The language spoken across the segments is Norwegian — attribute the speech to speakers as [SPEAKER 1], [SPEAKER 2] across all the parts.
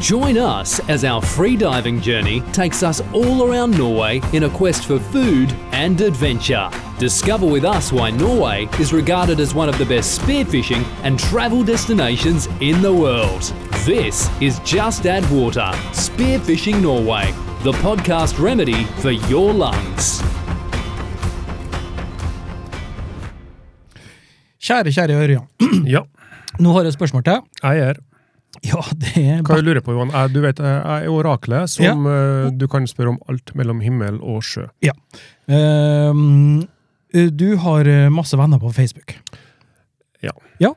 [SPEAKER 1] Join us as our free diving journey takes us all around Norway in a quest for food and adventure. Discover with us why Norway is regarded as one of the best spearfishing and travel destinations in the world. This is Just Add Water Spearfishing Norway, the podcast remedy for your lungs.
[SPEAKER 2] Kjære, kjære Ørjan.
[SPEAKER 3] Ja,
[SPEAKER 2] Nå har jeg et spørsmål til.
[SPEAKER 3] jeg er her.
[SPEAKER 2] Ja, det er
[SPEAKER 3] Hva jeg lurer på, Johan? Jeg, du vet, jeg er oraklet som eh, du kan spørre om alt mellom himmel og sjø.
[SPEAKER 2] Ja. Ehm, du har eh, masse venner på Facebook.
[SPEAKER 3] Ja.
[SPEAKER 2] Ja,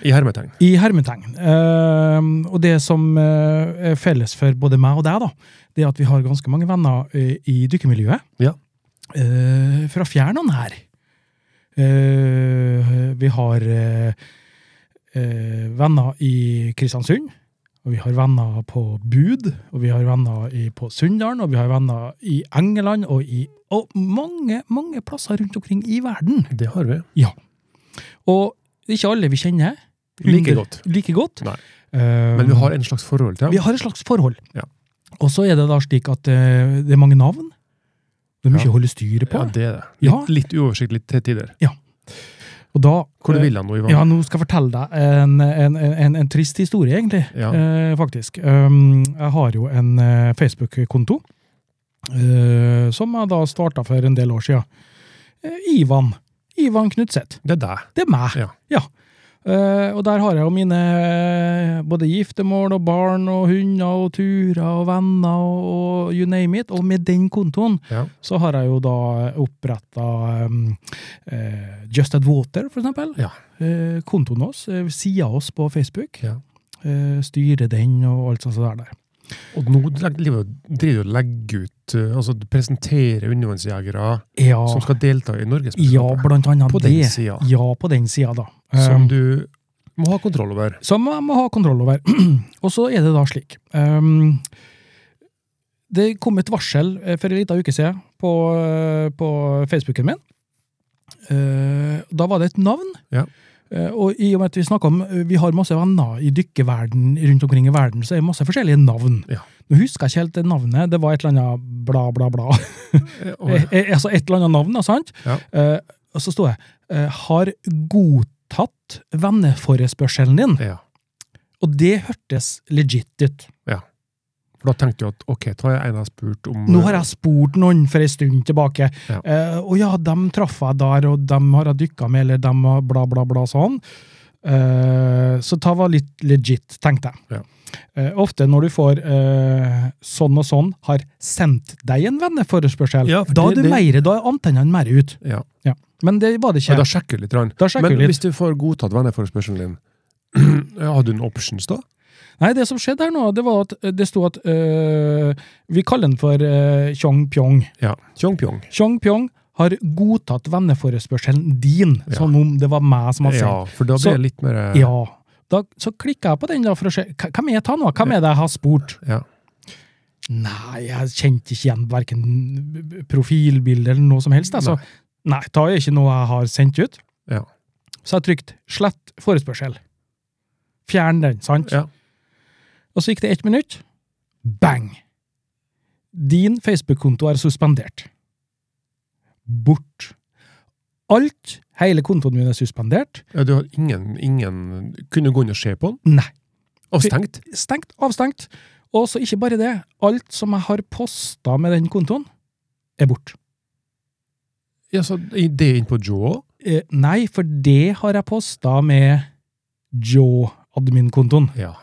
[SPEAKER 3] I hermetegn.
[SPEAKER 2] i hermetegn. Ehm, og det som eh, er felles for både meg og deg, da, det er at vi har ganske mange venner eh, i dykkermiljøet.
[SPEAKER 3] Ja.
[SPEAKER 2] eh, fra fjernene her. Eh, vi har eh, eh, venner i Kristiansund, og vi har venner på Bud, og vi har venner i, på Sunndalen, og vi har venner i England, og i og mange, mange plasser rundt omkring i verden.
[SPEAKER 3] Det har vi.
[SPEAKER 2] Ja. Og ikke alle vi kjenner.
[SPEAKER 3] Like
[SPEAKER 2] Under-
[SPEAKER 3] godt.
[SPEAKER 2] Like godt.
[SPEAKER 3] Nei.
[SPEAKER 2] Eh,
[SPEAKER 3] Men vi har en slags forhold til
[SPEAKER 2] vi
[SPEAKER 3] dem.
[SPEAKER 2] har et slags forhold.
[SPEAKER 3] Ja.
[SPEAKER 2] Og så er det da slik at eh, det er mange navn. Det er mye
[SPEAKER 3] Ja.
[SPEAKER 2] å holde styret på.
[SPEAKER 3] Ja, det er det.
[SPEAKER 2] Ja.
[SPEAKER 3] Litt, litt uoversiktlig til tider.
[SPEAKER 2] Og da,
[SPEAKER 3] Hvor
[SPEAKER 2] eh,
[SPEAKER 3] vil han nå, Ivan?
[SPEAKER 2] Ja, nå skal jeg fortelle deg en, en, en, en trist historie, egentlig.
[SPEAKER 3] Ja.
[SPEAKER 2] Eh, faktisk. Um, jeg har jo en eh, Facebook-konto, eh, som jeg da starta for en del år siden. Eh, Ivan. Ivan Knutseth.
[SPEAKER 3] Det er deg.
[SPEAKER 2] Det er meg.
[SPEAKER 3] Ja.
[SPEAKER 2] Eh, og der har jeg jo mine eh, både giftermål og barn og hunder og turer og venner og, og you name it. Og med den kontoen
[SPEAKER 3] Ja.
[SPEAKER 2] så har jeg jo da oppretta eh, Just Add Water, for eksempel.
[SPEAKER 3] Ja.
[SPEAKER 2] Eh, kontoen oss, eh, sida oss på Facebook.
[SPEAKER 3] Ja.
[SPEAKER 2] Eh, styre den og alt sånt der. der.
[SPEAKER 3] Og nå leg- driver du og legger ut eh, Altså du presenterer undervannsjegere
[SPEAKER 2] Ja,
[SPEAKER 3] som skal delta i
[SPEAKER 2] ja,
[SPEAKER 3] Norgesmesterskapet.
[SPEAKER 2] blant annet
[SPEAKER 3] På
[SPEAKER 2] det.
[SPEAKER 3] den sida.
[SPEAKER 2] Ja, på den sida, da.
[SPEAKER 3] Som
[SPEAKER 2] Um,
[SPEAKER 3] du må ha kontroll over.
[SPEAKER 2] som man må ha kontroll over. og så er det da slik. ehm, det kom et varsel eh, for en liten uke siden på, eh, på Facebooken min. Eh, da var det et navn.
[SPEAKER 3] Ja.
[SPEAKER 2] Eh, og i og med at vi snakker om eh, vi har masse venner i dykkeverden rundt omkring i verden, så er det masse forskjellige navn.
[SPEAKER 3] Ja.
[SPEAKER 2] Nå husker jeg ikke helt det navnet. Det var et eller annet bla, bla, bla.
[SPEAKER 3] Eh, og-
[SPEAKER 2] Eh, eh, altså et eller annet navn, da, sant?
[SPEAKER 3] Ja.
[SPEAKER 2] Eh, og så sto jeg eh, Har godtatt venneforespørselen din.
[SPEAKER 3] Ja.
[SPEAKER 2] Og det hørtes legit ut.
[SPEAKER 3] For da tenkte du at ok, da er en jeg spurt om
[SPEAKER 2] Nå har jeg spurt noen for en stund tilbake.
[SPEAKER 3] Ja.
[SPEAKER 2] Eh, og ja, dem traff jeg der, og dem har jeg dykka med, eller dem har bla, bla, bla sånn. Eh, så det var litt legit, tenkte jeg.
[SPEAKER 3] Ja.
[SPEAKER 2] Eh, ofte når du får eh, sånn og sånn har sendt deg en venneforespørsel,
[SPEAKER 3] Ja, for
[SPEAKER 2] da er
[SPEAKER 3] det-
[SPEAKER 2] du
[SPEAKER 3] det-
[SPEAKER 2] mer, da er antennene mer ut.
[SPEAKER 3] eh, ja.
[SPEAKER 2] Men det var det
[SPEAKER 3] Ja,
[SPEAKER 2] ikke.
[SPEAKER 3] da sjekker du litt. Rann.
[SPEAKER 2] Da sjekker
[SPEAKER 3] Men
[SPEAKER 2] vi litt.
[SPEAKER 3] hvis du får godtatt venneforespørselen din, ja, har du en options da?
[SPEAKER 2] Nei, det som skjedde her nå, det var at eh, det sto at eh, Vi kaller den for eh, Tjong Pjong.
[SPEAKER 3] Ja. Tjong-pjong.
[SPEAKER 2] Tjong Pjong har godtatt venneforespørselen din,
[SPEAKER 3] Ja.
[SPEAKER 2] som om det var meg som hadde sendt.
[SPEAKER 3] Ja, for da
[SPEAKER 2] Så-
[SPEAKER 3] blir det litt mer eh,
[SPEAKER 2] Ja. Da, så klikka jeg på den da for å se hva- hvem er det nå? Hvem er det jeg har spurt?
[SPEAKER 3] ja.
[SPEAKER 2] Nei, jeg kjente ikke igjen verken profilbilde eller noe som helst. Altså. Nei, det er ikke noe jeg har sendt ut.
[SPEAKER 3] Ja.
[SPEAKER 2] Så jeg trykte 'slett forespørsel'. Fjern den, sant?
[SPEAKER 3] Ja.
[SPEAKER 2] Og så gikk det ett minutt. Bang! Din Facebook-konto er suspendert. Bort. Alt, hele kontoen min er suspendert.
[SPEAKER 3] Ja, du har ingen, ingen Kunne du gå inn og se på den?
[SPEAKER 2] Nei.
[SPEAKER 3] Avstengt?
[SPEAKER 2] Stengt, avstengt. Og så ikke bare det. Alt som jeg har posta med den kontoen, er bort.
[SPEAKER 3] Ja, så i- det er inn på Joe også?
[SPEAKER 2] Eh, nei, for det har jeg posta med Joe-admin-kontoen.
[SPEAKER 3] Ja.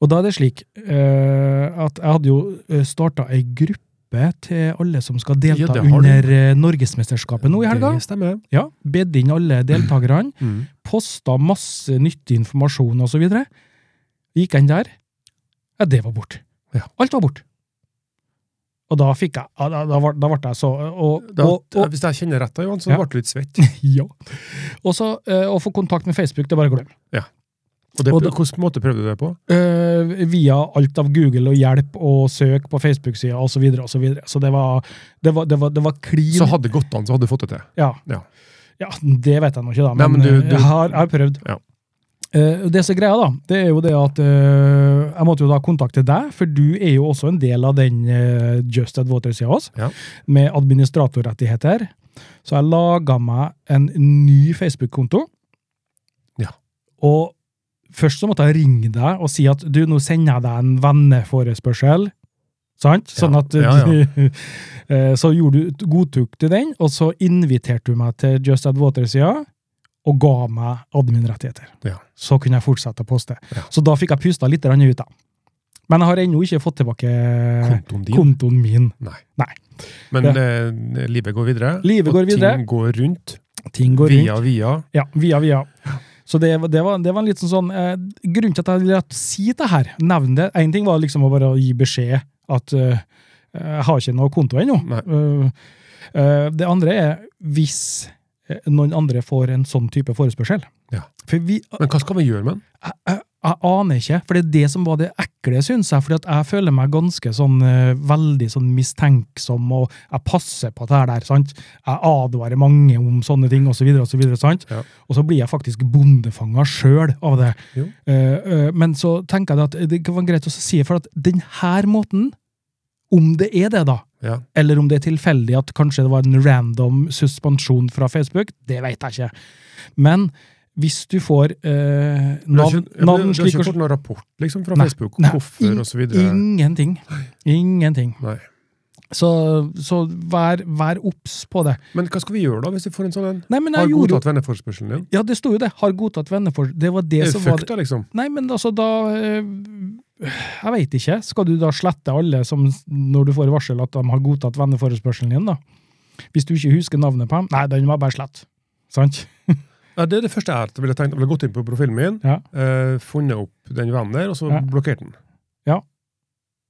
[SPEAKER 2] Og da er det slik eh, at jeg hadde jo starta ei gruppe til alle som skal delta
[SPEAKER 3] Ja, det har
[SPEAKER 2] under eh, Norgesmesterskapet nå i helga.
[SPEAKER 3] Det stemmer.
[SPEAKER 2] Ja, Bedt inn alle deltakerne.
[SPEAKER 3] Mm.
[SPEAKER 2] Posta masse nyttig informasjon osv. Gikk jeg inn der. Ja, det var bort.
[SPEAKER 3] Ja.
[SPEAKER 2] Alt var bort. Og da fikk jeg ja, Da, da, var- da ble jeg så og,
[SPEAKER 3] Da,
[SPEAKER 2] og, og,
[SPEAKER 3] hvis jeg kjenner rett da, Johan, så
[SPEAKER 2] Ja.
[SPEAKER 3] ble du litt svett.
[SPEAKER 2] ja. Og så eh, å få kontakt med Facebook, det er bare å glemme.
[SPEAKER 3] Og det,
[SPEAKER 2] Og da-
[SPEAKER 3] hvilken måte prøvde du det på?
[SPEAKER 2] Eh, via alt av Google og hjelp og søk på Facebook-sida osv. Så, videre, og så, videre. så det var, det var, det var, det var clean.
[SPEAKER 3] Så hadde det gått an, så hadde du fått det til.
[SPEAKER 2] ja.
[SPEAKER 3] Ja.
[SPEAKER 2] Ja, det vet jeg nå ikke, da,
[SPEAKER 3] Nei,
[SPEAKER 2] men,
[SPEAKER 3] men du-
[SPEAKER 2] eh,
[SPEAKER 3] du-
[SPEAKER 2] jeg, har, jeg har prøvd.
[SPEAKER 3] Ja.
[SPEAKER 2] Eh, og det som er greia, da, det er jo det at eh, jeg måtte jo da kontakte deg, for du er jo også en del av den eh, Just at Water-sida oss,
[SPEAKER 3] Ja.
[SPEAKER 2] med administratorrettigheter. Så jeg laga meg en ny Facebook-konto.
[SPEAKER 3] Ja.
[SPEAKER 2] Og først så måtte jeg ringe deg og si at du, nå sender jeg deg en venneforespørsel. Sant? Sånn
[SPEAKER 3] Ja.
[SPEAKER 2] at du,
[SPEAKER 3] Ja,
[SPEAKER 2] Eh, Så gjorde du, godtok du den, og så inviterte du meg til Just Add Water-sida og ga meg admin-rettigheter.
[SPEAKER 3] Ja.
[SPEAKER 2] Så kunne jeg fortsette å poste.
[SPEAKER 3] Ja.
[SPEAKER 2] Så da fikk jeg pusta litt grann ut, da. Men jeg har ennå ikke fått tilbake
[SPEAKER 3] Kontoen din?
[SPEAKER 2] kontoen min.
[SPEAKER 3] Nei.
[SPEAKER 2] Nei.
[SPEAKER 3] Men
[SPEAKER 2] Ja.
[SPEAKER 3] eh, livet går videre.
[SPEAKER 2] Livet
[SPEAKER 3] og
[SPEAKER 2] går videre.
[SPEAKER 3] ting går rundt.
[SPEAKER 2] Ting går
[SPEAKER 3] via,
[SPEAKER 2] rundt.
[SPEAKER 3] via.
[SPEAKER 2] Ja, via, via. Så det, var- det, var, det var en liten sånn eh, Grunnen til at jeg ville si det her, nevne det Én ting var liksom å bare gi beskjed at eh, jeg har ikke noe konto ennå.
[SPEAKER 3] Nei.
[SPEAKER 2] Eh, eh, det andre er hvis eh, noen andre får en sånn type forespørsel.
[SPEAKER 3] Ja.
[SPEAKER 2] For vi,
[SPEAKER 3] Men hva skal vi gjøre med den?
[SPEAKER 2] jeg, jeg, jeg aner ikke, for det er det som var det ekle, syns jeg. For jeg føler meg ganske sånn eh, veldig sånn mistenksom, og jeg passer på det her der, sant. Jeg advarer mange om sånne ting, osv., osv., sant.
[SPEAKER 3] Ja.
[SPEAKER 2] Og så blir jeg faktisk bondefanga sjøl av det.
[SPEAKER 3] Jo.
[SPEAKER 2] Eh, eh, men så tenker jeg det at det var greit å si, for at den her måten, om det er det, da,
[SPEAKER 3] Ja.
[SPEAKER 2] eller om det er tilfeldig at kanskje det var en random suspensjon fra Facebook, det vet jeg ikke. Men hvis du får eh,
[SPEAKER 3] Du har
[SPEAKER 2] navn,
[SPEAKER 3] ikke, ja, men
[SPEAKER 2] navn
[SPEAKER 3] du har
[SPEAKER 2] slik
[SPEAKER 3] ikke
[SPEAKER 2] og
[SPEAKER 3] fått noen rapport liksom, fra
[SPEAKER 2] Nei,
[SPEAKER 3] Facebook?
[SPEAKER 2] nei,
[SPEAKER 3] Hvorfor og så videre?
[SPEAKER 2] Ingenting. Ingenting.
[SPEAKER 3] Nei.
[SPEAKER 2] Så, så vær, vær obs på det.
[SPEAKER 3] Men hva skal vi gjøre da, hvis vi får en sånn en?
[SPEAKER 2] Nei, men
[SPEAKER 3] Har
[SPEAKER 2] jeg gjorde
[SPEAKER 3] godtatt venneforespørselen din?
[SPEAKER 2] Ja, det sto jo det. Har godtatt venner for Det var det
[SPEAKER 3] Er
[SPEAKER 2] som
[SPEAKER 3] det
[SPEAKER 2] var
[SPEAKER 3] fucked, da, liksom?
[SPEAKER 2] Nei, men altså, da eh, Jeg veit ikke. Skal du da slette alle som, når du får varsel at de har godtatt venneforespørselen din, da? Hvis du ikke husker navnet på dem? Nei, den var bare slett. Sant?
[SPEAKER 3] Ja, det er det første jeg har ville tenkt. Jeg ville gått inn på profilen min,
[SPEAKER 2] Ja.
[SPEAKER 3] eh, funnet opp den vennen der, og så
[SPEAKER 2] Ja.
[SPEAKER 3] blokkert den.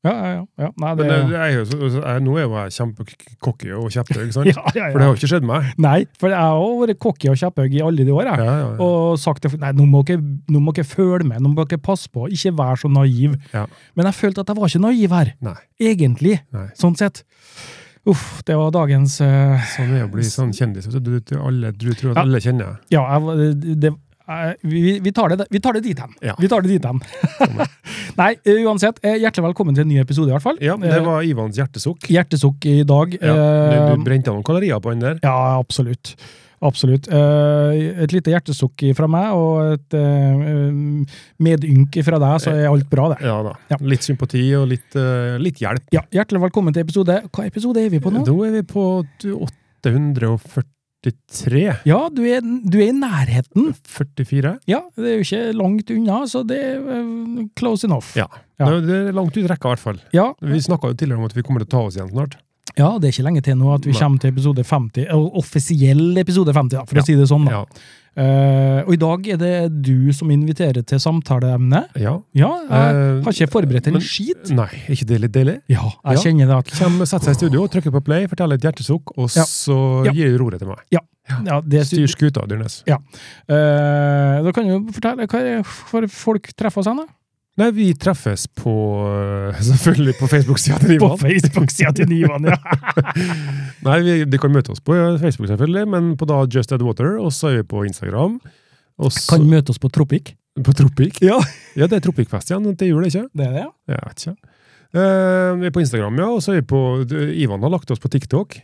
[SPEAKER 2] Ja, ja, ja. ja. Nei, det,
[SPEAKER 3] Men eh, jeg, er jo så- så jeg, nå er jo jeg kjempecocky og kjepphøy, ikke sant?
[SPEAKER 2] ja, ja,
[SPEAKER 3] For det
[SPEAKER 2] ja.
[SPEAKER 3] har jo ikke skjedd meg.
[SPEAKER 2] Nei, for jeg har også vært cocky og kjepphøy i alle de år, jeg.
[SPEAKER 3] Ja, ja, ja.
[SPEAKER 2] Og sagt til folk nei, nå må dere nå må dere følge med, nå må dere passe på, ikke være så naiv.
[SPEAKER 3] Ja.
[SPEAKER 2] Men jeg følte at jeg var ikke naiv her,
[SPEAKER 3] Nei,
[SPEAKER 2] egentlig,
[SPEAKER 3] nei.
[SPEAKER 2] sånn sett. Uff, det var dagens eh,
[SPEAKER 3] Sånn er det å bli sånn kjendis. vet Du, du, alle, du tror at
[SPEAKER 2] Ja.
[SPEAKER 3] alle kjenner deg.
[SPEAKER 2] Ja, jeg, var- det, jeg, vi, vi, tar det, vi tar det dit hen.
[SPEAKER 3] Ja.
[SPEAKER 2] Vi tar det dit hen. Nei, eh, uansett, eh, hjertelig velkommen til en ny episode, i hvert fall.
[SPEAKER 3] Ja, det
[SPEAKER 2] Eh,
[SPEAKER 3] var Ivans hjertesukk.
[SPEAKER 2] Hjertesukk i dag.
[SPEAKER 3] Ja,
[SPEAKER 2] eh,
[SPEAKER 3] du, du brente av noen kalorier på den der.
[SPEAKER 2] ja absolutt. Absolutt. Eh, Et lite hjertesukk fra meg, og et eh, medynk fra deg, så er alt bra, det.
[SPEAKER 3] Ja da.
[SPEAKER 2] Ja.
[SPEAKER 3] Litt sympati og litt, eh, litt hjelp.
[SPEAKER 2] Ja, Hjertelig velkommen til episode Hva episode er vi på nå?
[SPEAKER 3] Da er vi på du, 843.
[SPEAKER 2] Ja, du er, du er i nærheten.
[SPEAKER 3] 44.
[SPEAKER 2] Ja, det er jo ikke langt unna, så det er eh, close enough.
[SPEAKER 3] Ja.
[SPEAKER 2] Ja.
[SPEAKER 3] Det, er- det er langt ut i rekka, i hvert fall.
[SPEAKER 2] Ja,
[SPEAKER 3] Vi snakka jo tidligere om at vi kommer til å ta oss igjen snart.
[SPEAKER 2] Ja, det er ikke lenge til nå at vi
[SPEAKER 3] Nei.
[SPEAKER 2] kommer til episode 50, eller offisiell episode 50, da, for
[SPEAKER 3] Ja.
[SPEAKER 2] å si det sånn. da.
[SPEAKER 3] Ja.
[SPEAKER 2] Eh, og i dag er det du som inviterer til samtaleemne.
[SPEAKER 3] ja.
[SPEAKER 2] Ja, jeg
[SPEAKER 3] Eh,
[SPEAKER 2] har ikke forberedt en
[SPEAKER 3] men-
[SPEAKER 2] skit.
[SPEAKER 3] Nei, er ikke det litt deilig?
[SPEAKER 2] Ja, jeg
[SPEAKER 3] Ja.
[SPEAKER 2] kjenner det at
[SPEAKER 3] Kjem, sett seg i studio, trykker på play, forteller et hjertesukk, og
[SPEAKER 2] Ja.
[SPEAKER 3] så
[SPEAKER 2] Ja.
[SPEAKER 3] gir du roret til meg.
[SPEAKER 2] ja, det
[SPEAKER 3] Styr skuta, Dyrnes.
[SPEAKER 2] Eh, Da kan du jo fortelle hva er det for folk treffer oss hen, da?
[SPEAKER 3] Nei, vi treffes på eh, Selvfølgelig på Facebook-sida til Ivan.
[SPEAKER 2] Facebook-sida til Nivan, ja.
[SPEAKER 3] Nei, vi, de kan møte oss på eh, Facebook, selvfølgelig, men på da Just Add Water, og så er vi på Instagram. Og så,
[SPEAKER 2] Kan møte oss på Tropic.
[SPEAKER 3] På Tropic?
[SPEAKER 2] Ja.
[SPEAKER 3] ja, det er Tropic-fest igjen til jul, ikke?
[SPEAKER 2] Det er det, ja.
[SPEAKER 3] Jeg vet ikke. Eh, vi er på Instagram, ja, og så er vi på du, Ivan har lagt oss på TikTok.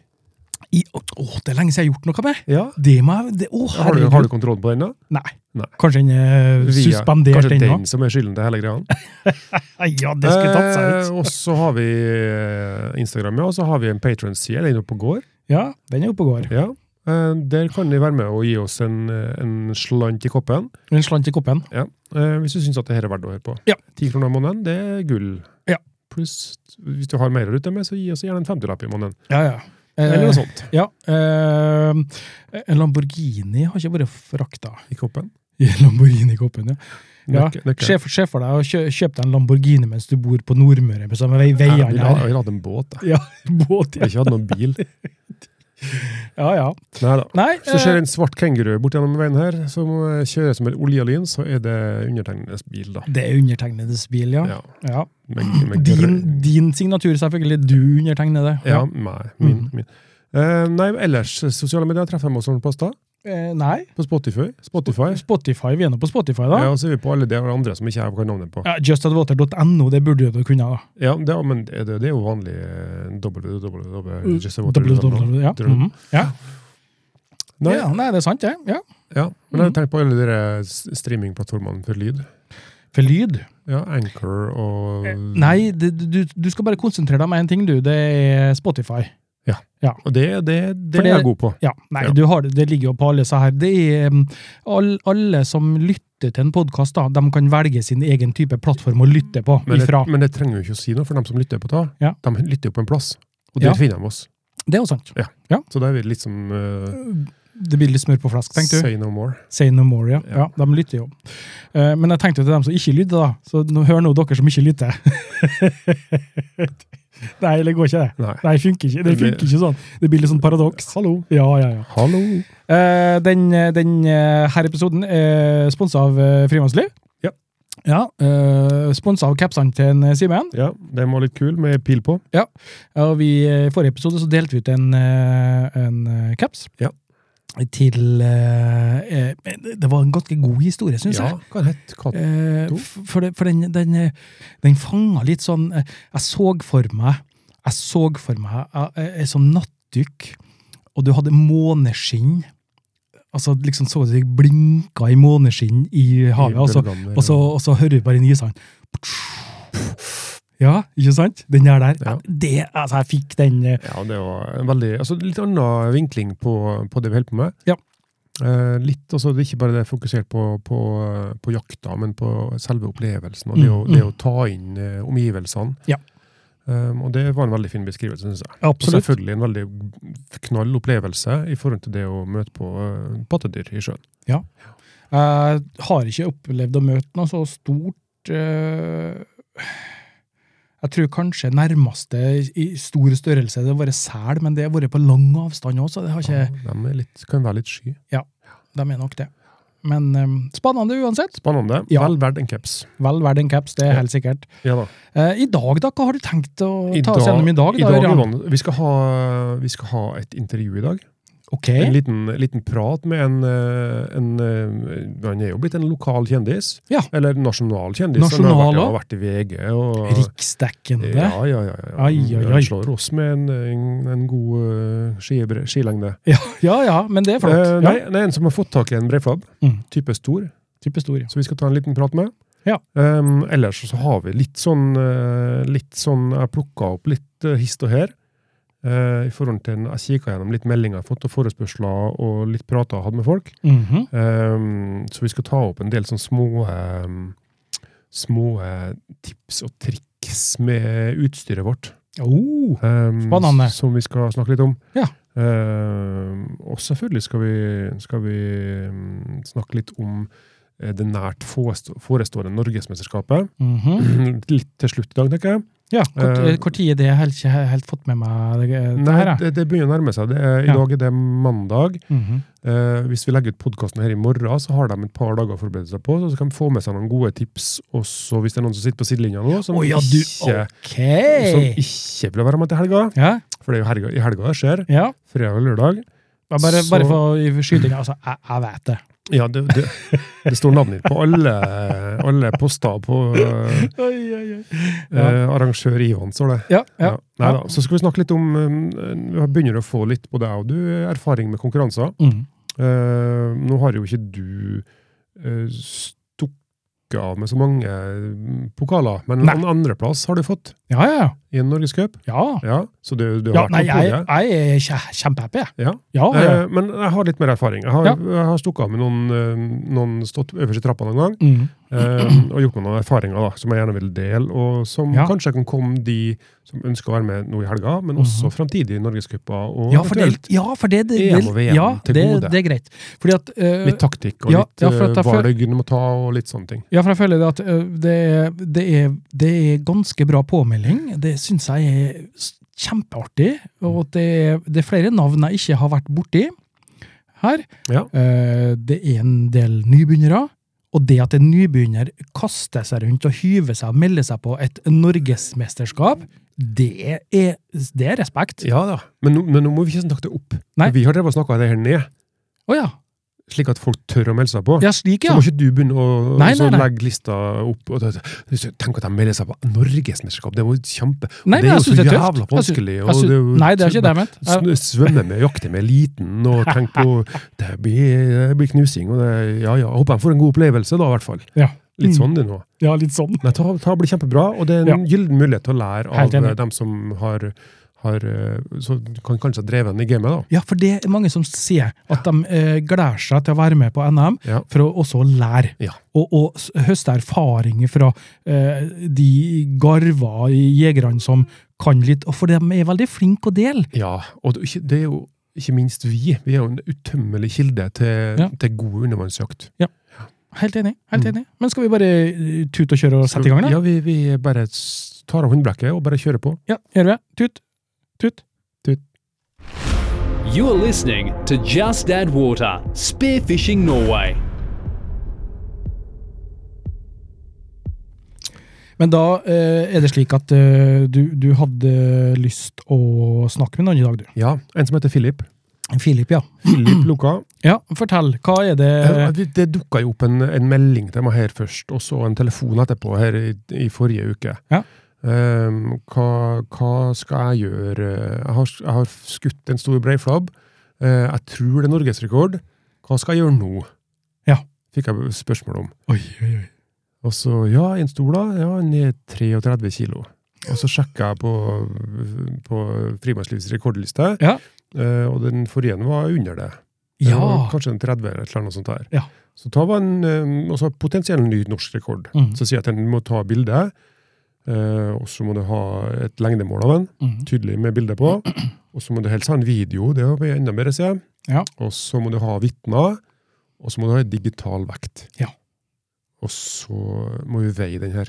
[SPEAKER 2] I, å, å, det er lenge siden jeg har gjort noe med!
[SPEAKER 3] Ja.
[SPEAKER 2] Det må jeg det, Å,
[SPEAKER 3] Har, du,
[SPEAKER 2] herregud.
[SPEAKER 3] har du kontroll på den, da?
[SPEAKER 2] Nei.
[SPEAKER 3] Nei.
[SPEAKER 2] Kanskje den er
[SPEAKER 3] Via-
[SPEAKER 2] suspendert
[SPEAKER 3] Kanskje
[SPEAKER 2] ennå?
[SPEAKER 3] den som er skylden til hele greia?
[SPEAKER 2] Ja, det skulle tatt seg ut.
[SPEAKER 3] Eh, og så har vi eh, Instagram, ja, og så har vi en Patron-side. Den er oppe og går.
[SPEAKER 2] Ja, den er oppe og går.
[SPEAKER 3] Ja. Eh, der kan de være med og gi oss en, eh, en slant i koppen.
[SPEAKER 2] En slant i koppen.
[SPEAKER 3] Ja. Eh, hvis du syns at det her er verdt å høre på.
[SPEAKER 2] Ja.
[SPEAKER 3] 10 kroner i måneden, det er gull.
[SPEAKER 2] Ja.
[SPEAKER 3] Pluss, hvis du har mer å rutte med, så gi oss gjerne en 50-lapp i måneden.
[SPEAKER 2] Ja, ja.
[SPEAKER 3] Eller noe sånt.
[SPEAKER 2] Ja, eh, en Lamborghini har ikke vært frakta.
[SPEAKER 3] I koppen.
[SPEAKER 2] I Lamborghini-koppen, ja. Ja,
[SPEAKER 3] Nøkke- nøkke.
[SPEAKER 2] Se for se for deg å kjø, kjøpe deg en Lamborghini mens du bor på Nordmøre, på samme vei,
[SPEAKER 3] Jeg
[SPEAKER 2] veiene
[SPEAKER 3] ville ha-
[SPEAKER 2] her.
[SPEAKER 3] jeg ville hatt en båt. Jeg.
[SPEAKER 2] Ja, båt, ja.
[SPEAKER 3] jeg har ikke hatt noen bil.
[SPEAKER 2] Ja, ja.
[SPEAKER 3] Neida.
[SPEAKER 2] Nei,
[SPEAKER 3] Hvis det skjer
[SPEAKER 2] eh,
[SPEAKER 3] en svart kenguru bort gjennom veien her, som eh, kjører som en oljelyn, så er det undertegnedes bil, da.
[SPEAKER 2] det er undertegnedes bil, ja.
[SPEAKER 3] Ja.
[SPEAKER 2] ja.
[SPEAKER 3] Med, med grø-
[SPEAKER 2] Din, din signatur, selvfølgelig. Du undertegnede. Mm.
[SPEAKER 3] Ja, nei, min. min. Eh, nei, ellers, sosiale medier treffer vi oss noen poster.
[SPEAKER 2] Eh, nei.
[SPEAKER 3] På Spotify. Spotify.
[SPEAKER 2] Spotify, Vi er nå på Spotify, da.
[SPEAKER 3] Ja, og så er vi på alle de andre som ikke jeg kan navnet på.
[SPEAKER 2] Ja, Justadwater.no, det burde jo du kunne, da.
[SPEAKER 3] Ja, det, er- men det, det er jo vanlig eh, www. Just a water-
[SPEAKER 2] WWW, ja. Mhm. ja.
[SPEAKER 3] Nei,
[SPEAKER 2] ja. Nei, det er sant, det. Ja.
[SPEAKER 3] ja. Men
[SPEAKER 2] Mhm.
[SPEAKER 3] jeg har tenkt på alle de der eh, s- streamingplattformene for lyd.
[SPEAKER 2] For lyd
[SPEAKER 3] Ja, Anchor og
[SPEAKER 2] Nei, det, du, du skal bare konsentrere deg om én ting, du. Det er Spotify.
[SPEAKER 3] Og det, det, det
[SPEAKER 2] For det-
[SPEAKER 3] er jeg god på.
[SPEAKER 2] Ja, nei,
[SPEAKER 3] Ja.
[SPEAKER 2] Du har, det- det ligger jo på alle så her. Det er, um, all, alle som lytter til en podkast, de kan velge sin egen type plattform å lytte på
[SPEAKER 3] Men det,
[SPEAKER 2] ifra.
[SPEAKER 3] men det trenger jo ikke å si noe, for dem som lytter på det,
[SPEAKER 2] Ja.
[SPEAKER 3] de lytter jo på en plass. Og
[SPEAKER 2] Ja.
[SPEAKER 3] der finner de oss.
[SPEAKER 2] Det er jo sant.
[SPEAKER 3] Så da er vi litt som eh,
[SPEAKER 2] Det blir litt smør på flask, tenkte du.
[SPEAKER 3] Say no more.
[SPEAKER 2] Say no more, ja. ja.
[SPEAKER 3] Ja.
[SPEAKER 2] De lytter jo. Eh, Men jeg tenkte jo til dem som ikke lytter, da. Så nå, hør nå, dere som ikke lytter. Nei, det går ikke, det.
[SPEAKER 3] Nei.
[SPEAKER 2] Nei, funker ikke. Det
[SPEAKER 3] Det blir-
[SPEAKER 2] funker ikke sånn. Det blir litt sånn paradoks.
[SPEAKER 3] Hallo.
[SPEAKER 2] Ja, ja, ja.
[SPEAKER 3] Hallo.
[SPEAKER 2] Eh, den, den eh, her episoden er sponsa av eh, Frimannsliv.
[SPEAKER 3] Ja.
[SPEAKER 2] Ja, eh, Sponsa av capsene til en eh, Simen.
[SPEAKER 3] Ja, den var litt kul, med pil på.
[SPEAKER 2] Og vi, eh, I forrige episode så delte vi ut en, eh, en eh, caps.
[SPEAKER 3] Ja.
[SPEAKER 2] Til eh, eh, men Det det var en ganske god historie, syns
[SPEAKER 3] ja,
[SPEAKER 2] jeg.
[SPEAKER 3] hva het katten?
[SPEAKER 2] Eh,
[SPEAKER 3] Jo.
[SPEAKER 2] f- for det, for den, den, eh, den fanga litt sånn eh, Jeg så for meg Jeg så for meg eh, eh, en sånn nattdykk, og du hadde måneskinn. Altså liksom så det blinka i måneskinn i havet, og så, og så, og så hører du bare nysene. Ja, ikke sant? Den der der.
[SPEAKER 3] Ja.
[SPEAKER 2] Det, altså, jeg fikk den eh,
[SPEAKER 3] Ja, det var en veldig altså, Litt annen vinkling på, på det vi holder på med.
[SPEAKER 2] Ja.
[SPEAKER 3] Eh, litt, altså, det er ikke bare det fokusert på, på, på jakta, men på selve opplevelsen. Og det, å,
[SPEAKER 2] Mm,
[SPEAKER 3] det
[SPEAKER 2] mm.
[SPEAKER 3] å ta inn eh, omgivelsene.
[SPEAKER 2] Ja.
[SPEAKER 3] Um, og det var en veldig fin beskrivelse, syns jeg. Og
[SPEAKER 2] Absolutt.
[SPEAKER 3] selvfølgelig en veldig knall opplevelse i forhold til det å møte på eh, pattedyr i sjøen.
[SPEAKER 2] Jeg har ikke opplevd å møte noe så stort eh, Jeg tror kanskje nærmeste i stor størrelse det har vært sel, men det har vært på lang avstand òg, så det har ikke
[SPEAKER 3] De er litt, kan være litt sky.
[SPEAKER 2] De er nok det. Men eh, spennende uansett.
[SPEAKER 3] Spennende.
[SPEAKER 2] Ja.
[SPEAKER 3] Vel verdt en caps.
[SPEAKER 2] Vel verdt en caps, det er
[SPEAKER 3] Ja.
[SPEAKER 2] helt sikkert.
[SPEAKER 3] Ja da.
[SPEAKER 2] Eh, I dag, da? Hva har du tenkt å
[SPEAKER 3] I
[SPEAKER 2] ta oss
[SPEAKER 3] dag-
[SPEAKER 2] gjennom i dag?
[SPEAKER 3] I
[SPEAKER 2] da,
[SPEAKER 3] dag
[SPEAKER 2] Ørjan?
[SPEAKER 3] Johan, vi, skal ha, vi skal ha et intervju i dag.
[SPEAKER 2] Ok.
[SPEAKER 3] En liten, liten prat med en, eh, en eh, Han er jo blitt en lokal kjendis.
[SPEAKER 2] Ja.
[SPEAKER 3] Eller nasjonal kjendis.
[SPEAKER 2] Nasjonal
[SPEAKER 3] han har
[SPEAKER 2] også?
[SPEAKER 3] vært, ja, vært i VG. Og,
[SPEAKER 2] Riksdekkende.
[SPEAKER 3] Ja, ja, ja. ja.
[SPEAKER 2] Ai, ai, ai.
[SPEAKER 3] Han slår oss med en, en, en god eh, skibre, skilengde.
[SPEAKER 2] Ja. ja ja, men det er flott.
[SPEAKER 3] Eh,
[SPEAKER 2] ja.
[SPEAKER 3] nei, det er en som har fått tak i en breiflabb.
[SPEAKER 2] Mm.
[SPEAKER 3] Type stor.
[SPEAKER 2] Type stor, ja.
[SPEAKER 3] Så vi skal ta en liten prat med.
[SPEAKER 2] Ja.
[SPEAKER 3] Ehm, ellers så har vi litt sånn, eh, litt sånn Jeg plukka opp litt eh, hist og her. eh, i forhold til, en- Jeg kikka gjennom litt meldinger jeg har fått, og forespørsler og litt prater jeg hadde med folk.
[SPEAKER 2] Mhm.
[SPEAKER 3] Ehm, så vi skal ta opp en del sånne små, ehm, små eh, tips og triks med utstyret vårt.
[SPEAKER 2] oh.
[SPEAKER 3] Ehm,
[SPEAKER 2] Spennende.
[SPEAKER 3] s- Som vi skal snakke litt om.
[SPEAKER 2] Ja.
[SPEAKER 3] Ehm, og selvfølgelig skal vi, skal vi mm, snakke litt om eh, det nært forest- forestående Norgesmesterskapet.
[SPEAKER 2] Mhm.
[SPEAKER 3] Litt til slutt i dag, tenker jeg.
[SPEAKER 2] Ja, kort,
[SPEAKER 3] Eh,
[SPEAKER 2] kort tid er det jeg har ikke helt fått med meg det, det
[SPEAKER 3] Nei,
[SPEAKER 2] her. jeg.
[SPEAKER 3] det, det begynner å nærme seg. Det er, I
[SPEAKER 2] Ja.
[SPEAKER 3] dag er det mandag.
[SPEAKER 2] Mhm.
[SPEAKER 3] Eh, hvis vi legger ut podkasten her i morgen, så har de et par dager å forberede seg på. Så kan de få med seg noen gode tips også hvis det er noen som sitter på sidelinja nå, som,
[SPEAKER 2] Å ja, du,
[SPEAKER 3] ikke,
[SPEAKER 2] ok!
[SPEAKER 3] som ikke vil være med til helga.
[SPEAKER 2] Ja,
[SPEAKER 3] For det er jo helga, i helga det skjer.
[SPEAKER 2] ja.
[SPEAKER 3] Fredag og lørdag.
[SPEAKER 2] Ja, Bare,
[SPEAKER 3] Så-
[SPEAKER 2] bare for å skyte inn, altså, jeg, jeg vet det.
[SPEAKER 3] Ja, det, det, det står navnet ditt på alle, alle poster på eh, eh, arrangør Ivan, står det.
[SPEAKER 2] Ja, ja.
[SPEAKER 3] Nei da. Så skal vi snakke litt om eh, Vi begynner å få litt, både jeg og du, erfaring med konkurranser.
[SPEAKER 2] Mm.
[SPEAKER 3] Eh, nå har jo ikke du eh, stukket av med så mange eh, pokaler, men
[SPEAKER 2] Nei.
[SPEAKER 3] en andreplass har du fått
[SPEAKER 2] ja, ja. ja.
[SPEAKER 3] i en Norgescup.
[SPEAKER 2] ja.
[SPEAKER 3] Ja, så du, du
[SPEAKER 2] ja
[SPEAKER 3] har
[SPEAKER 2] nei,
[SPEAKER 3] vært på
[SPEAKER 2] jeg,
[SPEAKER 3] podiet.
[SPEAKER 2] jeg er kje- kjempehappy, jeg.
[SPEAKER 3] Ja.
[SPEAKER 2] Ja, ja.
[SPEAKER 3] Eh, men jeg har litt mer erfaring. Jeg har,
[SPEAKER 2] Ja.
[SPEAKER 3] jeg har stukket av med noen, eh, noen stått øverst i trappa noen gang,
[SPEAKER 2] Mm.
[SPEAKER 3] eh, og gjort meg noen erfaringer da, som jeg gjerne vil dele, og som
[SPEAKER 2] Ja. Mhm.
[SPEAKER 3] kanskje kan komme de som ønsker å være med nå i helga, men også fremtidige Norgescuper, og
[SPEAKER 2] ja, for det,
[SPEAKER 3] eventuelt
[SPEAKER 2] ja, for det, det,
[SPEAKER 3] EM og
[SPEAKER 2] det,
[SPEAKER 3] VM
[SPEAKER 2] ja,
[SPEAKER 3] til
[SPEAKER 2] det,
[SPEAKER 3] gode.
[SPEAKER 2] det er greit. Fordi at, eh,
[SPEAKER 3] litt taktikk, og
[SPEAKER 2] ja,
[SPEAKER 3] litt
[SPEAKER 2] ja, for at
[SPEAKER 3] eh,
[SPEAKER 2] jeg føl-
[SPEAKER 3] valg du må ta, og litt sånne ting.
[SPEAKER 2] ja, for jeg føler det at eh, det, er- det, er, det er ganske bra påmelding. Det syns jeg er s- kjempeartig. Og at det, er- det er flere navn jeg ikke har vært borti her.
[SPEAKER 3] Ja.
[SPEAKER 2] Eh, Det er en del nybegynnere. Og det at en nybegynner kaster seg rundt og hyver seg og melder seg på et norgesmesterskap, det er, det er respekt. Å
[SPEAKER 3] Ja da, men nå, men nå må vi ikke snakke det opp.
[SPEAKER 2] Nei.
[SPEAKER 3] For Vi har drevet og snakka det her ned.
[SPEAKER 2] ja.
[SPEAKER 3] slik at folk tør å melde seg på.
[SPEAKER 2] Ja, slik,
[SPEAKER 3] Så
[SPEAKER 2] ja.
[SPEAKER 3] må ikke du begynne å
[SPEAKER 2] Nei,
[SPEAKER 3] så
[SPEAKER 2] nei, nei.
[SPEAKER 3] legge lista opp. Og, tenk at de melder seg på Norgesmesterskap, det var jo kjempe...
[SPEAKER 2] Nei,
[SPEAKER 3] det
[SPEAKER 2] men
[SPEAKER 3] er
[SPEAKER 2] jeg
[SPEAKER 3] jo
[SPEAKER 2] syns
[SPEAKER 3] så
[SPEAKER 2] det er tøft.
[SPEAKER 3] jævla vanskelig.
[SPEAKER 2] Jeg
[SPEAKER 3] og
[SPEAKER 2] syns-
[SPEAKER 3] det er jo-
[SPEAKER 2] Nei, det er ikke det jeg mente. Jeg-
[SPEAKER 3] Sn- Svømme med, jakte med eliten, og tenk på Det blir, det blir knusing, og det Ja ja, håper de får en god opplevelse, da, i hvert fall.
[SPEAKER 2] Ja.
[SPEAKER 3] Litt
[SPEAKER 2] Mm.
[SPEAKER 3] sånn det nå.
[SPEAKER 2] Ja, litt sånn.
[SPEAKER 3] Nei, ta, ta blir kjempebra, og det er en gyllen mulighet til å lære
[SPEAKER 2] Helt
[SPEAKER 3] av
[SPEAKER 2] enig.
[SPEAKER 3] eh, dem som har, har eh, så kan kanskje ha drevet den i gamet, da.
[SPEAKER 2] Ja, for det er mange som sier at de eh, gleder seg til å være med på NM
[SPEAKER 3] Ja.
[SPEAKER 2] for å også å lære.
[SPEAKER 3] Ja.
[SPEAKER 2] Og, og s- høste erfaringer fra eh, de garver i jegerne som kan litt. Og for de er veldig flinke å dele.
[SPEAKER 3] Ja, og det, er ikke- det er jo ikke minst vi. Vi er jo en utømmelig kilde til,
[SPEAKER 2] Ja.
[SPEAKER 3] til god undervannsjakt.
[SPEAKER 2] Helt enig. helt
[SPEAKER 3] Mm.
[SPEAKER 2] enig. Men skal vi bare eh, tute og kjøre og sette i gang, da?
[SPEAKER 3] Ja, vi, vi bare s- tar av håndbrekket og bare kjører på.
[SPEAKER 2] Ja, gjør vi det. Tut. Tut.
[SPEAKER 1] You're listening to Just Add Water Spearfishing Norway.
[SPEAKER 2] Men da eh, er det slik at eh, du, du hadde lyst å snakke med noen i dag, du.
[SPEAKER 3] Ja, en som heter Philip.
[SPEAKER 2] Filip, ja.
[SPEAKER 3] Philip Luka.
[SPEAKER 2] Ja, fortell. Hva er det
[SPEAKER 3] Eh, vi- Det dukka jo opp en, en melding til meg her først, og så en telefon etterpå her i, i forrige uke.
[SPEAKER 2] Ja.
[SPEAKER 3] Ehm, hva, hva skal jeg gjøre? Jeg har, jeg har skutt en stor breiflabb. Eh, jeg tror det er norgesrekord. Hva skal jeg gjøre nå?
[SPEAKER 2] Ja.
[SPEAKER 3] Fikk jeg spørsmål om.
[SPEAKER 2] Oi, oi, oi.
[SPEAKER 3] Og så, ja, en stor da, ja, han er 33 kilo. Og så sjekket jeg på, på Frimannslivets rekordliste,
[SPEAKER 2] Ja.
[SPEAKER 3] eh, og den forrige var under det. Det
[SPEAKER 2] Ja.
[SPEAKER 3] var Kanskje en 30 eller et eller annet sånt der.
[SPEAKER 2] Ja.
[SPEAKER 3] Så da var en eh, også potensiell ny norsk rekord.
[SPEAKER 2] Mhm.
[SPEAKER 3] Så sier jeg at den må ta bilde, eh, og så må du ha et lengdemål av den,
[SPEAKER 2] Mhm.
[SPEAKER 3] tydelig med bilde på. Og så må du helst ha en video, det blir enda mer, sier jeg.
[SPEAKER 2] Ja.
[SPEAKER 3] Og så må du ha vitner, og så må du ha en digital vekt.
[SPEAKER 2] Ja.
[SPEAKER 3] Og så må vi veie den her.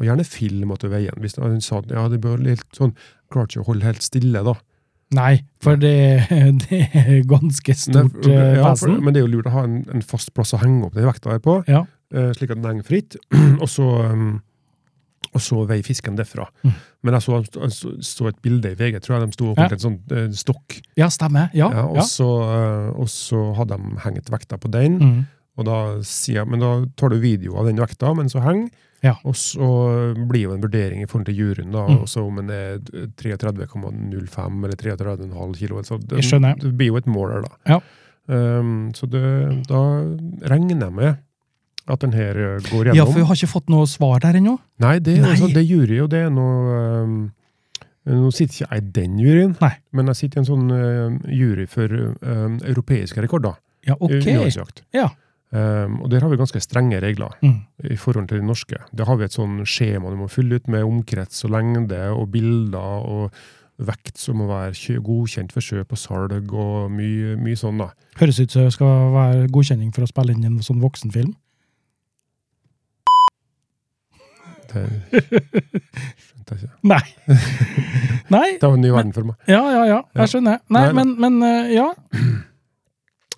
[SPEAKER 3] Og gjerne film at du veier den. Hvis han sa ja, det bør litt sånn, klarte ikke å holde helt stille da.
[SPEAKER 2] Nei, for det, det er ganske stort
[SPEAKER 3] Nei,
[SPEAKER 2] eh,
[SPEAKER 3] ja, for-
[SPEAKER 2] vesen.
[SPEAKER 3] Men det er jo lurt å ha en, en fast plass å henge opp den vekta her på,
[SPEAKER 2] Ja.
[SPEAKER 3] eh, slik at den henger fritt, og så, um, og så veier fisken derfra.
[SPEAKER 2] Mm.
[SPEAKER 3] Men jeg så, jeg så, så et bilde i VG, tror jeg de sto og holdt en sånn eh, stokk.
[SPEAKER 2] Ja, stemmer. Ja.
[SPEAKER 3] Ja, og,
[SPEAKER 2] ja.
[SPEAKER 3] Så, eh, og så hadde de hengt vekta på den,
[SPEAKER 2] Mm.
[SPEAKER 3] og da sier jeg, men da tar du video av den vekta mens du henger,
[SPEAKER 2] Ja.
[SPEAKER 3] og så blir jo en vurdering i forhold til juryen, da,
[SPEAKER 2] Mm.
[SPEAKER 3] også om den er 33,05 eller 33,5 kilo. Så det,
[SPEAKER 2] Jeg skjønner.
[SPEAKER 3] det blir jo et mål her, da.
[SPEAKER 2] Ja.
[SPEAKER 3] Um, så det, da regner jeg med at den her eh, går
[SPEAKER 2] ja, for vi
[SPEAKER 3] gjennom.
[SPEAKER 2] har ikke fått noe svar der ennå.
[SPEAKER 3] Nei, det, er
[SPEAKER 2] Nei.
[SPEAKER 3] Altså, det er jury, og det er noe um, Nå sitter ikke jeg i den juryen,
[SPEAKER 2] Nei.
[SPEAKER 3] men jeg sitter i en sånn eh, jury for um, europeiske rekorder.
[SPEAKER 2] Ja, ok.
[SPEAKER 3] i undervannsjakt.
[SPEAKER 2] Ja.
[SPEAKER 3] Um, og der har vi ganske strenge regler
[SPEAKER 2] Mm.
[SPEAKER 3] i forhold til de norske. Der har vi et sånn skjema du må fylle ut med omkrets og lengde og bilder og vekt som må være kjø- godkjent for kjøp og salg og mye, mye sånn, da.
[SPEAKER 2] Høres ut som det skal være godkjenning for å spille inn en sånn voksenfilm.
[SPEAKER 3] Det skjønte jeg ikke.
[SPEAKER 2] Nei. Nei.
[SPEAKER 3] Det var en ny verden for meg.
[SPEAKER 2] Ja, ja, ja.
[SPEAKER 3] Ja.
[SPEAKER 2] Jeg skjønner. Nei,
[SPEAKER 3] Nei,
[SPEAKER 2] men, men eh, ja.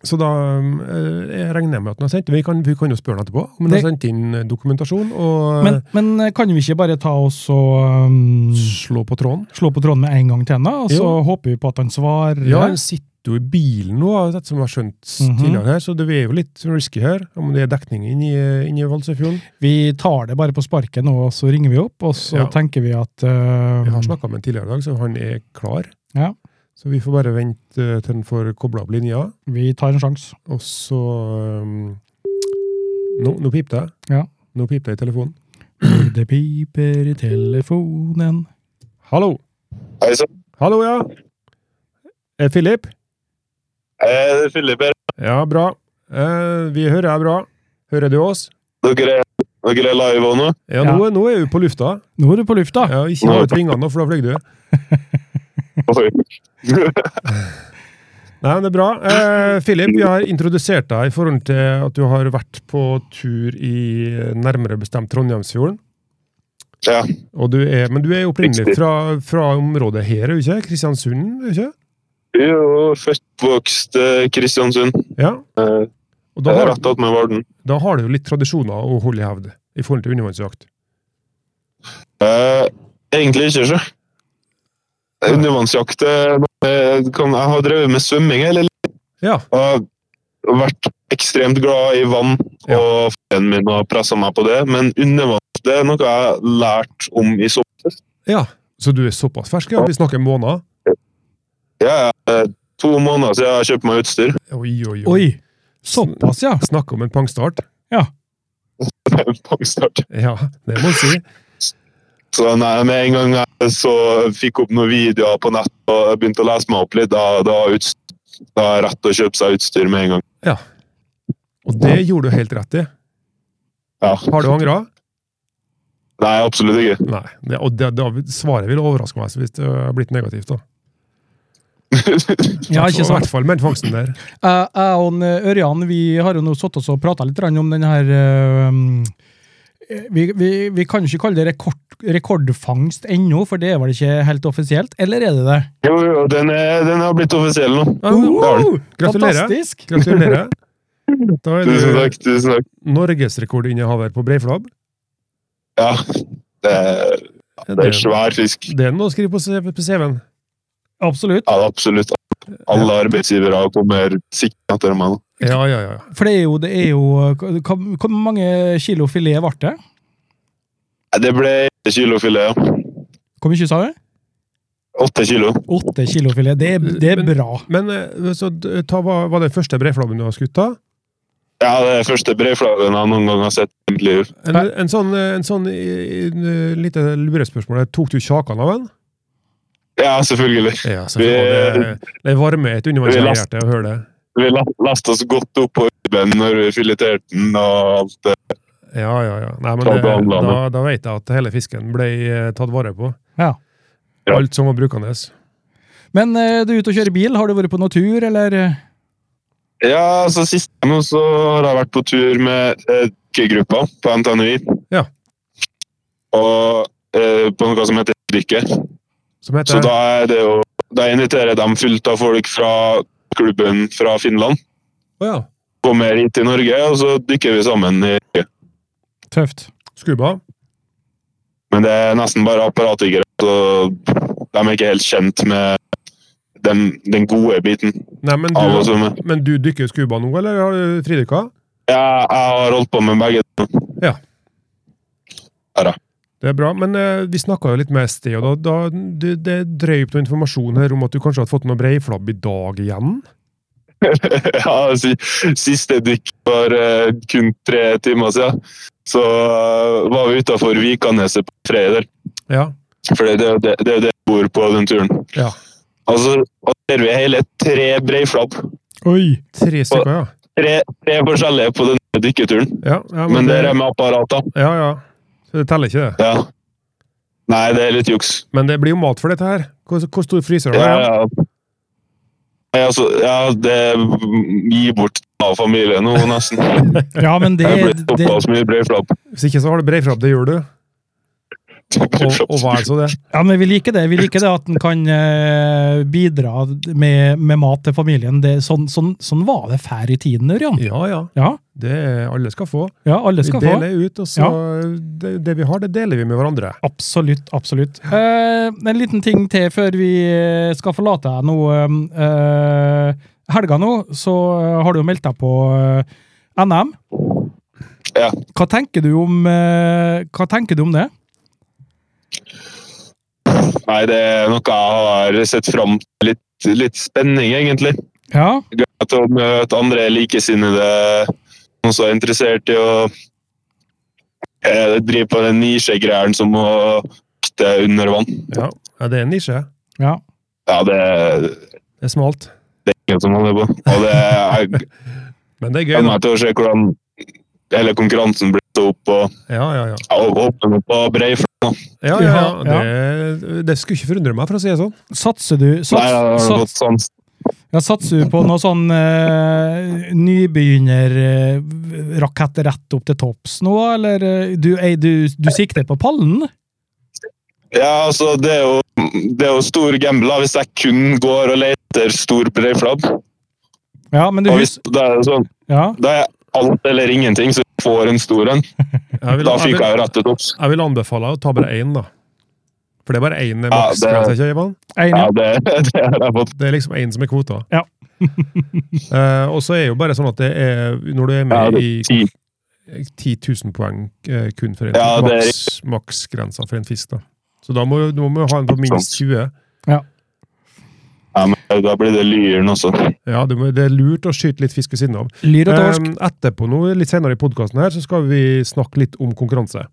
[SPEAKER 3] Så da um, eh, jeg regner jeg med at den har sendt. Vi kan, vi kan jo spørre den etterpå om den
[SPEAKER 2] Det-
[SPEAKER 3] har sendt inn eh, dokumentasjon, og
[SPEAKER 2] Men, men eh, kan vi ikke bare ta oss og um,
[SPEAKER 3] eh, slå på tråden.
[SPEAKER 2] slå på tråden med en gang til, da? Og så
[SPEAKER 3] Jo.
[SPEAKER 2] håper vi på at han svarer.
[SPEAKER 3] Ja, den sitter jo i bilen nå, har jeg sett, som jeg har skjønt
[SPEAKER 2] Mhm.
[SPEAKER 3] tidligere her, så det er jo litt sånn risky her, om det er dekning inni, inni Valsøyfjorden.
[SPEAKER 2] Vi tar det bare på sparket nå, og så ringer vi opp, og så
[SPEAKER 3] Ja.
[SPEAKER 2] tenker vi at eh,
[SPEAKER 3] Vi har snakka med han tidligere i dag, så han er klar.
[SPEAKER 2] Ja.
[SPEAKER 3] Så vi får bare vente eh, til han får kobla opp linja,
[SPEAKER 2] vi tar en sjanse.
[SPEAKER 3] og så um, Nå, nå pipte jeg.
[SPEAKER 2] Ja.
[SPEAKER 3] Nå pipte jeg i telefonen.
[SPEAKER 2] Det piper i telefonen.
[SPEAKER 3] Hallo!
[SPEAKER 4] Hei sann.
[SPEAKER 3] Hallo, ja! Eh, Philip?
[SPEAKER 4] Eh, det er Philip her.
[SPEAKER 3] Ja, bra. Eh, vi hører deg bra. Hører du oss?
[SPEAKER 4] Dere er, dere er live òg nå?
[SPEAKER 3] Ja, Nå, nå er du på lufta.
[SPEAKER 2] Nå er du på lufta!
[SPEAKER 3] Ja, ikke ha ut vingene, nå, for da fløy du.
[SPEAKER 4] Oi.
[SPEAKER 3] Nei, men det er bra. Eh, Philip, vi har introdusert deg i forhold til at du har vært på tur i eh, nærmere bestemt Trondheimsfjorden.
[SPEAKER 4] ja.
[SPEAKER 3] Og du er, men du er jo opprinnelig fra, fra området her, er du ikke? Kristiansund, er du ikke?
[SPEAKER 4] Jo, født, vokst eh, Kristiansund.
[SPEAKER 3] Ja.
[SPEAKER 4] Eh,
[SPEAKER 3] Og da
[SPEAKER 4] det er
[SPEAKER 3] har,
[SPEAKER 4] rett attmed Varden.
[SPEAKER 3] da har du jo litt tradisjoner å holde i hevd i forhold til undervannsjakt.
[SPEAKER 4] Eh, egentlig ikke, så. Undervannsjakt eh, eh, kan, Jeg har drevet med svømming hele livet.
[SPEAKER 3] Ja.
[SPEAKER 4] og vært ekstremt glad i vann,
[SPEAKER 3] Ja.
[SPEAKER 4] og foreldrene mine har pressa meg på det. Men undervann det er noe jeg har lært om i sommer.
[SPEAKER 3] Ja, Så du er såpass fersk? ja? Vi snakker måneder?
[SPEAKER 4] Ja, ja, eh, to måneder siden jeg kjøpte meg utstyr.
[SPEAKER 3] Oi, oi, oi.
[SPEAKER 2] Oi! Såpass, ja.
[SPEAKER 3] Snakk om en pangstart.
[SPEAKER 4] Pangstart.
[SPEAKER 3] Ja, det må du si.
[SPEAKER 4] Så nei, med en gang jeg så fikk opp noen videoer på nett og jeg begynte å lese meg opp litt, da, da, var utstyr, da er det rett å kjøpe seg utstyr med en gang.
[SPEAKER 3] Og det gjorde du helt rett i.
[SPEAKER 4] Ja.
[SPEAKER 3] Har du angra?
[SPEAKER 4] Nei, absolutt ikke.
[SPEAKER 3] Nei. Det, og det, da, svaret ville overraske meg hvis det har blitt negativt. da.
[SPEAKER 2] Ja, ikke
[SPEAKER 3] I
[SPEAKER 2] sant?
[SPEAKER 3] hvert fall med den fangsten der.
[SPEAKER 2] Jeg jeg og en, eh, Ørjan vi har jo nå satt oss og prata litt grann om den her eh, um, eh, vi, vi, vi kan ikke kalle det rekord, rekordfangst ennå, for det er vel ikke helt offisielt? Eller er det det?
[SPEAKER 4] Jo, jo, den, er, den har blitt offisiell nå.
[SPEAKER 3] Ja, det har den.
[SPEAKER 2] Oh,
[SPEAKER 3] Gratulerer.
[SPEAKER 2] Fantastisk!
[SPEAKER 3] Gratulerer. Da er
[SPEAKER 4] Tusen
[SPEAKER 3] du
[SPEAKER 4] takk. tusen takk.
[SPEAKER 3] norgesrekordinnehaver på breiflabb.
[SPEAKER 4] Ja, det er, det er
[SPEAKER 3] Det
[SPEAKER 4] svær fisk.
[SPEAKER 3] er noe å skrive på CV på CV-en.
[SPEAKER 2] Absolutt.
[SPEAKER 4] Ja, absolutt. Alle arbeidsgivere kommer sikkert etter meg nå.
[SPEAKER 3] Ja, ja, ja.
[SPEAKER 2] For det er jo, det er jo eh, hva- Hvor mange kilo filet ble det?
[SPEAKER 4] Nei, Det ble 8 kilo filet, ja.
[SPEAKER 2] Hvor mye sa du?
[SPEAKER 4] Åtte kilo.
[SPEAKER 2] Åtte kilo filet. Det, er- det er
[SPEAKER 3] Men-
[SPEAKER 2] bra.
[SPEAKER 3] Men eh, så d- ta, hva var den første breiflabben du har skutt, da?
[SPEAKER 4] Ja, det er første breiflaggen jeg noen gang har sett i mitt liv.
[SPEAKER 3] En, en sånn, eh, en sånn eh, en, eh, lite lurespørsmål. her. Tok du kjakan av den?
[SPEAKER 4] Ja, selvfølgelig.
[SPEAKER 3] Ja, selvfølgelig. Det, det varmer et undervannshjerte å høre det.
[SPEAKER 4] Vi la- lasta oss godt opp på ribben når vi fileterte den og alt det.
[SPEAKER 3] Ja, ja, ja. Nei, men
[SPEAKER 4] Ta
[SPEAKER 3] det,
[SPEAKER 4] behandla
[SPEAKER 3] da, da vet jeg at hele fisken ble eh, tatt vare på.
[SPEAKER 2] Ja.
[SPEAKER 4] Ja.
[SPEAKER 3] Alt som var brukende.
[SPEAKER 2] Men eh, du er ute og kjører bil. Har du vært på noen tur, eller? eh?
[SPEAKER 4] Ja, så sist nå så har jeg vært på tur med eh, dykkergruppa på NTNUI.
[SPEAKER 3] Ja.
[SPEAKER 4] Og eh, på noe som heter Dykker.
[SPEAKER 3] Som
[SPEAKER 4] Så
[SPEAKER 3] heter
[SPEAKER 4] da er det jo Da inviterer de fullt av folk fra klubben fra Finland.
[SPEAKER 3] Å ja.
[SPEAKER 4] Kommer hit til Norge, og så dykker vi sammen. i Norge.
[SPEAKER 2] Tøft.
[SPEAKER 3] Skuba.
[SPEAKER 4] Men det er nesten bare apparatdykkere, så de er ikke helt kjent med den, den gode biten
[SPEAKER 3] Nei, men
[SPEAKER 4] av å
[SPEAKER 3] du,
[SPEAKER 4] svømme.
[SPEAKER 3] men du dykker skuba nå, eller har du fridykka?
[SPEAKER 4] Ja, jeg har holdt på med begge.
[SPEAKER 3] Det er bra, men eh, vi snakka jo litt med ST, og da, da du, det er drøyt noe informasjon her om at du kanskje har fått noe breiflabb i dag igjen?
[SPEAKER 4] ja, si- siste dykk var eh, kun tre timer siden. Så eh, var vi utafor Vikaneset på Freder,
[SPEAKER 3] Ja.
[SPEAKER 4] for det er jo det, det, er jo det jeg bor på den turen.
[SPEAKER 3] Ja.
[SPEAKER 4] Og så og så ser vi hele tre breiflabb.
[SPEAKER 2] Oi!
[SPEAKER 3] Tre stykker, ja.
[SPEAKER 4] Tre, tre forskjellige på denne dykketuren.
[SPEAKER 3] Ja, ja
[SPEAKER 4] Men det er
[SPEAKER 3] det,
[SPEAKER 4] med apparater.
[SPEAKER 3] ja, ja. Så det teller ikke, det.
[SPEAKER 4] Ja. Nei, det er litt juks.
[SPEAKER 3] Men det blir jo mat for dette her. Hvor, hvor stor fryser du?
[SPEAKER 4] Ja,
[SPEAKER 3] har?
[SPEAKER 4] ja. Nei, altså, ja, det gir bort av familien nå, nesten.
[SPEAKER 2] Ja, men det,
[SPEAKER 4] Jeg har blitt
[SPEAKER 2] det
[SPEAKER 4] såpass mye breiflabb.
[SPEAKER 3] Hvis ikke så har du breiflabb, det gjør du. Og, og hva er så det?
[SPEAKER 2] Ja, men vi liker det. Vi liker det at en kan eh, bidra med, med mat til familien. Det, sånn, sånn, sånn var det før i tiden, Ørjan.
[SPEAKER 3] Ja, ja.
[SPEAKER 2] Ja,
[SPEAKER 3] Det er, alle skal få.
[SPEAKER 2] ja, alle
[SPEAKER 3] Vi
[SPEAKER 2] skal få.
[SPEAKER 3] deler ut, og så det, det vi har, det deler vi med hverandre.
[SPEAKER 2] Absolutt, absolutt. Eh, en liten ting til før vi eh, skal forlate deg nå. eh, helga nå, så har du jo meldt deg på eh, NM.
[SPEAKER 4] Ja.
[SPEAKER 2] Hva tenker du om, eh, hva tenker du om det?
[SPEAKER 4] Nei, det er noe jeg har sett fram til. Litt, litt spenning, egentlig.
[SPEAKER 2] Ja,
[SPEAKER 4] Til å møte andre likesinnede, noen som er interessert i å eh, drive på den nisjegreieren som å jakte under vann.
[SPEAKER 3] Ja. ja, det er en nisje.
[SPEAKER 2] ja.
[SPEAKER 4] Ja, det er
[SPEAKER 3] Det er smalt.
[SPEAKER 4] ingen som holder på. Og det er
[SPEAKER 3] Men det er
[SPEAKER 4] gleder
[SPEAKER 3] gøy, da.
[SPEAKER 4] meg til å se hvordan hele konkurransen blir tatt opp. og
[SPEAKER 3] Ja, ja, ja.
[SPEAKER 4] ja, og håper på Breiflabb.
[SPEAKER 3] ja, ja, ja.
[SPEAKER 2] Ja,
[SPEAKER 3] Det, det skulle ikke forundre meg, for å si det sånn.
[SPEAKER 2] Satser du sats,
[SPEAKER 4] Nei, jeg har
[SPEAKER 2] sats,
[SPEAKER 4] sånn fått sans.
[SPEAKER 2] Ja, satser du på noe sånn eh, nybegynnerrakett rett opp til topps nå, eller eh, du, ei, du, du sikter på pallen?
[SPEAKER 4] Ja, altså, det er jo, det er jo stor gamble da, hvis jeg kun går og leter stor breiflabb.
[SPEAKER 2] Ja, men du
[SPEAKER 4] Og hvis
[SPEAKER 2] hus...
[SPEAKER 4] det er sånn,
[SPEAKER 2] Ja,
[SPEAKER 4] da er alt eller ingenting, så jeg får en stor en.
[SPEAKER 3] Jeg vil,
[SPEAKER 4] Da
[SPEAKER 3] jeg
[SPEAKER 4] fyker jeg
[SPEAKER 3] vil,
[SPEAKER 4] jo rett til topps.
[SPEAKER 3] jeg vil anbefale å ta bare én, da. For det er bare én
[SPEAKER 4] Ja,
[SPEAKER 3] maks.
[SPEAKER 4] det-
[SPEAKER 3] grense, ikke, Ivan?
[SPEAKER 2] enig.
[SPEAKER 4] Ja, det, det har jeg fått.
[SPEAKER 3] det er liksom én som er kvota.
[SPEAKER 2] Ja.
[SPEAKER 3] Eh, og så er jo bare sånn at det er, når du er
[SPEAKER 4] Ja,
[SPEAKER 3] med
[SPEAKER 4] det
[SPEAKER 3] i
[SPEAKER 4] ti.
[SPEAKER 3] 10 000 poeng eh, kun for en
[SPEAKER 4] Ja, det er
[SPEAKER 3] maks, maksgrensa for en fisk. da. Så da må du må vi ha en på
[SPEAKER 4] Sånn.
[SPEAKER 3] minst 20.
[SPEAKER 4] Ja, men da blir det lyren også.
[SPEAKER 3] Ja, det, må, det er lurt å skyte litt fisk ved siden av.
[SPEAKER 2] Lyr og torsk.
[SPEAKER 3] Eh, etterpå, nå, litt senere i podkasten her, så skal vi snakke litt om konkurranse.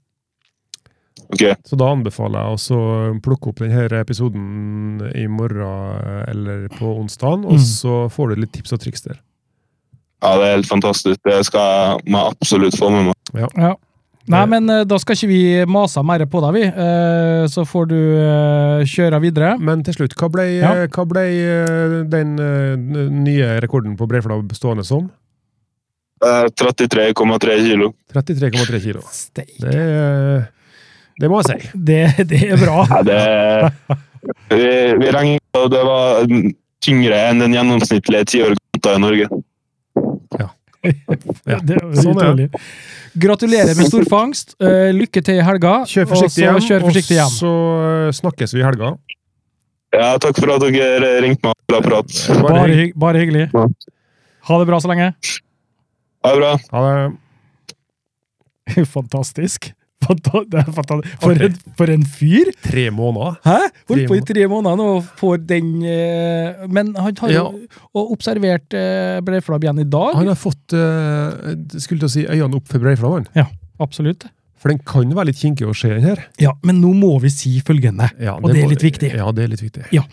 [SPEAKER 4] Ok,
[SPEAKER 3] Så da anbefaler jeg også å plukke opp denne episoden i morgen eh, eller på onsdagen, og
[SPEAKER 2] Mm.
[SPEAKER 3] så får du litt tips og triks der.
[SPEAKER 4] ja, det er helt fantastisk. Det skal jeg må jeg absolutt få med meg.
[SPEAKER 2] Ja. Nei,
[SPEAKER 3] Eh.
[SPEAKER 2] men eh, da skal ikke vi mase mer på deg, vi. Eh, Så får du eh, kjøre videre.
[SPEAKER 3] Men til slutt, hva ble,
[SPEAKER 2] Ja.
[SPEAKER 3] eh, hva ble eh, den eh, n- nye rekorden på Breiflabb stående som?
[SPEAKER 4] Eh, 33,3 kilo.
[SPEAKER 3] 33,3 kilo.
[SPEAKER 2] Steik.
[SPEAKER 3] Det, er- det må jeg si.
[SPEAKER 2] Det, det er bra.
[SPEAKER 4] Ja, det Vi, vi regnet på det var mm, tyngre enn den gjennomsnittlige tiårgata i Norge.
[SPEAKER 3] Ja.
[SPEAKER 2] Det er
[SPEAKER 3] Sånn er
[SPEAKER 2] utrolig. Gratulerer med stor fangst. Eh, Lykke til i helga.
[SPEAKER 3] Kjør
[SPEAKER 2] og
[SPEAKER 3] forsiktig hjem,
[SPEAKER 2] så kjør forsiktig
[SPEAKER 3] og
[SPEAKER 2] hjem.
[SPEAKER 3] så eh, snakkes vi i helga.
[SPEAKER 4] Ja, takk for at dere ringte meg. Bra prat.
[SPEAKER 2] Bare, hygg- bare hyggelig.
[SPEAKER 4] Ja.
[SPEAKER 2] Ha det bra så lenge.
[SPEAKER 4] Ha det bra.
[SPEAKER 3] Ha det.
[SPEAKER 2] Fantastisk. Fanta- det er fantastisk. For, en, for en fyr!
[SPEAKER 3] Tre måneder.
[SPEAKER 2] Hæ? Holdt på i tre måneder nå og får den eh, Men han har jo og observert eh, Breiflabb igjen i dag.
[SPEAKER 3] Han har fått eh, skulle til å si, øynene opp for Breiflabb. han.
[SPEAKER 2] Absolutt.
[SPEAKER 3] For den kan være litt kinkig å se, den her.
[SPEAKER 2] Ja, men nå må vi si følgende.
[SPEAKER 3] Ja,
[SPEAKER 2] Og det er
[SPEAKER 3] må-
[SPEAKER 2] litt viktig.
[SPEAKER 3] Ja, det er litt viktig.
[SPEAKER 2] Eh,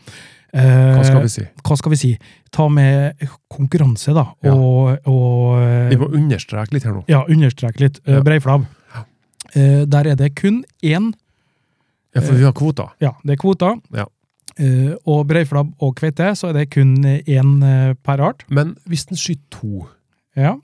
[SPEAKER 3] Hva skal vi si?
[SPEAKER 2] si? Ta med konkurranse, da.
[SPEAKER 3] Ja.
[SPEAKER 2] Og, og eh,
[SPEAKER 3] Vi må understreke litt her nå.
[SPEAKER 2] ja, understreke litt. Eh,
[SPEAKER 3] Ja.
[SPEAKER 2] Breiflabb. Eh, der er det kun én
[SPEAKER 3] Ja, For vi har kvoter.
[SPEAKER 2] Ja, det er kvoter.
[SPEAKER 3] Ja.
[SPEAKER 2] Eh, og breiflabb og kveite, så er det kun én eh, per art.
[SPEAKER 3] Men hvis den skyter to
[SPEAKER 2] Ja.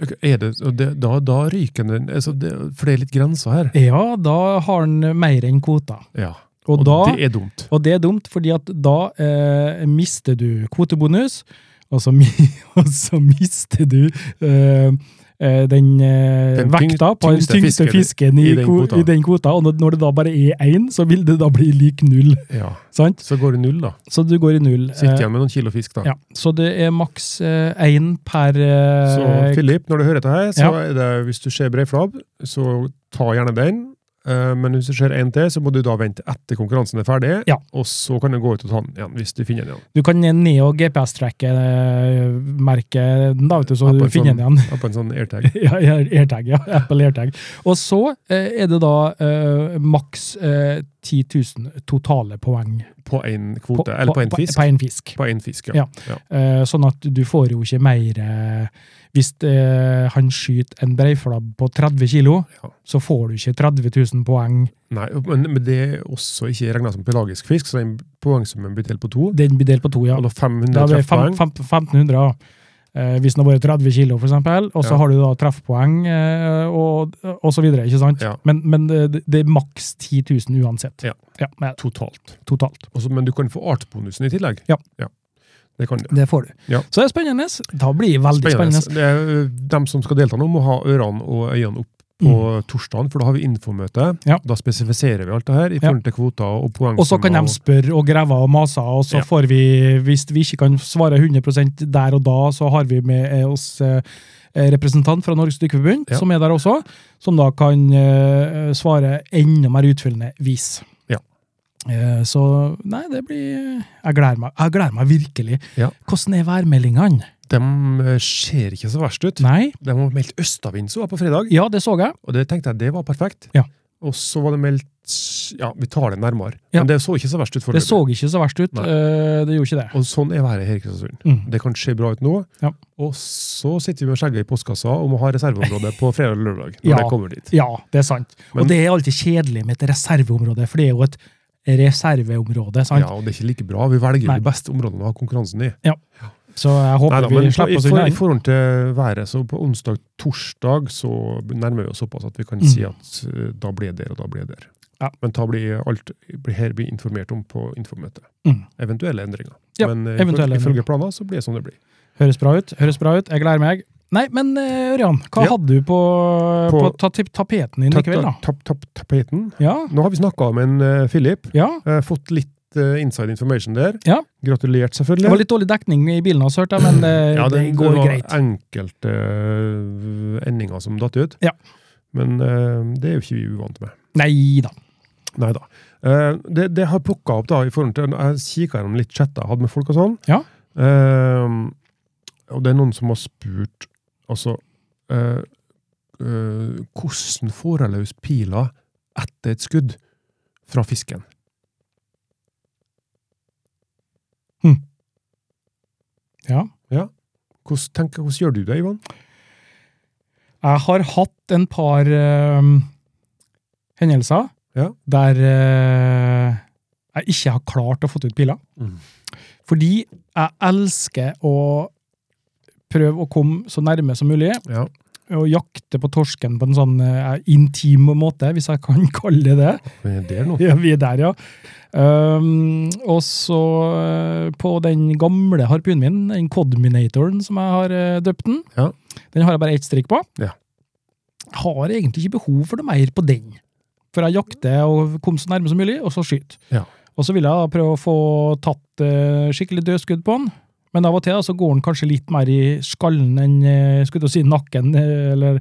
[SPEAKER 3] er det, og det, da, da ryker den altså det, For det er litt grenser her.
[SPEAKER 2] ja, da har han mer enn kvota.
[SPEAKER 3] Ja,
[SPEAKER 2] Og,
[SPEAKER 3] Og
[SPEAKER 2] da,
[SPEAKER 3] det er dumt.
[SPEAKER 2] og det er dumt, fordi at da eh, mister du kvotebonus, og så, mi, og så mister du eh, eh, den, eh,
[SPEAKER 3] Den tyng-
[SPEAKER 2] vekta på den
[SPEAKER 3] tyngste
[SPEAKER 2] tyngste
[SPEAKER 3] fisken
[SPEAKER 2] fisken i,
[SPEAKER 3] i den
[SPEAKER 2] ko-
[SPEAKER 3] kvota.
[SPEAKER 2] i den kvota, og når, når det da bare er én, så vil det da bli lik null.
[SPEAKER 3] Ja.
[SPEAKER 2] Sant?
[SPEAKER 3] Så går det null, da.
[SPEAKER 2] Så du går i null.
[SPEAKER 3] Sitter
[SPEAKER 2] Eh,
[SPEAKER 3] igjen med noen kilo fisk, da.
[SPEAKER 2] ja. Så det er maks én per eh,
[SPEAKER 3] Så Philip, når du hører dette her, så
[SPEAKER 2] Ja.
[SPEAKER 3] er det hvis du ser breiflabb, så ta gjerne den. Eh, Men hvis du ser en til, så må du da vente etter konkurransen er ferdig,
[SPEAKER 2] Ja.
[SPEAKER 3] og så kan du gå ut og ta den igjen, hvis du finner den igjen.
[SPEAKER 2] Du kan ned og GPS-trekke-merke den, eh, da, vet du, så
[SPEAKER 3] Ja, på
[SPEAKER 2] du
[SPEAKER 3] en
[SPEAKER 2] finner
[SPEAKER 3] sånn-
[SPEAKER 2] den igjen.
[SPEAKER 3] Ja, På en sånn airtag.
[SPEAKER 2] Ja, ja, AirTag, ja. Apple AirTag. Og så eh, er det da eh, maks eh, 10 000 totale poeng.
[SPEAKER 3] På én kvote, eller på én fisk.
[SPEAKER 2] På en fisk.
[SPEAKER 3] På én fisk,
[SPEAKER 2] Ja.
[SPEAKER 3] ja. ja.
[SPEAKER 2] Eh, sånn at du får jo ikke mer eh, Hvis eh, han skyter en breiflabb på 30 kilo,
[SPEAKER 3] Ja.
[SPEAKER 2] så får du ikke 30 000 poeng.
[SPEAKER 3] Nei, men, men det er også ikke regna som pelagisk fisk, så den poengsummen blir delt på to.
[SPEAKER 2] Den blir delt på to, ja.
[SPEAKER 3] Og da
[SPEAKER 2] Da
[SPEAKER 3] 500
[SPEAKER 2] blir det fem-
[SPEAKER 3] treffpoeng.
[SPEAKER 2] fem- 1500, ja. Eh, hvis den har vært 30 kilo, for eksempel, og så
[SPEAKER 3] Ja.
[SPEAKER 2] har du da treffpoeng eh, og, og så videre, ikke sant?
[SPEAKER 3] Ja.
[SPEAKER 2] Men, men det, det er maks 10 000 uansett.
[SPEAKER 3] Ja.
[SPEAKER 2] men
[SPEAKER 3] Totalt.
[SPEAKER 2] totalt.
[SPEAKER 3] Og så- men du kan få artsbonusen i tillegg.
[SPEAKER 2] Ja.
[SPEAKER 3] Det kan du.
[SPEAKER 2] Det får du.
[SPEAKER 3] Ja.
[SPEAKER 2] Så det er spennende. Da blir det veldig spennende.
[SPEAKER 3] Det er, eh, dem som skal delta nå, må ha ørene og øynene opp på torsdagen, for da har vi infomøte.
[SPEAKER 2] Mm. Ja.
[SPEAKER 3] Da spesifiserer vi alt det her i
[SPEAKER 2] Ja.
[SPEAKER 3] forhold til kvoter og poeng.
[SPEAKER 2] Og så kan de spørre og greve og mase, og så
[SPEAKER 3] Ja.
[SPEAKER 2] får vi, hvis vi ikke kan svare 100 der og da, så har vi med eh, oss eh, representant fra Norges Dykkerforbund,
[SPEAKER 3] Ja.
[SPEAKER 2] som er der også, som da kan eh, svare enda mer utfyllende vis.
[SPEAKER 3] Ja.
[SPEAKER 2] Eh, så nei, det blir Jeg gleder meg, jeg gleder meg virkelig.
[SPEAKER 3] Ja.
[SPEAKER 2] Hvordan er værmeldingene?
[SPEAKER 3] De eh, ser ikke så verst ut.
[SPEAKER 2] Nei?
[SPEAKER 3] De har meldt østavind så var på fredag,
[SPEAKER 2] Ja, det så jeg.
[SPEAKER 3] og det tenkte jeg det var perfekt.
[SPEAKER 2] Ja.
[SPEAKER 3] Og så var det meldt Ja, vi tar det nærmere.
[SPEAKER 2] Ja.
[SPEAKER 3] Men det så ikke så verst ut
[SPEAKER 2] Det så
[SPEAKER 3] foreløpig.
[SPEAKER 2] ikke så verst ut.
[SPEAKER 3] Nei.
[SPEAKER 2] Eh, det gjorde ikke det.
[SPEAKER 3] Og sånn er været her i Kristiansund.
[SPEAKER 2] Mm.
[SPEAKER 3] Det kan se bra ut nå,
[SPEAKER 2] Ja.
[SPEAKER 3] og så sitter vi med skjegget i postkassa og må ha reserveområde på fredag og lørdag. når
[SPEAKER 2] Ja.
[SPEAKER 3] det kommer dit.
[SPEAKER 2] Ja, det er sant.
[SPEAKER 3] Men-
[SPEAKER 2] og det er alltid kjedelig med et reserveområde, for det er jo et reserveområde. sant?
[SPEAKER 3] Ja, og det er ikke like bra. Vi velger
[SPEAKER 2] Nei.
[SPEAKER 3] de beste områdene å ha konkurransen i.
[SPEAKER 2] Så jeg håper
[SPEAKER 3] Neida,
[SPEAKER 2] vi
[SPEAKER 3] men på- i,
[SPEAKER 2] slipper oss
[SPEAKER 3] for,
[SPEAKER 2] unna.
[SPEAKER 3] I forhold til været, så på onsdag torsdag så nærmer vi oss såpass at vi kan
[SPEAKER 2] Mm.
[SPEAKER 3] si at eh, da ble jeg der, og da ble jeg der.
[SPEAKER 2] Ja.
[SPEAKER 3] Men da blir alt blir her blir informert om på informøtet.
[SPEAKER 2] Mm.
[SPEAKER 3] Eventuelle endringer.
[SPEAKER 2] Ja,
[SPEAKER 3] men eh,
[SPEAKER 2] eventuelle
[SPEAKER 3] ifølge- ifølge planer så blir det sånn det blir.
[SPEAKER 2] Høres bra ut. høres bra ut. Jeg gleder meg. Nei, men eh, Ørjan, hva
[SPEAKER 3] Ja.
[SPEAKER 2] hadde du på, på,
[SPEAKER 3] På-
[SPEAKER 2] ta, tip- tapeten din i kveld, da?
[SPEAKER 3] Tapp, tapp, tapeten.
[SPEAKER 2] Ja?
[SPEAKER 3] Nå har vi snakka med en eh, Philip.
[SPEAKER 2] ja?
[SPEAKER 3] eh, fått litt litt eh, inside information der.
[SPEAKER 2] Ja.
[SPEAKER 3] Gratulert,
[SPEAKER 2] Det var
[SPEAKER 3] selvfølgelig.
[SPEAKER 2] litt dårlig dekning i bilen, også, hørte jeg, men eh,
[SPEAKER 3] ja,
[SPEAKER 2] det, går
[SPEAKER 3] var
[SPEAKER 2] greit.
[SPEAKER 3] enkelte eh, endinger som datt ut.
[SPEAKER 2] Ja.
[SPEAKER 3] Men eh, det er jo ikke vi uvant med.
[SPEAKER 2] Nei da.
[SPEAKER 3] Nei da. Eh, det, det jeg har plukka opp da, i forhold til Jeg kikka gjennom litt chatter jeg hadde med folk og sånn.
[SPEAKER 2] Ja.
[SPEAKER 3] Eh, og det er noen som har spurt altså eh, eh, Hvordan får jeg løs pila etter et skudd fra fisken?
[SPEAKER 2] Ja.
[SPEAKER 3] Hvordan, tenker, hvordan gjør du det, Ivan?
[SPEAKER 2] Jeg har hatt en par eh, hendelser
[SPEAKER 3] Ja.
[SPEAKER 2] der eh, jeg ikke har klart å få ut piler.
[SPEAKER 3] Mm.
[SPEAKER 2] Fordi jeg elsker å prøve å komme så nærme som mulig,
[SPEAKER 3] Ja.
[SPEAKER 2] og jakte på torsken på en sånn eh, intim måte, hvis jeg kan kalle det det.
[SPEAKER 3] Men er det er noe.
[SPEAKER 2] Ja, vi er der, ja. Um, og så eh, på den gamle harpunen min, den Codminatoren som jeg har eh, døpt den,
[SPEAKER 3] Ja.
[SPEAKER 2] den har jeg bare ett strikk på.
[SPEAKER 3] Ja.
[SPEAKER 2] Har egentlig ikke behov for noe mer på den. For jeg jakter og kom så nærme som mulig, og så skyter.
[SPEAKER 3] Ja.
[SPEAKER 2] Og så vil jeg da prøve å få tatt eh, skikkelig dødskudd på den. Men av og til da, så går den kanskje litt mer i skallen enn eh, skulle jeg si nakken. eh, eller,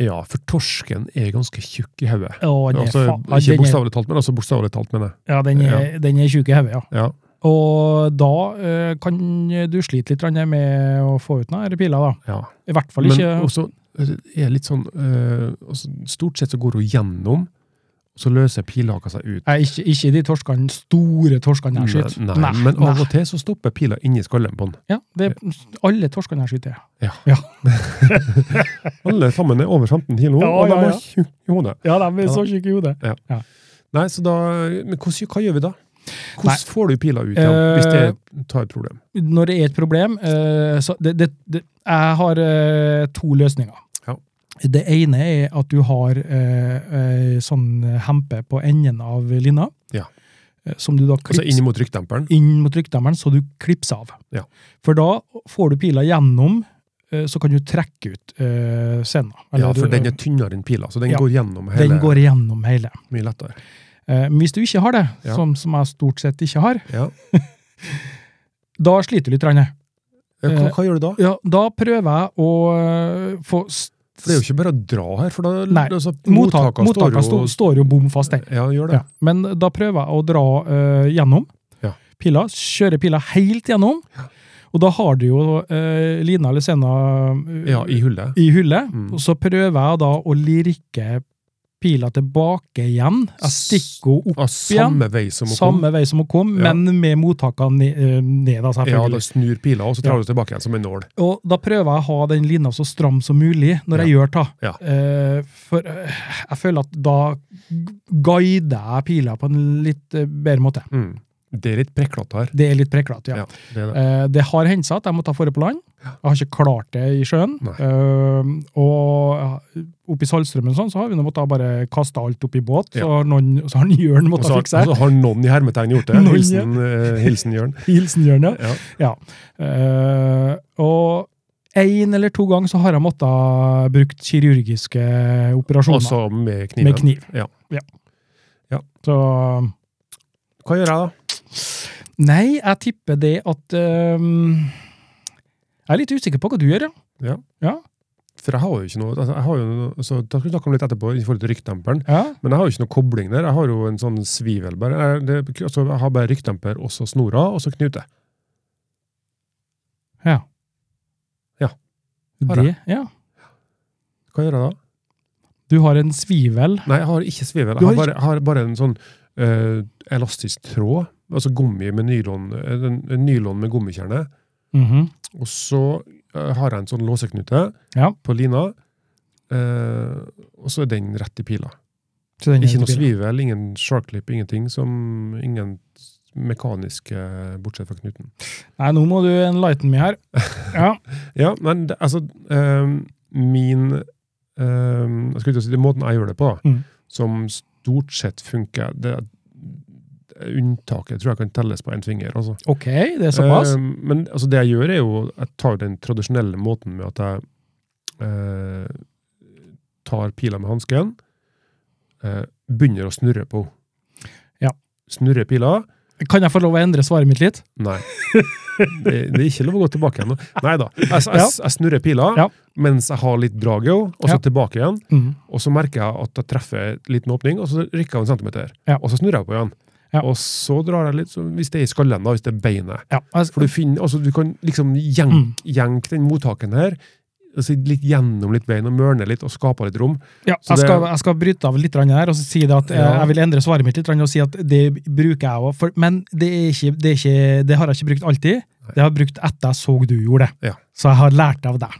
[SPEAKER 3] Ja, for torsken er ganske tjukk i hodet.
[SPEAKER 2] å, den er
[SPEAKER 3] Altså,
[SPEAKER 2] faen-
[SPEAKER 3] ikke
[SPEAKER 2] den er,
[SPEAKER 3] bokstavelig talt, men altså bokstavelig talt, mener jeg.
[SPEAKER 2] ja, den er, den er tjukk i hodet, ja.
[SPEAKER 3] Ja.
[SPEAKER 2] Og da eh, kan du slite litt grann med å få ut noen piler, da.
[SPEAKER 3] ja.
[SPEAKER 2] I hvert fall ikke
[SPEAKER 3] Men også er det litt sånn eh, altså, Stort sett så går hun gjennom, og så løser pilhaka seg ut.
[SPEAKER 2] Nei, ikke, ikke de torskene, store torskene jeg skyter.
[SPEAKER 3] Nei, nei, men av og til så stopper pila inni skallen på den.
[SPEAKER 2] Ja, det, alle torskene jeg skyter.
[SPEAKER 3] Alle sammen er over 15 kilo,
[SPEAKER 2] Ja,
[SPEAKER 3] og de
[SPEAKER 2] ja,
[SPEAKER 3] er
[SPEAKER 2] ja.
[SPEAKER 3] tjukke i hodet.
[SPEAKER 2] Ja, de
[SPEAKER 3] er så
[SPEAKER 2] tjukke i hodet.
[SPEAKER 3] Nei, så da Men hvordan, hva gjør vi da?
[SPEAKER 2] Nei. Eh,
[SPEAKER 3] Hvordan får du pila ut igjen, hvis det er tar et problem?
[SPEAKER 2] Når det er et problem eh, så det, det, det, Jeg har eh, to løsninger.
[SPEAKER 3] Ja. altså
[SPEAKER 2] Det ene er at du har eh, eh, sånn hempe på enden av linja,
[SPEAKER 3] Ja.
[SPEAKER 2] eh, som du da
[SPEAKER 3] Altså
[SPEAKER 2] klipser
[SPEAKER 3] inn mot rykkdemperen?
[SPEAKER 2] inn mot rykkdemmeren, så du klipser av.
[SPEAKER 3] Ja.
[SPEAKER 2] For da får du pila gjennom, eh, så kan du trekke ut eh, senda.
[SPEAKER 3] Ja,
[SPEAKER 2] Eller
[SPEAKER 3] for
[SPEAKER 2] du-
[SPEAKER 3] den er tynnere enn pila, så den
[SPEAKER 2] Ja.
[SPEAKER 3] går gjennom hele.
[SPEAKER 2] den går gjennom hele.
[SPEAKER 3] Mye lettere.
[SPEAKER 2] Eh, Men hvis du ikke har det,
[SPEAKER 3] Ja.
[SPEAKER 2] som, som jeg stort sett ikke har,
[SPEAKER 3] Ja.
[SPEAKER 2] da sliter du litt. Rane.
[SPEAKER 3] Ja, Hva,
[SPEAKER 2] Eh,
[SPEAKER 3] hva gjør du da?
[SPEAKER 2] Ja, da prøver jeg å eh, få st-
[SPEAKER 3] For det er jo ikke bare å dra her, for da
[SPEAKER 2] Nei,
[SPEAKER 3] altså,
[SPEAKER 2] Mottak, mottakene
[SPEAKER 3] står
[SPEAKER 2] sto-
[SPEAKER 3] jo
[SPEAKER 2] står jo bom fast, den.
[SPEAKER 3] Ja, gjør det.
[SPEAKER 2] Ja. Men da prøver jeg å dra eh, gjennom
[SPEAKER 3] Ja.
[SPEAKER 2] pila, kjøre pila helt gjennom. Og da har du jo eh, lina eller sena eh,
[SPEAKER 3] Ja, i hullet.
[SPEAKER 2] i hullet,
[SPEAKER 3] Mm.
[SPEAKER 2] og så prøver jeg da å lirke pila tilbake igjen. Jeg stikker henne opp
[SPEAKER 3] Ja, samme vei som hun kom.
[SPEAKER 2] samme vei som hun kom,
[SPEAKER 3] Ja.
[SPEAKER 2] men med mottakene ne- eh, ned, da,
[SPEAKER 3] Ja, da
[SPEAKER 2] selvfølgelig.
[SPEAKER 3] snur pila, og så
[SPEAKER 2] Ja.
[SPEAKER 3] drar du tilbake igjen som en nål.
[SPEAKER 2] og da prøver jeg å ha den lina så stram som mulig når jeg gjør det.
[SPEAKER 3] Ja.
[SPEAKER 2] Eh, for eh, jeg føler at da gu- guider jeg pila på en litt eh, bedre måte.
[SPEAKER 3] Mm. Det er litt preklete her.
[SPEAKER 2] Det er litt preklete, ja.
[SPEAKER 3] Ja, det er det.
[SPEAKER 2] Eh, Det har hendt seg at jeg må ta fore på land. Jeg har ikke klart det i sjøen.
[SPEAKER 3] Nei.
[SPEAKER 2] Eh, og oppe i Saltstraumen og sånn, så har vi nå måttet bare kaste alt oppi båt.
[SPEAKER 3] Ja.
[SPEAKER 2] Så har, noen, så har en Jørn
[SPEAKER 3] Og
[SPEAKER 2] måttet
[SPEAKER 3] så har-
[SPEAKER 2] fikse
[SPEAKER 3] og
[SPEAKER 2] her.
[SPEAKER 3] så har noen i hermetegn gjort det.
[SPEAKER 2] Noen, ja.
[SPEAKER 3] Hilsen, eh, hilsen Jørn.
[SPEAKER 2] Hilsen Jørn, ja.
[SPEAKER 3] Ja.
[SPEAKER 2] Eh, og én eller to ganger så har jeg måttet brukt kirurgiske operasjoner
[SPEAKER 3] Altså med kniven.
[SPEAKER 2] med kniv.
[SPEAKER 3] Ja.
[SPEAKER 2] Så
[SPEAKER 3] Hva gjør jeg da?
[SPEAKER 2] Nei, jeg tipper det at eh, Jeg er litt usikker på hva du gjør, ja.
[SPEAKER 3] For jeg har jo ikke noe, altså, jeg har jo noe så Da skal vi snakke om litt etterpå i forhold til rykkdemperen.
[SPEAKER 2] ja.
[SPEAKER 3] Men jeg har jo ikke noe kobling der. Jeg har jo en sånn svivel bare. Jeg, det, altså, jeg har bare rykkdemper, og så snora, og så knute.
[SPEAKER 2] Ja.
[SPEAKER 3] Ja. Har jeg.
[SPEAKER 2] Det, ja.
[SPEAKER 3] Hva gjør jeg da?
[SPEAKER 2] Du har en svivel.
[SPEAKER 3] Nei, jeg har ikke svivel.
[SPEAKER 2] Du har
[SPEAKER 3] Jeg har bare, jeg har bare en sånn eh, elastisk tråd. Altså gummi med nylon, eh, en, en nylon med gummikjerne. Og så eh, har jeg en sånn låseknute
[SPEAKER 2] Ja.
[SPEAKER 3] på lina, eh, og så er den rett i pila.
[SPEAKER 2] Så den er
[SPEAKER 3] Ikke noe
[SPEAKER 2] til bil.
[SPEAKER 3] svivel, ingen sharklip, ingenting som Ingen mekaniske, bortsett fra knuten.
[SPEAKER 2] Nei, nå må du enlighten meg her. Ja.
[SPEAKER 3] Ja, men det, altså ehm, Min ehm, Jeg skulle til å si det er måten jeg gjør det på, da,
[SPEAKER 2] Mm.
[SPEAKER 3] som stort sett funker det, Unntaket tror jeg kan telles på én finger. altså.
[SPEAKER 2] Ok, det er såpass.
[SPEAKER 3] Ehm, men altså, det jeg gjør, er jo Jeg tar den tradisjonelle måten med at jeg eh, tar pila med hansken, eh, begynner å snurre på henne.
[SPEAKER 2] Ja.
[SPEAKER 3] Snurrer pila,
[SPEAKER 2] Kan jeg få lov å endre svaret mitt litt?
[SPEAKER 3] Nei. Det, det er ikke lov å gå tilbake igjen. Nei da. Jeg, jeg,
[SPEAKER 2] Ja.
[SPEAKER 3] jeg snurrer pila
[SPEAKER 2] Ja.
[SPEAKER 3] mens jeg har litt drageo, og
[SPEAKER 2] Ja.
[SPEAKER 3] så tilbake igjen.
[SPEAKER 2] Mm.
[SPEAKER 3] Og så merker jeg at jeg treffer en liten åpning, og så rykker jeg en centimeter.
[SPEAKER 2] Ja.
[SPEAKER 3] Og så snurrer jeg på igjen.
[SPEAKER 2] Ja.
[SPEAKER 3] Og så drar jeg litt, så hvis det er i skallen, da, hvis det er beinet.
[SPEAKER 2] Ja,
[SPEAKER 3] For du finner, altså du kan liksom
[SPEAKER 2] Mm.
[SPEAKER 3] jenke jenke den mottaken her, altså litt gjennom litt bein og mørne litt og skape litt rom.
[SPEAKER 2] Ja,
[SPEAKER 3] Så
[SPEAKER 2] jeg,
[SPEAKER 3] det-
[SPEAKER 2] skal, jeg skal bryte av litt grann her og så si det at eh,
[SPEAKER 3] Ja.
[SPEAKER 2] jeg vil endre svaret mitt litt grann og si at det bruker jeg òg. Men det, er ikke, det, er ikke, det har jeg ikke brukt alltid. Det har jeg brukt etter jeg så du gjorde det.
[SPEAKER 3] Ja.
[SPEAKER 2] Så jeg har lært av deg.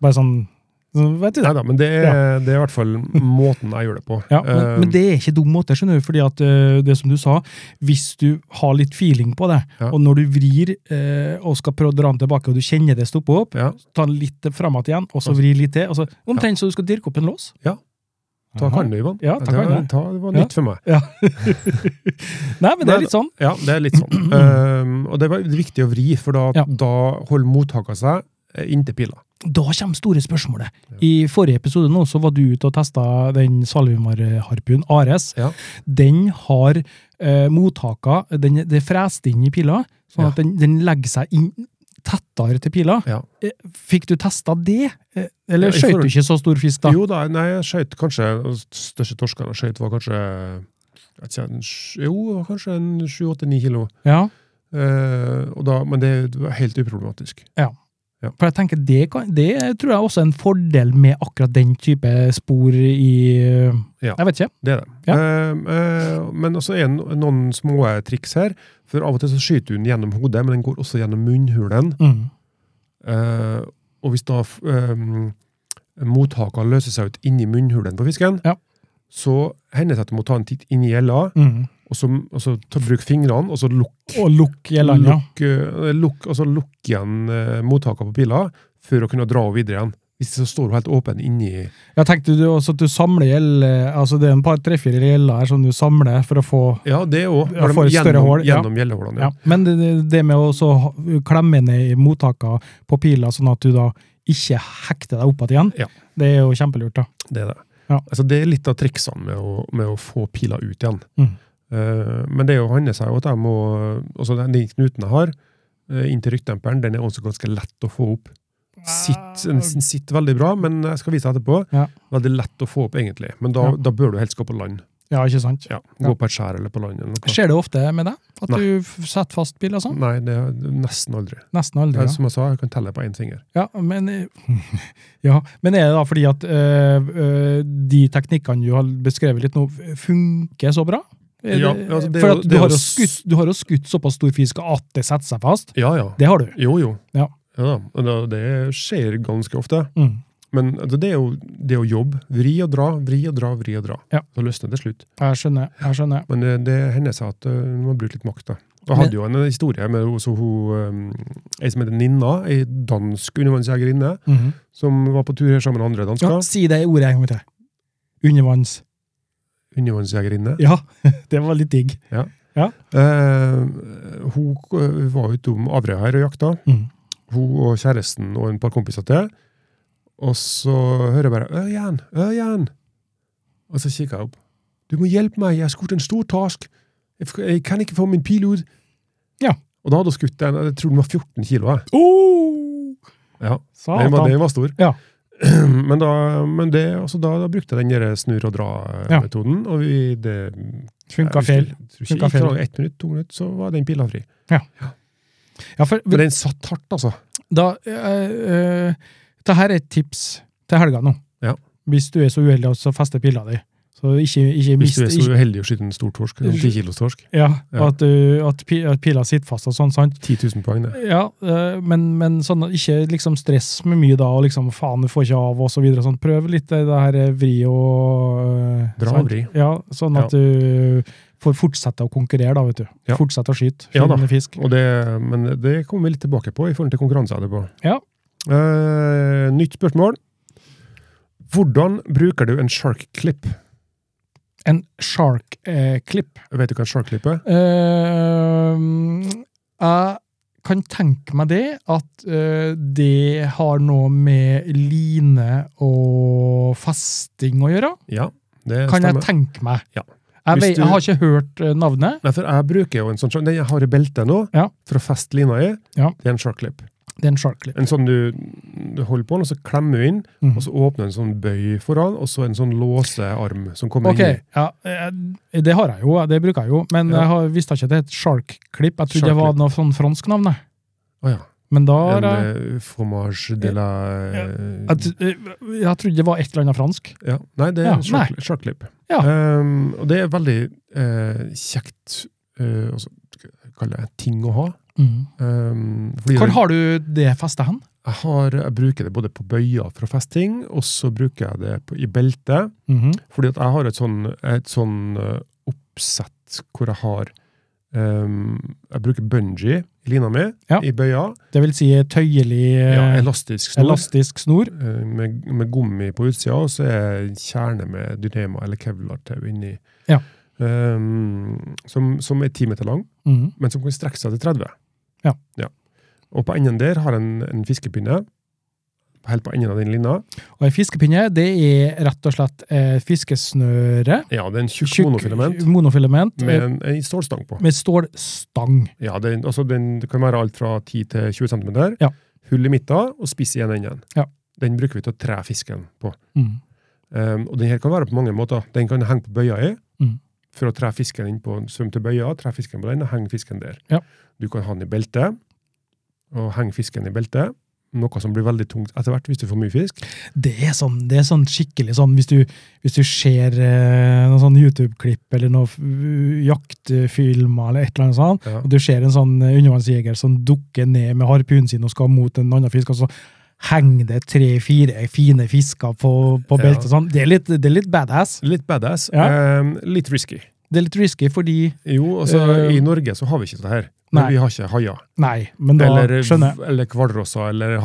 [SPEAKER 2] Bare sånn, så vet du det.
[SPEAKER 3] Nei da, men det er, det er i hvert fall måten jeg gjør det på.
[SPEAKER 2] Ja, men,
[SPEAKER 3] Eh,
[SPEAKER 2] men det er ikke dum måte, skjønner du. fordi at eh, det som du sa, hvis du har litt feeling på det,
[SPEAKER 3] Ja.
[SPEAKER 2] og når du vrir eh, og skal prøve å dra den tilbake, og du kjenner det stoppe opp,
[SPEAKER 3] ja,
[SPEAKER 2] ta den litt fram igjen, og så vri litt til. og så Omtrent så du skal dirke opp en lås.
[SPEAKER 3] Ja. ta
[SPEAKER 2] Aha.
[SPEAKER 3] kan du, Ivan.
[SPEAKER 2] Ja, ta
[SPEAKER 3] det,
[SPEAKER 2] kan jeg.
[SPEAKER 3] ta, det var
[SPEAKER 2] Ja.
[SPEAKER 3] nytt for meg.
[SPEAKER 2] Ja. Nei, men det er litt sånn.
[SPEAKER 3] Ja, det er litt sånn. Eh, og det var viktig å vri, for da,
[SPEAKER 2] Ja.
[SPEAKER 3] da holder mottaket seg eh, inntil pila.
[SPEAKER 2] Da kommer store spørsmålet. I forrige episode nå så var du ute og testa den Salvimar-harpuen Ares.
[SPEAKER 3] Ja.
[SPEAKER 2] Den har eh, mottaker den, Det er frest inn i pila, sånn
[SPEAKER 3] Ja.
[SPEAKER 2] at den, den legger seg inn tettere til pila.
[SPEAKER 3] Ja.
[SPEAKER 2] Eh, Fikk du testa det? Eh,
[SPEAKER 3] Ja,
[SPEAKER 2] Eller
[SPEAKER 3] i
[SPEAKER 2] skjøt
[SPEAKER 3] forhold-
[SPEAKER 2] du ikke så stor fisk da?
[SPEAKER 3] Jo da, nei, jeg skøyt kanskje Den største torsken jeg skøyt, var kanskje jeg vet ikke, en sj- Jo, det var kanskje en 7-8-9 kilo.
[SPEAKER 2] Ja.
[SPEAKER 3] Eh, og da, men det var helt uproblematisk.
[SPEAKER 2] For jeg tenker det, kan, det tror jeg også er en fordel med akkurat den type spor i eh,
[SPEAKER 3] Ja.
[SPEAKER 2] Jeg vet ikke.
[SPEAKER 3] Det er det.
[SPEAKER 2] Ja.
[SPEAKER 3] Eh, eh, men også er det no- noen små triks her. For av og til så skyter hun gjennom hodet, men den går også gjennom munnhulen.
[SPEAKER 2] Mm.
[SPEAKER 3] Eh, og hvis da uh, mottaker løser seg ut inni munnhulen på fisken,
[SPEAKER 2] Ja.
[SPEAKER 3] så hender det seg at du må ta en titt inn i gjella,
[SPEAKER 2] Mm.
[SPEAKER 3] og så, og så ta, bruk fingrene, og så lukke
[SPEAKER 2] Og lukk gjeldene. ja.
[SPEAKER 3] Lukk, eh, lukk, altså lukk igjen eh, mottaket på pila før å kunne dra henne videre igjen. Hvis det så står hun helt åpen inni
[SPEAKER 2] Ja, tenkte du også at du samler gjeld, altså det er en par, tre-fire gjelder her som du samler for å få
[SPEAKER 3] Ja, det òg.
[SPEAKER 2] Ja, for et større
[SPEAKER 3] gjennom,
[SPEAKER 2] hull, ja.
[SPEAKER 3] gjennom gjellehullene.
[SPEAKER 2] ja.
[SPEAKER 3] Ja.
[SPEAKER 2] Men det, det- det med å så ha- klemme ned i mottakene på pila, sånn at du da ikke hekter deg opp igjen,
[SPEAKER 3] Ja.
[SPEAKER 2] det er jo kjempelurt. da.
[SPEAKER 3] Det er det.
[SPEAKER 2] Ja.
[SPEAKER 3] Altså, det er litt av triksene med å, med å få pila ut igjen.
[SPEAKER 2] Mm.
[SPEAKER 3] Eh, men det er jo handler seg jo at jeg må altså Den den knuten jeg har eh, inntil ryggdemperen, den er også ganske lett å få opp. Sitt, den sitter veldig bra, men jeg skal vise etterpå.
[SPEAKER 2] Ja.
[SPEAKER 3] Veldig lett å få opp, egentlig. Men da,
[SPEAKER 2] Ja.
[SPEAKER 3] da bør du helst gå på land.
[SPEAKER 2] Ja, ikke sant?
[SPEAKER 3] Ja, gå
[SPEAKER 2] Ja.
[SPEAKER 3] på et skjær eller på land. Eller noe.
[SPEAKER 2] Skjer det ofte med deg? At
[SPEAKER 3] Nei.
[SPEAKER 2] du f- setter fast pila sånn?
[SPEAKER 3] Nei, det er nesten aldri.
[SPEAKER 2] Nesten aldri.
[SPEAKER 3] Det er
[SPEAKER 2] Ja.
[SPEAKER 3] Som jeg sa, jeg kan telle på én finger.
[SPEAKER 2] Ja, men, ja, men er det da fordi at øh, øh, de teknikkene du har beskrevet litt nå, f- funker så bra? Er
[SPEAKER 3] Ja,
[SPEAKER 2] det-
[SPEAKER 3] altså, det er
[SPEAKER 2] for
[SPEAKER 3] jo-
[SPEAKER 2] at
[SPEAKER 3] det
[SPEAKER 2] du
[SPEAKER 3] er
[SPEAKER 2] har
[SPEAKER 3] jo
[SPEAKER 2] jo
[SPEAKER 3] s-
[SPEAKER 2] skutt, du har jo skutt såpass stor fisk at det setter seg fast.
[SPEAKER 3] Ja, ja.
[SPEAKER 2] Det har du.
[SPEAKER 3] Jo, jo.
[SPEAKER 2] Ja.
[SPEAKER 3] da. Og da- Det skjer ganske ofte.
[SPEAKER 2] Mm.
[SPEAKER 3] Men altså, det er jo det er jo jobb. Vri og dra, vri og dra, vri og dra.
[SPEAKER 2] Ja.
[SPEAKER 3] Så løsner det til slutt.
[SPEAKER 2] Jeg skjønner. jeg skjønner.
[SPEAKER 3] Men det, det hender seg at eh, man må bruke litt makt, da. Jeg
[SPEAKER 2] Men-
[SPEAKER 3] hadde jo en eh, historie med hun- så hun, eh, ei som heter Ninna, ei dansk undervannsjegerinne,
[SPEAKER 2] Mhm.
[SPEAKER 3] som var på tur her sammen med andre dansker.
[SPEAKER 2] ja, si det ordet en gang til. Undervanns.
[SPEAKER 3] Undervannsjegerinne.
[SPEAKER 2] Ja, det var litt digg.
[SPEAKER 3] Eh, hun eh, var ute om Averøya her og jakta.
[SPEAKER 2] Mm.
[SPEAKER 3] hun og kjæresten og en par kompiser til. Og så hører jeg bare 'Ørjan, Ørjan!' Og så kikker jeg opp. 'Du må hjelpe meg, jeg har skutt en stor torsk. Jeg f- Jeg kan ikke få min pil ut.'
[SPEAKER 2] Ja.
[SPEAKER 3] Og da hadde hun skutt en, jeg tror den var 14 kilo. jeg.
[SPEAKER 2] Oh!
[SPEAKER 3] Ja, Den var,
[SPEAKER 2] Satan.
[SPEAKER 3] den var stor.
[SPEAKER 2] Ja.
[SPEAKER 3] Men, da, men det, altså da, da brukte jeg den der snurr og
[SPEAKER 2] Ja.
[SPEAKER 3] dra-metoden, og vi, det
[SPEAKER 2] Funka feil.
[SPEAKER 3] Jeg tror ikke,
[SPEAKER 2] Funka
[SPEAKER 3] ikke
[SPEAKER 2] feil.
[SPEAKER 3] lang- Ett minutt, to minutter, så var den pila fri.
[SPEAKER 2] Ja, for,
[SPEAKER 3] Men den satt hardt, altså.
[SPEAKER 2] da øh, øh, Det her er et tips til helga nå.
[SPEAKER 3] Ja.
[SPEAKER 2] Hvis du er så uheldig og så fester pila di. Så ikke, ikke
[SPEAKER 3] Hvis
[SPEAKER 2] mist
[SPEAKER 3] du er
[SPEAKER 2] ikke-
[SPEAKER 3] så uheldig å skyte en stor torsk, en 10 kilos torsk.
[SPEAKER 2] Ja,
[SPEAKER 3] Ja.
[SPEAKER 2] At, øh, at, pi- at pila sitter fast og sånn, sant?
[SPEAKER 3] 10 000 poeng, det.
[SPEAKER 2] Ja, øh, men, men sånn, ikke liksom stress med mye da, og liksom faen, du får ikke av, og så videre. og Sånn. Prøv litt det det her eh, vri og øh,
[SPEAKER 3] Dra
[SPEAKER 2] sant?
[SPEAKER 3] og vri.
[SPEAKER 2] Ja, sånn at du får fortsette å konkurrere, da, vet du.
[SPEAKER 3] Ja.
[SPEAKER 2] Fortsette å skyte.
[SPEAKER 3] Ja da.
[SPEAKER 2] Finne fisk.
[SPEAKER 3] Og det, men det kommer vi litt tilbake på i forhold til konkurranse etterpå.
[SPEAKER 2] Ja.
[SPEAKER 3] Eh, nytt spørsmål. Hvordan bruker du en shark clip?
[SPEAKER 2] En eh, shark-klipp.
[SPEAKER 3] Vet du hva en shark clip er?
[SPEAKER 2] Eh, jeg kan tenke meg det, at eh, det har noe med line og fasting å gjøre.
[SPEAKER 3] Ja, det
[SPEAKER 2] Kan jeg
[SPEAKER 3] stemmer.
[SPEAKER 2] tenke meg.
[SPEAKER 3] Ja.
[SPEAKER 2] Jeg,
[SPEAKER 3] Hvis
[SPEAKER 2] vet,
[SPEAKER 3] du-
[SPEAKER 2] jeg har ikke hørt eh, navnet.
[SPEAKER 3] Nei, for jeg bruker jo en sånn shark- Den jeg har i beltet nå,
[SPEAKER 2] Ja.
[SPEAKER 3] for å feste lina i,
[SPEAKER 2] Ja.
[SPEAKER 3] det er en shark clip.
[SPEAKER 2] Det er en shark clip.
[SPEAKER 3] En sånn du, du holder på den, og så klemmer du inn,
[SPEAKER 2] Mhm.
[SPEAKER 3] og så åpner en sånn bøy foran, og så en sånn låsearm som kommer
[SPEAKER 2] Ok,
[SPEAKER 3] inn i.
[SPEAKER 2] ja, eh, det har jeg jo, det bruker jeg jo, men
[SPEAKER 3] Ja.
[SPEAKER 2] jeg har, visste ikke at det het shark clip. Jeg trodde det var
[SPEAKER 3] Shark Clip.
[SPEAKER 2] noe sånn fransk navn, jeg.
[SPEAKER 3] Å ja.
[SPEAKER 2] men da har
[SPEAKER 3] En
[SPEAKER 2] jeg
[SPEAKER 3] eh, fromage de la
[SPEAKER 2] Ja. Jeg, tr- eh, jeg trodde det var et eller annet fransk.
[SPEAKER 3] Ja. Nei, det er
[SPEAKER 2] Ja,
[SPEAKER 3] en shark, shark clip.
[SPEAKER 2] Ja.
[SPEAKER 3] Ehm, og det er veldig eh, kjekt eh, altså, hva kaller jeg det, ting å ha. Ehm, fordi
[SPEAKER 2] Hvor
[SPEAKER 3] det-
[SPEAKER 2] har du det festet hen?
[SPEAKER 3] jeg, har, jeg bruker det både på bøyer for å feste ting, og så bruker jeg det på, i beltet. Fordi at jeg har et sånn, et sånn eh, oppsett hvor jeg har ehm, Jeg bruker bungee i lina mi,
[SPEAKER 2] Ja.
[SPEAKER 3] i bøya.
[SPEAKER 2] Det vil si tøyelig eh,
[SPEAKER 3] Ja, elastisk snor.
[SPEAKER 2] elastisk snor.
[SPEAKER 3] eh, med, med gummi på utsida, og så er kjerne med dynema eller kevlartau inni.
[SPEAKER 2] Ja.
[SPEAKER 3] Ehm, som, som er 10 meter lang,
[SPEAKER 2] Mhm.
[SPEAKER 3] men som kan strekke seg til 30.
[SPEAKER 2] Ja.
[SPEAKER 3] Og på enden der har jeg en, en fiskepinne, helt på enden av den linja.
[SPEAKER 2] Og ei fiskepinne, det er rett og slett eh, fiskesnøre.
[SPEAKER 3] Ja, det er en tjukk
[SPEAKER 2] Tjukk
[SPEAKER 3] monofilament
[SPEAKER 2] monofilament,
[SPEAKER 3] med
[SPEAKER 2] eh,
[SPEAKER 3] en, en stålstang på.
[SPEAKER 2] med stålstang.
[SPEAKER 3] Ja, den, altså den, Det kan være alt fra 10 til 20 cm.
[SPEAKER 2] Ja.
[SPEAKER 3] Hull i midten og spiss i en enden.
[SPEAKER 2] Ja.
[SPEAKER 3] Den bruker vi til å tre fisken på.
[SPEAKER 2] Mhm.
[SPEAKER 3] Um, og den her kan være på mange måter. Den kan henge på bøya i,
[SPEAKER 2] Mm.
[SPEAKER 3] for å tre fisken inn på svømme til bøya, tre fisken på den, og henge fisken der.
[SPEAKER 2] Ja.
[SPEAKER 3] Du kan ha den i beltet, og henge fisken i beltet. Noe som blir veldig tungt etter hvert hvis du får mye fisk.
[SPEAKER 2] Det er sånn, det er sånn skikkelig sånn hvis du, hvis du ser eh, noen sånn YouTube-klipp eller noen uh, jaktfilmer eller et eller annet sånt,
[SPEAKER 3] Ja.
[SPEAKER 2] og du ser en sånn eh, undervannsjeger som dukker ned med harpunen sin og skal mot en annen fisk, og så henger det tre-fire fine fisker på, på
[SPEAKER 3] Ja.
[SPEAKER 2] beltet. og Sånn. Det, er litt, det er litt badass.
[SPEAKER 3] Litt badass, um, litt risky.
[SPEAKER 2] Det er litt risky fordi
[SPEAKER 3] Jo, altså
[SPEAKER 2] Eh,
[SPEAKER 3] i Norge så har vi ikke det her.
[SPEAKER 2] nei.
[SPEAKER 3] Men vi har ikke haier.
[SPEAKER 2] Nei, men da
[SPEAKER 3] Eller,
[SPEAKER 2] skjønner jeg.
[SPEAKER 3] eller hvalrosser, eller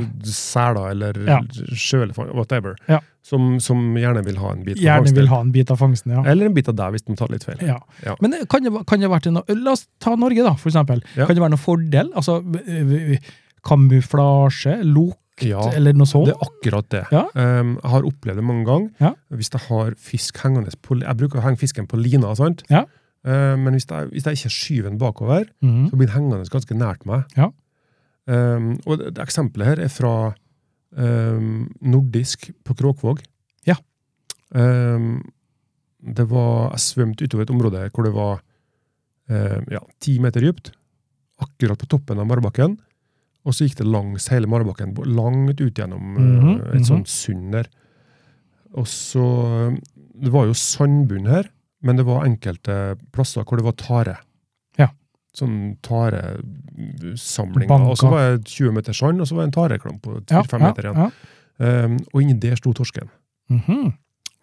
[SPEAKER 3] havseler, eller
[SPEAKER 2] Ja.
[SPEAKER 3] sjøelefant, whatever.
[SPEAKER 2] Ja.
[SPEAKER 3] Som, som gjerne vil ha en bit av
[SPEAKER 2] Gjerne
[SPEAKER 3] fangsten.
[SPEAKER 2] vil ha en bit av fangsten, ja.
[SPEAKER 3] Eller en bit av deg, hvis de tar litt feil.
[SPEAKER 2] ja.
[SPEAKER 3] Ja.
[SPEAKER 2] Men det- kan det, kan det vært en, La oss ta Norge, da, for eksempel.
[SPEAKER 3] Ja.
[SPEAKER 2] Kan det være noen fordel? Altså øh, øh, kamuflasje, lukt,
[SPEAKER 3] Ja,
[SPEAKER 2] eller noe sånt?
[SPEAKER 3] det er akkurat det.
[SPEAKER 2] Ja.
[SPEAKER 3] Um, jeg har opplevd det mange ganger.
[SPEAKER 2] Ja.
[SPEAKER 3] Hvis jeg har fisk hengende på Jeg bruker å henge fisken på lina, sant?
[SPEAKER 2] Ja.
[SPEAKER 3] Uh, men hvis jeg, hvis jeg ikke skyver den bakover,
[SPEAKER 2] Mhm.
[SPEAKER 3] så blir den hengende ganske nært meg.
[SPEAKER 2] Ja.
[SPEAKER 3] Um, og det, det eksempelet her er fra um, nordisk på Kråkvåg.
[SPEAKER 2] Ja.
[SPEAKER 3] Um, det var, jeg svømte utover et område hvor det var um, ja, ti meter dypt, akkurat på toppen av marbakken, og så gikk det langs hele marbakken, bo- langt ut gjennom
[SPEAKER 2] Mhm,
[SPEAKER 3] uh, et sånt sund der. Og så, um, det var jo sandbunn her, men det var enkelte plasser hvor det var tare.
[SPEAKER 2] Ja.
[SPEAKER 3] Sånn taresamlinger.
[SPEAKER 2] Banker.
[SPEAKER 3] Og så var det 20 meter sand, og så var det en tareklamp på 4-5 meter igjen.
[SPEAKER 2] Ja.
[SPEAKER 3] Um, og inni der sto torsken.
[SPEAKER 2] Mhm.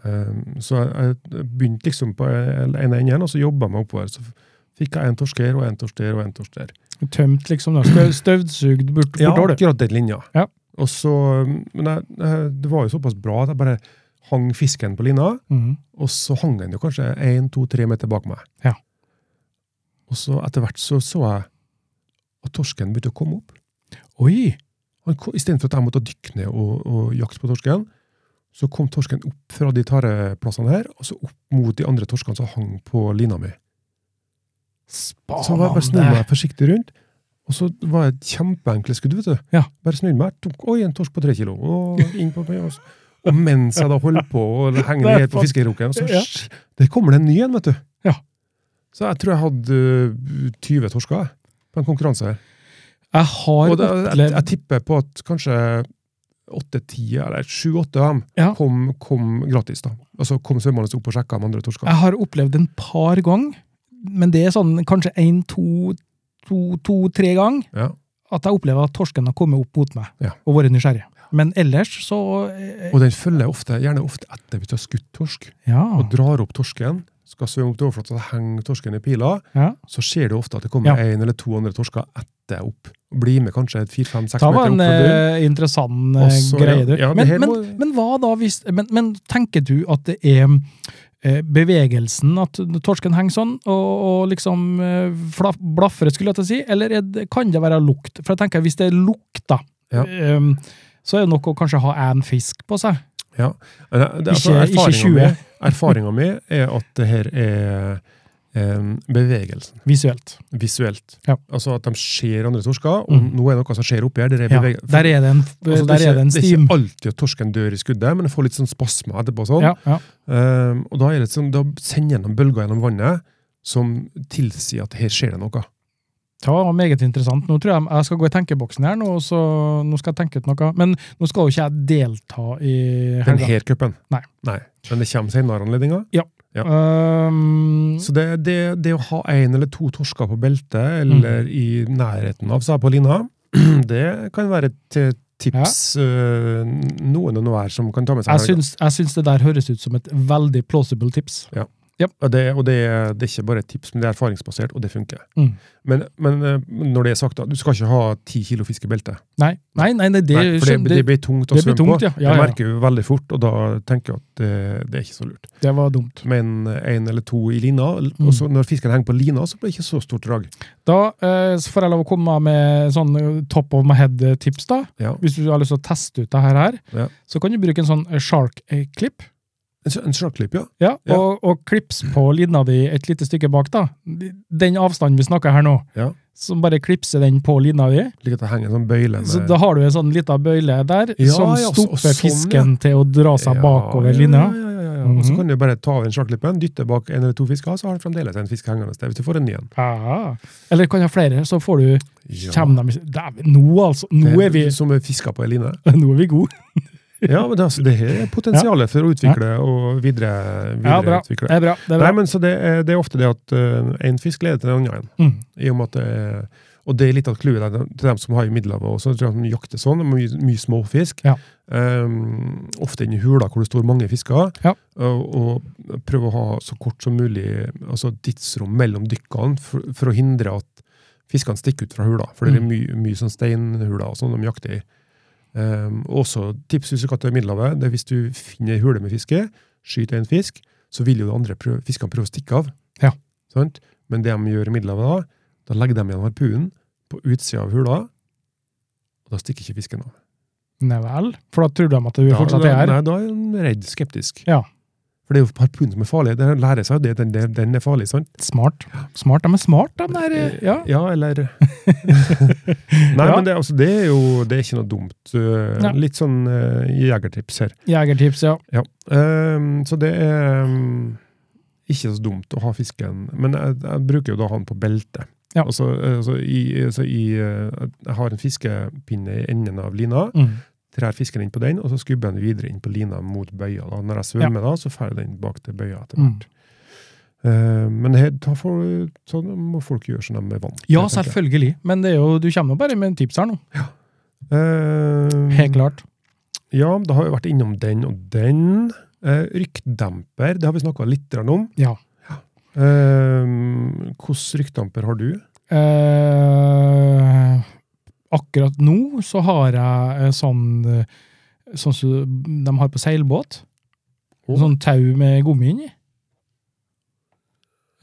[SPEAKER 3] Um, så jeg, jeg begynte liksom på en enden, og så jobba jeg meg oppover. Så fikk jeg en torsk her, og en torsk der, og en torsk der.
[SPEAKER 2] Tømt, liksom. Da. Støv, støvsugd bort,
[SPEAKER 3] Ja,
[SPEAKER 2] bortover, du.
[SPEAKER 3] akkurat den linja.
[SPEAKER 2] Ja.
[SPEAKER 3] Og så, men jeg, jeg- det var jo såpass bra at jeg bare hang fisken på lina,
[SPEAKER 2] Mhm.
[SPEAKER 3] og så hang den jo kanskje én, to, tre meter bak meg.
[SPEAKER 2] Ja.
[SPEAKER 3] Og så etter hvert så, så jeg at torsken begynte å komme opp.
[SPEAKER 2] Oi!
[SPEAKER 3] Han ko- i stedet for at jeg måtte dykke ned og, og jakte på torsken, så kom torsken opp fra de tareplassene her, og så opp mot de andre torskene som hang på lina mi. Så jeg bare, bare snudde
[SPEAKER 2] Spanende!
[SPEAKER 3] meg forsiktig rundt, og så var det et kjempeenkle skudd, vet du.
[SPEAKER 2] Ja.
[SPEAKER 3] Bare snudde meg, tok, oi, en torsk på tre kilo, og inn på meg. Og, så- altså. og mens jeg da holdt på å henge ned helt på fiskeroken, så
[SPEAKER 2] Ja.
[SPEAKER 3] sj- der kommer det en ny en, vet du.
[SPEAKER 2] Ja.
[SPEAKER 3] Så jeg tror jeg hadde øh, 20 torsker jeg, på en konkurranse her.
[SPEAKER 2] Jeg har
[SPEAKER 3] Og det, jeg, jeg
[SPEAKER 2] opplevd
[SPEAKER 3] tipper på at kanskje 8-10 eller 7-8 av dem
[SPEAKER 2] Ja.
[SPEAKER 3] kom, kom gratis. da. Altså kom svømmende opp og sjekka de andre torskene.
[SPEAKER 2] Jeg har opplevd en par ganger, men det er sånn kanskje én, to, to, to, tre ganger,
[SPEAKER 3] Ja.
[SPEAKER 2] at jeg opplever at torsken har kommet opp mot meg
[SPEAKER 3] Ja.
[SPEAKER 2] og vært nysgjerrig. Men ellers så eh,
[SPEAKER 3] Og den følger ofte, gjerne ofte etter hvis du har skutt torsk,
[SPEAKER 2] Ja.
[SPEAKER 3] og drar opp torsken. Skal svømme opp til overflata, så henger torsken i pila.
[SPEAKER 2] ja.
[SPEAKER 3] Så ser du ofte at det
[SPEAKER 2] Ja.
[SPEAKER 3] kommer én eller to andre torsker etter opp. Og blir med kanskje et
[SPEAKER 2] Det
[SPEAKER 3] fire-fem-seks
[SPEAKER 2] var
[SPEAKER 3] meter opp
[SPEAKER 2] en
[SPEAKER 3] fra bunnen.
[SPEAKER 2] eh, interessant eh,
[SPEAKER 3] Og så-
[SPEAKER 2] greie, du.
[SPEAKER 3] ja, det
[SPEAKER 2] men,
[SPEAKER 3] her
[SPEAKER 2] men,
[SPEAKER 3] må-
[SPEAKER 2] men hva da hvis men, men tenker du at det er eh, bevegelsen, at torsken henger sånn, og, og liksom eh, fla- blafrer, skulle jeg til å si, eller er det, kan det være lukt? For jeg tenker, hvis det lukter,
[SPEAKER 3] Ja.
[SPEAKER 2] eh, så er det nok å kanskje ha én fisk på seg.
[SPEAKER 3] Ja. Men det- det- altså,
[SPEAKER 2] Ikke- ikke 20.
[SPEAKER 3] erfaringen min- Erfaringa mi er at det her er em, bevegelsen,
[SPEAKER 2] visuelt.
[SPEAKER 3] visuelt.
[SPEAKER 2] Ja.
[SPEAKER 3] Altså at de ser andre torsker, og
[SPEAKER 2] Mm.
[SPEAKER 3] nå er det noe som skjer oppi her. Der er
[SPEAKER 2] Ja,
[SPEAKER 3] bevege-
[SPEAKER 2] der er det en,
[SPEAKER 3] Altså,
[SPEAKER 2] der er
[SPEAKER 3] ikke-
[SPEAKER 2] det en
[SPEAKER 3] det er
[SPEAKER 2] stim.
[SPEAKER 3] ikke alltid at torsken dør i skuddet, men jeg får litt sånn spasme etterpå. og Sånn.
[SPEAKER 2] Ja, ja.
[SPEAKER 3] Ehm, og da, er det sånn, da sender jeg noen bølger gjennom vannet som tilsier at her skjer det noe.
[SPEAKER 2] Det var meget interessant. Nå tror jeg jeg skal gå i tenkeboksen her, nå, og så nå skal jeg tenke ut noe. Men nå skal jo ikke jeg delta i
[SPEAKER 3] Den
[SPEAKER 2] helga.
[SPEAKER 3] her cupen.
[SPEAKER 2] Nei.
[SPEAKER 3] Men det kommer senere anledninger. ja.
[SPEAKER 2] Øhm,
[SPEAKER 3] Så det, det, det å ha én eller to torsker på beltet, eller
[SPEAKER 2] Mm.
[SPEAKER 3] i nærheten av seg på lina, det kan være et tips eh, noen og hver som kan ta med seg.
[SPEAKER 2] jeg,
[SPEAKER 3] helga.
[SPEAKER 2] syns, jeg syns det der høres ut som et veldig plausible tips.
[SPEAKER 3] Og, det, og det, er- det er ikke bare et tips, men det er erfaringsbasert, og det funker.
[SPEAKER 2] Mm.
[SPEAKER 3] Men, men eh, når det er sagt, da, du skal ikke ha ti kilo fisk i beltet.
[SPEAKER 2] Nei, nei, nei, nei det,
[SPEAKER 3] Nei, for det,
[SPEAKER 2] skjøn-
[SPEAKER 3] det,
[SPEAKER 2] det,
[SPEAKER 3] blir tungt å
[SPEAKER 2] det blir
[SPEAKER 3] svømme
[SPEAKER 2] tungt,
[SPEAKER 3] på.
[SPEAKER 2] ja. Ja, ja.
[SPEAKER 3] Jeg merker jo veldig fort, og da tenker jeg at det, det er ikke så lurt.
[SPEAKER 2] det var dumt.
[SPEAKER 3] Men én eller to i lina,
[SPEAKER 2] Mm.
[SPEAKER 3] og så når fisken henger på lina, så blir det ikke så stort drag.
[SPEAKER 2] Da eh, så får jeg lov å komme med sånn eh, top of my head-tips, da.
[SPEAKER 3] Ja.
[SPEAKER 2] Hvis du har lyst til å teste ut det her, her,
[SPEAKER 3] Ja.
[SPEAKER 2] så kan du bruke en sånn shark-klipp.
[SPEAKER 3] En, s- en sjarkklipp, ja.
[SPEAKER 2] Ja,
[SPEAKER 3] Ja.
[SPEAKER 2] Og, og klips på lina di et lite stykke bak, da. Den avstanden vi snakker her nå,
[SPEAKER 3] Ja.
[SPEAKER 2] så bare klipser den på lina di.
[SPEAKER 3] Slik at det henger en sånn bøyle med
[SPEAKER 2] Så da har du en sånn lita bøyle der
[SPEAKER 3] Ja,
[SPEAKER 2] som
[SPEAKER 3] ja, så-
[SPEAKER 2] stopper
[SPEAKER 3] sånn, ja.
[SPEAKER 2] fisken til å dra seg
[SPEAKER 3] Ja,
[SPEAKER 2] bakover
[SPEAKER 3] ja,
[SPEAKER 2] linja. Mhm.
[SPEAKER 3] Ja, ja, ja, ja. Og så kan du bare ta av den sjarkklippen, dytte bak en eller to fisker, så har du fremdeles en fisk hengende der, hvis du får en ny en.
[SPEAKER 2] Ja. Eller kan jeg ha flere, så får du
[SPEAKER 3] Ja.
[SPEAKER 2] Kommer de Dæven, nå altså! Nå
[SPEAKER 3] Det
[SPEAKER 2] er vi,
[SPEAKER 3] Som er fisker på ei line.
[SPEAKER 2] nå er vi gode.
[SPEAKER 3] Ja, men det, altså, det her er potensialet for å utvikle og videre,
[SPEAKER 2] Ja, bra. Eh,
[SPEAKER 3] videreutvikle.
[SPEAKER 2] Det er bra. Det er bra.
[SPEAKER 3] Nei, men så det er, det er ofte det at én fisk leder til en annen.
[SPEAKER 2] Mm.
[SPEAKER 3] i og med at det er, og det er litt av clouet der, til dem som har i Middelhavet også, tror jeg at de jakter sånn, med mye, mye småfisk.
[SPEAKER 2] Ja.
[SPEAKER 3] Ehm, ofte inn i hula hvor det står mange fisker,
[SPEAKER 2] Ja.
[SPEAKER 3] og, og prøve å ha så kort som mulig altså tidsrom mellom dykkene for, for å hindre at fiskene stikker ut fra hula, for det er
[SPEAKER 2] Mm.
[SPEAKER 3] mye, mye sånn steinhula og sånn de jakter i. Ehm, også tips hvis du skal til Middelhavet, det er hvis du finner en hule med fiske, skyter en fisk, så vil jo de andre prøve, fiskene prøve å stikke av.
[SPEAKER 2] Ja.
[SPEAKER 3] Sant? Men det de gjør i Middelhavet da, da legger de igjen harpunen på utsida av hula, og da stikker ikke fisken av.
[SPEAKER 2] Nei vel. For da tror de at du
[SPEAKER 3] Da-
[SPEAKER 2] fortsatt
[SPEAKER 3] da-
[SPEAKER 2] er her.
[SPEAKER 3] Nei, da er han redd, skeptisk.
[SPEAKER 2] Ja.
[SPEAKER 3] For det er jo harpunen som er farlig. Den lærer seg jo det, den, den- den er farlig, sant?
[SPEAKER 2] Smart. Smart, De er smart, de der. eh, Ja.
[SPEAKER 3] eller Nei,
[SPEAKER 2] Ja.
[SPEAKER 3] men det, altså, det er jo det er ikke noe dumt. øh,
[SPEAKER 2] Nei.
[SPEAKER 3] Litt sånn øh, jegertips her.
[SPEAKER 2] Jegertips, ja.
[SPEAKER 3] Ja. Ehm, så det er ehm, ikke så dumt å ha fisken. Men jeg, jeg bruker jo da han på beltet.
[SPEAKER 2] Ja.
[SPEAKER 3] Altså, altså, i, altså i, eh, jeg har en fiskepinne i enden av lina,
[SPEAKER 2] Mm.
[SPEAKER 3] trær fisken inn på den, og så skubber jeg den videre inn på lina mot bøya. Da. Når jeg svømmer, da, så får jeg den bak til bøya etter
[SPEAKER 2] Mm.
[SPEAKER 3] hvert. Eh, men her, da får, sånn må folk gjøre som de er vant
[SPEAKER 2] Ja,
[SPEAKER 3] tenker jeg.
[SPEAKER 2] selvfølgelig. Men det er jo, du kommer jo bare med en tips her nå.
[SPEAKER 3] Ehm,
[SPEAKER 2] Helt klart.
[SPEAKER 3] Ja, da har vi vært innom den og den. Eh, rykkdemper, det har vi snakka litt grann om.
[SPEAKER 2] Ja.
[SPEAKER 3] Ehm, Hvordan rykkdamper har du?
[SPEAKER 2] Eh, akkurat nå så har jeg eh, sånn eh, Sånn som de har på seilbåt.
[SPEAKER 3] Å.
[SPEAKER 2] Sånn tau med gummi inni.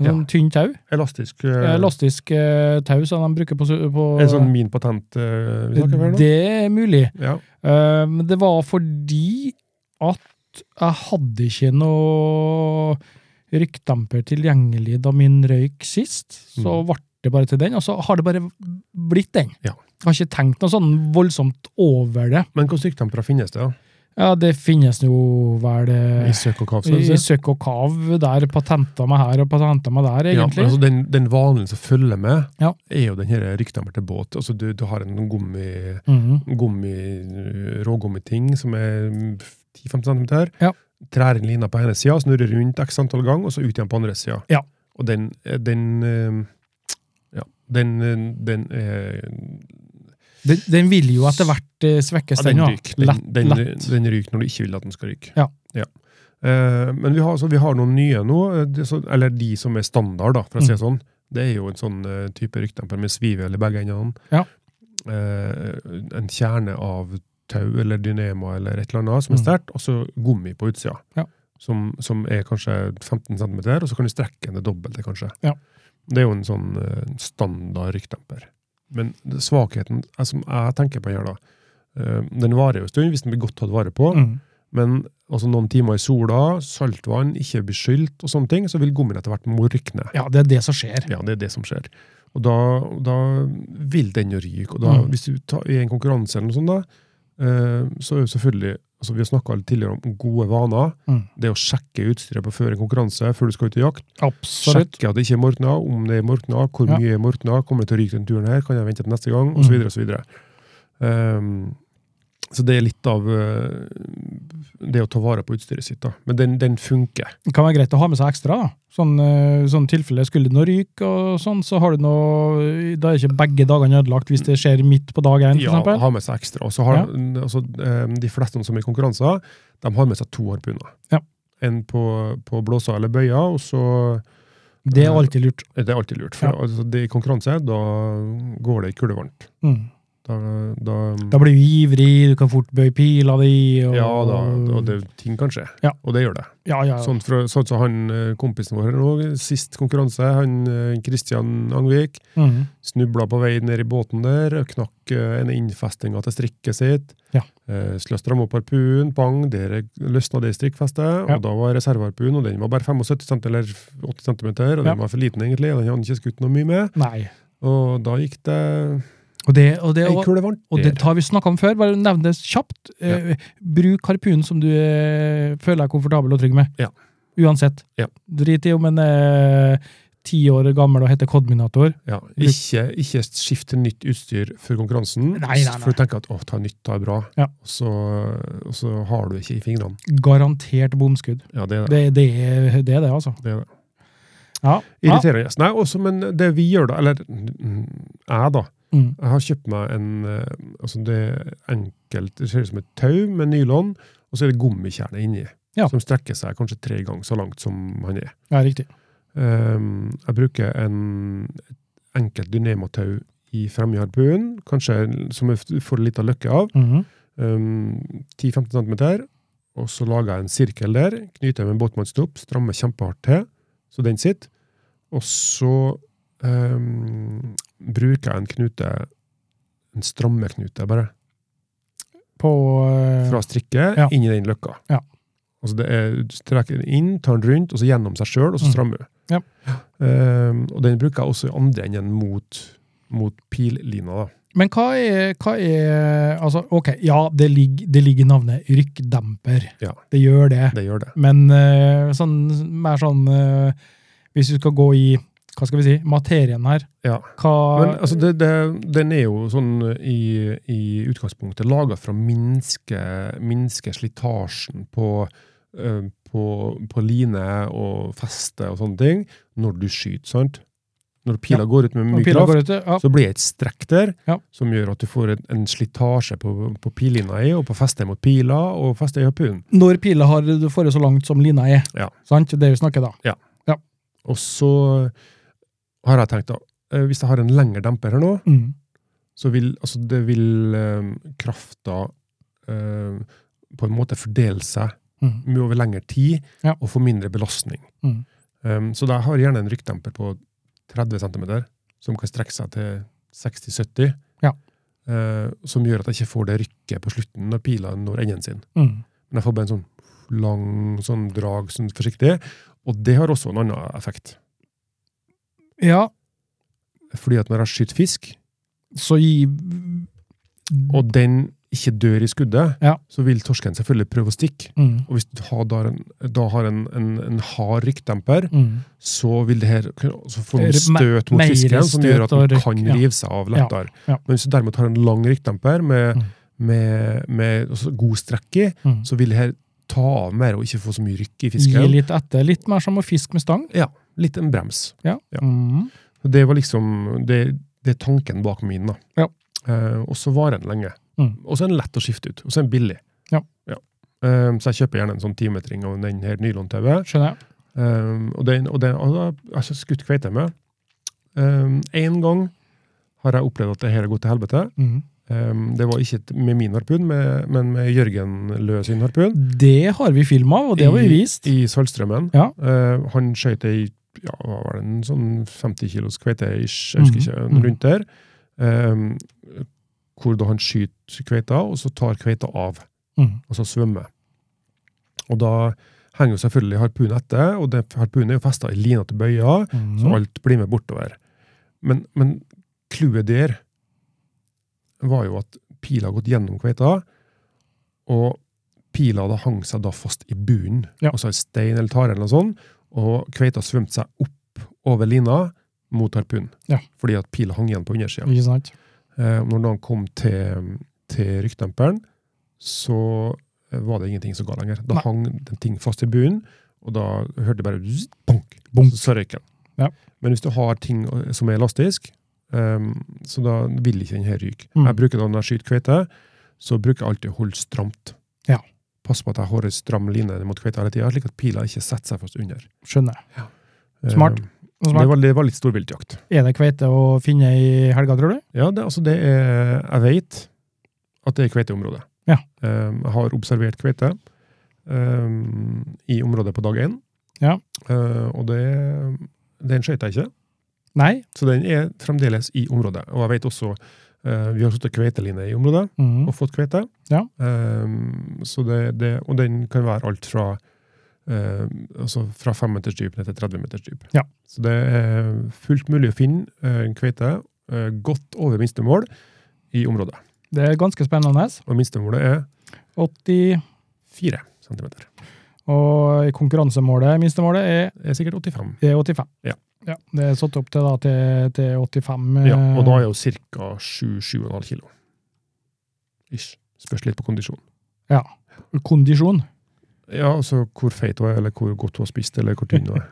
[SPEAKER 2] Sånn
[SPEAKER 3] Ja.
[SPEAKER 2] tynn tau.
[SPEAKER 3] Elastisk? eh,
[SPEAKER 2] Elastisk eh, tau som de bruker på, su- på
[SPEAKER 3] Er det sånn min patent eh, vi snakker om her nå?
[SPEAKER 2] Det er mulig.
[SPEAKER 3] Ja.
[SPEAKER 2] Eh, Men det var fordi at jeg hadde ikke noe rykkdemper tilgjengelig da min røyk sist. Så ble det bare til den, og så har det bare blitt den.
[SPEAKER 3] Mm. Ja.
[SPEAKER 2] Jeg har ikke tenkt noe sånn voldsomt over det.
[SPEAKER 3] Men hvilke rykkdempere finnes det? da?
[SPEAKER 2] Ja, det finnes jo vel eh,
[SPEAKER 3] I søk og kav?
[SPEAKER 2] i, i søkk og kav der, patenter meg her og patenter meg der,
[SPEAKER 3] Ja, men
[SPEAKER 2] egentlig.
[SPEAKER 3] altså den, den vanlige som følger med,
[SPEAKER 2] Ja.
[SPEAKER 3] er jo den her rykkdemper til båt. Altså du, du har en gummi,
[SPEAKER 2] Mhm.
[SPEAKER 3] gummi rågummiting som er mm, 10-15 cm.
[SPEAKER 2] Ja.
[SPEAKER 3] Trær inn lina på ene sida, snurrer rundt x antall ganger, og så ut igjen på andre sida.
[SPEAKER 2] Ja.
[SPEAKER 3] Og den, eh, den eh, ja, den, eh, den, eh,
[SPEAKER 2] den, den vil jo etter hvert eh, svekkes,
[SPEAKER 3] ja,
[SPEAKER 2] den
[SPEAKER 3] den
[SPEAKER 2] jo.
[SPEAKER 3] ryker. Den,
[SPEAKER 2] Lett,
[SPEAKER 3] den, eh,
[SPEAKER 2] lett.
[SPEAKER 3] den ryker når du ikke vil at den skal ryke.
[SPEAKER 2] Ja.
[SPEAKER 3] Eh, men vi har, så vi har noen nye nå, eh, det, så, eller de som er standard, da, for å si
[SPEAKER 2] Mm.
[SPEAKER 3] det sånn. Det er jo en sånn eh, type ryktdemper med svivel i begge endene.
[SPEAKER 2] Ja.
[SPEAKER 3] Eh, en kjerne av tau eller dynamo eller et eller annet som er
[SPEAKER 2] Mm.
[SPEAKER 3] sterkt, og så gummi på utsida.
[SPEAKER 2] Ja.
[SPEAKER 3] Som, som er kanskje 15 cm, og så kan du strekke den det dobbelte, kanskje.
[SPEAKER 2] Ja.
[SPEAKER 3] Det er jo en sånn eh, standard rykkdemper. Men altså, det- svakheten eh, som jeg tenker på her, da, eh, den varer jo en stund hvis den blir godt tatt vare på.
[SPEAKER 2] Mm.
[SPEAKER 3] Men altså, noen timer i sola, saltvann, ikke beskylt og sånne ting, så vil gummien etter hvert morkne.
[SPEAKER 2] Ja, det er det som skjer.
[SPEAKER 3] Ja, det er det som skjer. Og da, da vil den jo ryke. Og da,
[SPEAKER 2] Mm.
[SPEAKER 3] hvis du tar i en konkurranse eller noe sånt, da, eh, så er jo selvfølgelig altså Vi har snakka tidligere om gode vaner.
[SPEAKER 2] Mm.
[SPEAKER 3] Det å sjekke utstyret på før en konkurranse, før du skal ut i jakt.
[SPEAKER 2] Absolutt.
[SPEAKER 3] Sjekke at det ikke er morkna, om det er morkna, hvor
[SPEAKER 2] Ja.
[SPEAKER 3] mye er morkna, kommer det til å ryke den turen her, kan jeg vente til neste gang, osv.
[SPEAKER 2] Mm.
[SPEAKER 3] osv. Så, videre. Ehm, så det er litt av eh, det å ta vare på utstyret sitt. da. Men den, den funker.
[SPEAKER 2] Det kan være greit å ha med seg ekstra. da. Sånn, eh, sånn tilfelle skulle det noe ryk, og sånn, så har du noe, da er ikke begge dagene ødelagt hvis det skjer midt på dag én, for
[SPEAKER 3] Ja,
[SPEAKER 2] eksempel.
[SPEAKER 3] ha med seg ekstra. Og så har
[SPEAKER 2] Ja.
[SPEAKER 3] altså, ehm, De fleste som er i konkurranser, de har med seg to harpuner.
[SPEAKER 2] Ja.
[SPEAKER 3] En på, på blåsa eller bøya, og så
[SPEAKER 2] Det er alltid lurt.
[SPEAKER 3] er det alltid lurt. For
[SPEAKER 2] Ja.
[SPEAKER 3] altså, det er i konkurranse, da går det i kulevarmt.
[SPEAKER 2] Mm.
[SPEAKER 3] Da, da,
[SPEAKER 2] Da blir du ivrig, du kan fort bøye pila di. Og,
[SPEAKER 3] ja, da, og det, ting kan skje.
[SPEAKER 2] Ja.
[SPEAKER 3] Og det gjør det.
[SPEAKER 2] ja, ja, ja.
[SPEAKER 3] Sånn fra, sånn som han eh, kompisen vår her nå, sist konkurranse, han eh, Kristian Angvik,
[SPEAKER 2] Mm.
[SPEAKER 3] snubla på vei ned i båten der, knakk eh, en innfestinga til strikket sitt,
[SPEAKER 2] Ja.
[SPEAKER 3] eh, skulle stramme opp harpunen, bang, der løsna det i strikkfestet,
[SPEAKER 2] Ja.
[SPEAKER 3] og da var reserveharpunen, og den var bare 75 cm eller 80 cm, og
[SPEAKER 2] Ja.
[SPEAKER 3] den var for liten egentlig, og den hadde ikke skutt noe mye med,
[SPEAKER 2] Nei.
[SPEAKER 3] og da gikk det
[SPEAKER 2] Og det, og det,
[SPEAKER 3] ei
[SPEAKER 2] og,
[SPEAKER 3] kule varmt
[SPEAKER 2] og det
[SPEAKER 3] der.
[SPEAKER 2] har vi snakka om før, bare nevn det kjapt. Eh, bruk harpunen som du eh, føler deg komfortabel og trygg med.
[SPEAKER 3] Ja.
[SPEAKER 2] Uansett.
[SPEAKER 3] Ja.
[SPEAKER 2] Drit i om en eh, ti år gammel og heter Codminator.
[SPEAKER 3] Ja, ikke, ikke skift til nytt utstyr før konkurransen,
[SPEAKER 2] Nei, nei, nei.
[SPEAKER 3] for du tenker at å, ta nytt, ta bra,
[SPEAKER 2] Ja.
[SPEAKER 3] og, så, og så har du ikke i fingrene.
[SPEAKER 2] Garantert bomskudd.
[SPEAKER 3] Ja, det er
[SPEAKER 2] Det,
[SPEAKER 3] det.
[SPEAKER 2] det, er- det er det, altså.
[SPEAKER 3] det, er det.
[SPEAKER 2] Ja. ja.
[SPEAKER 3] Irriterende. Nei, også, men det vi gjør, da, eller mm, jeg, da
[SPEAKER 2] Mm.
[SPEAKER 3] Jeg har kjøpt meg en eh, altså Det er enkelt Det ser ut som et tau med nylon, og så er det gummikjerne inni,
[SPEAKER 2] Ja.
[SPEAKER 3] som strekker seg kanskje tre ganger så langt som han er.
[SPEAKER 2] ja, riktig.
[SPEAKER 3] Ehm, jeg bruker en et enkelt dynematau i fremre harpun, kanskje en- som jeg får litt av løkke av.
[SPEAKER 2] Mhm.
[SPEAKER 3] Um, 10-15 cm, og så lager jeg en sirkel der, knyter jeg med en båtmannsdopp, strammer kjempehardt til, så den sitter, og så um, bruker jeg en knute, en strammeknute bare,
[SPEAKER 2] På eh,
[SPEAKER 3] fra strikket
[SPEAKER 2] Ja.
[SPEAKER 3] inn i den løkka.
[SPEAKER 2] Ja.
[SPEAKER 3] Altså det er, du strekker den inn, tar den rundt, og så gjennom seg sjøl, og så
[SPEAKER 2] Mm.
[SPEAKER 3] strammer du.
[SPEAKER 2] Ja.
[SPEAKER 3] Um, og den bruker jeg også i andre enden mot, mot pillina, da.
[SPEAKER 2] Men hva er, hva er Altså, ok, ja, det ligger, det ligger i navnet rykkdemper.
[SPEAKER 3] Ja.
[SPEAKER 2] Det gjør det.
[SPEAKER 3] Det gjør det.
[SPEAKER 2] Men eh, sånn, mer sånn eh, Hvis du skal gå i hva skal vi si, materien her
[SPEAKER 3] Ja.
[SPEAKER 2] hva,
[SPEAKER 3] Men altså, det, det, den er jo sånn i, i utgangspunktet laga for å minske, minske slitasjen på, eh, på, på line og feste og sånne ting når du skyter, sant? Når pila går ut med
[SPEAKER 2] når
[SPEAKER 3] mye
[SPEAKER 2] pila
[SPEAKER 3] kraft,
[SPEAKER 2] går ut, ja,
[SPEAKER 3] så blir det et strekk der
[SPEAKER 2] Ja.
[SPEAKER 3] som gjør at du får en, en slitasje på, på pillina i, og på festet mot pila, og festet i harpunen.
[SPEAKER 2] Når pila har du får det så langt som lina er.
[SPEAKER 3] Ja.
[SPEAKER 2] Sant? Det er vi snakker da.
[SPEAKER 3] Og så har jeg tenkt, da, eh, hvis jeg har en lengre demper her nå,
[SPEAKER 2] Mm.
[SPEAKER 3] så vil altså det vil eh, krafta eh, på en måte fordele seg
[SPEAKER 2] Mm.
[SPEAKER 3] mye over lengre tid
[SPEAKER 2] Ja.
[SPEAKER 3] og få mindre belastning.
[SPEAKER 2] Mm.
[SPEAKER 3] Um, så da har jeg gjerne en rykkdemper på 30 cm, som kan strekke seg til 60-70,
[SPEAKER 2] Ja.
[SPEAKER 3] eh, som gjør at jeg ikke får det rykket på slutten når pila når enden sin.
[SPEAKER 2] Mm.
[SPEAKER 3] Men jeg får bare en sånn lang sånn drag sånn forsiktig, og det har også en annen effekt.
[SPEAKER 2] Ja,
[SPEAKER 3] Fordi at når jeg skyter fisk,
[SPEAKER 2] så gi
[SPEAKER 3] og den ikke dør i skuddet,
[SPEAKER 2] Ja.
[SPEAKER 3] så vil torsken selvfølgelig prøve å stikke.
[SPEAKER 2] mm.
[SPEAKER 3] Og hvis du har da, en, da har en, en, en hard rykkdemper,
[SPEAKER 2] Mm.
[SPEAKER 3] så vil det her så får
[SPEAKER 2] Er
[SPEAKER 3] man
[SPEAKER 2] det me-
[SPEAKER 3] støt mot
[SPEAKER 2] mer
[SPEAKER 3] fisken, som
[SPEAKER 2] støt
[SPEAKER 3] gjør at
[SPEAKER 2] og
[SPEAKER 3] den
[SPEAKER 2] rykk,
[SPEAKER 3] kan
[SPEAKER 2] ja.
[SPEAKER 3] rive seg av lettere.
[SPEAKER 2] Ja, ja.
[SPEAKER 3] Men hvis du derimot har en lang rykkdemper med,
[SPEAKER 2] Mm.
[SPEAKER 3] med, med også god strekk i,
[SPEAKER 2] Mm.
[SPEAKER 3] så vil det her ta av mer og ikke få så mye rykk
[SPEAKER 2] Gi
[SPEAKER 3] i fisken.
[SPEAKER 2] litt etter. Litt mer som å fiske med stang.
[SPEAKER 3] Ja, litt en brems.
[SPEAKER 2] Ja.
[SPEAKER 3] Ja.
[SPEAKER 2] Mm.
[SPEAKER 3] Og Det var liksom det, det er tanken bak min, da.
[SPEAKER 2] Ja.
[SPEAKER 3] Eh, og så varer den lenge.
[SPEAKER 2] Mm.
[SPEAKER 3] Og så er den lett å skifte ut. Og så er den billig.
[SPEAKER 2] Ja.
[SPEAKER 3] Eh, så jeg kjøper gjerne en sånn timetring av den her nylontauet.
[SPEAKER 2] Skjønner jeg.
[SPEAKER 3] Um, og den, og den og da, har jeg skutt kveite med. Um, en gang har jeg opplevd at det her har gått til helvete.
[SPEAKER 2] Mm.
[SPEAKER 3] Um, det var ikke et- med min harpun, med, men med Jørgen Løe sin harpun.
[SPEAKER 2] Det har vi film av, og det har vi vist.
[SPEAKER 3] I Saltstrømmen.
[SPEAKER 2] Ja.
[SPEAKER 3] Uh, han skjøt ei ja, hva var det, en sånn 50 kilos kveite, ish, jeg
[SPEAKER 2] Mhm.
[SPEAKER 3] husker ikke,
[SPEAKER 2] Mhm.
[SPEAKER 3] rundt der. Um, hvor da han skyter kveita, og så tar kveita av,
[SPEAKER 2] Mhm.
[SPEAKER 3] og så svømmer. Og da henger jo selvfølgelig harpunen etter, og det, harpunen er jo festa i lina til bøya,
[SPEAKER 2] Mm.
[SPEAKER 3] så alt blir med bortover. Men, men clouet der var jo at pila har gått gjennom kveita, og pila hadde hang seg da fast i bunnen,
[SPEAKER 2] Ja.
[SPEAKER 3] altså en stein eller tare eller noe sånt, og kveita svømte seg opp over lina mot harpunen,
[SPEAKER 2] Ja.
[SPEAKER 3] fordi at pila hang igjen på undersida.
[SPEAKER 2] Ikke sant?
[SPEAKER 3] Eh, når han kom til, til rykkdemperen, så eh, var det ingenting som ga lenger. Da
[SPEAKER 2] Nei.
[SPEAKER 3] hang den ting fast i bunnen, og da hørte jeg bare zzz, bonk,
[SPEAKER 2] Bonk.
[SPEAKER 3] så røyk den.
[SPEAKER 2] Ja.
[SPEAKER 3] Men hvis du har ting eh, som er elastisk, eh, så da vil ikke den her ryke.
[SPEAKER 2] Mm.
[SPEAKER 3] Jeg bruker da når jeg skyter kveite, så bruker jeg alltid å holde stramt.
[SPEAKER 2] Ja.
[SPEAKER 3] Pass på at jeg har en stram linje mot kveita hele tida, slik at pila ikke setter seg fast under.
[SPEAKER 2] Skjønner.
[SPEAKER 3] Eh,
[SPEAKER 2] Smart. Og
[SPEAKER 3] Det
[SPEAKER 2] smart.
[SPEAKER 3] var, det var litt storviltjakt.
[SPEAKER 2] Er det kveite å finne i helga, tror du?
[SPEAKER 3] Ja, det, altså det er, jeg vet at det er kveiteområde.
[SPEAKER 2] Ja.
[SPEAKER 3] Ehm, jeg har observert kveite ehm, i området på dag én.
[SPEAKER 2] Ja.
[SPEAKER 3] Eh, og det, den skøyt jeg ikke,
[SPEAKER 2] Nei.
[SPEAKER 3] så den er fremdeles i området. Og jeg vet også eh, Vi har satt en kveiteline i området
[SPEAKER 2] Mhm.
[SPEAKER 3] og fått kveite.
[SPEAKER 2] Ja.
[SPEAKER 3] Ehm, så det, det, og den kan være alt fra eh, altså fra 5 meters dyp ned til 30 meters dyp.
[SPEAKER 2] Ja.
[SPEAKER 3] Så det er fullt mulig å finne eh, en kveite eh, godt over minstemål i området.
[SPEAKER 2] Det er ganske spennende.
[SPEAKER 3] Og minstemålet er
[SPEAKER 2] 80,
[SPEAKER 3] 4 cm.
[SPEAKER 2] og i konkurransemålet, minstemålet, er,
[SPEAKER 3] Det er sikkert 85.
[SPEAKER 2] er 85.
[SPEAKER 3] Ja.
[SPEAKER 2] Det er satt opp til, da, til, til 85. eh,
[SPEAKER 3] Ja, og da er jo ca. 7-7,5 kilo. Ish. Spørs litt på kondisjon.
[SPEAKER 2] kondisjon.
[SPEAKER 3] Ja, altså hvor feit hun er, eller hvor godt hun har spist, eller hvor tynn hun er.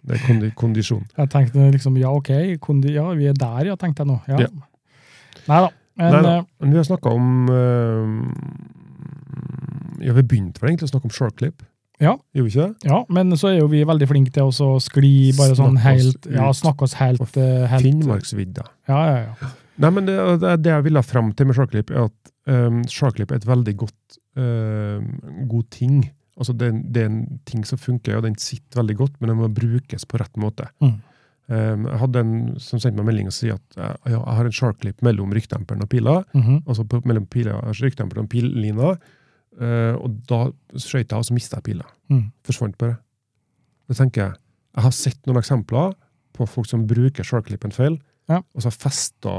[SPEAKER 3] Det er kondi kondisjon.
[SPEAKER 2] Jeg tenkte liksom, ja, ok, kondi, ja, vi er der, ja, tenkte jeg nå. Ja.
[SPEAKER 3] Ja.
[SPEAKER 2] Nei da. Men
[SPEAKER 3] Nei, da.
[SPEAKER 2] eh,
[SPEAKER 3] Men vi har snakka om eh, Ja, vi begynte vel egentlig å snakke om shark clip.
[SPEAKER 2] Ja.
[SPEAKER 3] Gjorde vi ikke det?
[SPEAKER 2] ja, men så er jo vi veldig flinke til også å skli bare sånn
[SPEAKER 3] Snakke oss
[SPEAKER 2] helt Ja,
[SPEAKER 3] ut.
[SPEAKER 2] snakke oss helt, eh, helt
[SPEAKER 3] Finnmarksvidda.
[SPEAKER 2] Ja, ja, ja.
[SPEAKER 3] Nei, men det, det, det jeg ville fram til med shark clip, er at um, shark clip er et veldig godt ehm, god ting. Altså, det, er en- det er en ting som funker, og den sitter veldig godt, men den må brukes på rett måte.
[SPEAKER 2] Mm.
[SPEAKER 3] Ehm, jeg hadde en som sendte meg en melding og sier at eh, ja, jeg har en shark clip mellom rykkdemperen og pila.
[SPEAKER 2] Mhm.
[SPEAKER 3] altså på, mellom pila, rykkdemperen og pillina, eh, og da skjøt jeg, og så mista jeg pila.
[SPEAKER 2] Mm.
[SPEAKER 3] Forsvant bare. Da tenker jeg, jeg har sett noen eksempler på folk som bruker sharklippen feil,
[SPEAKER 2] Ja.
[SPEAKER 3] og så har festa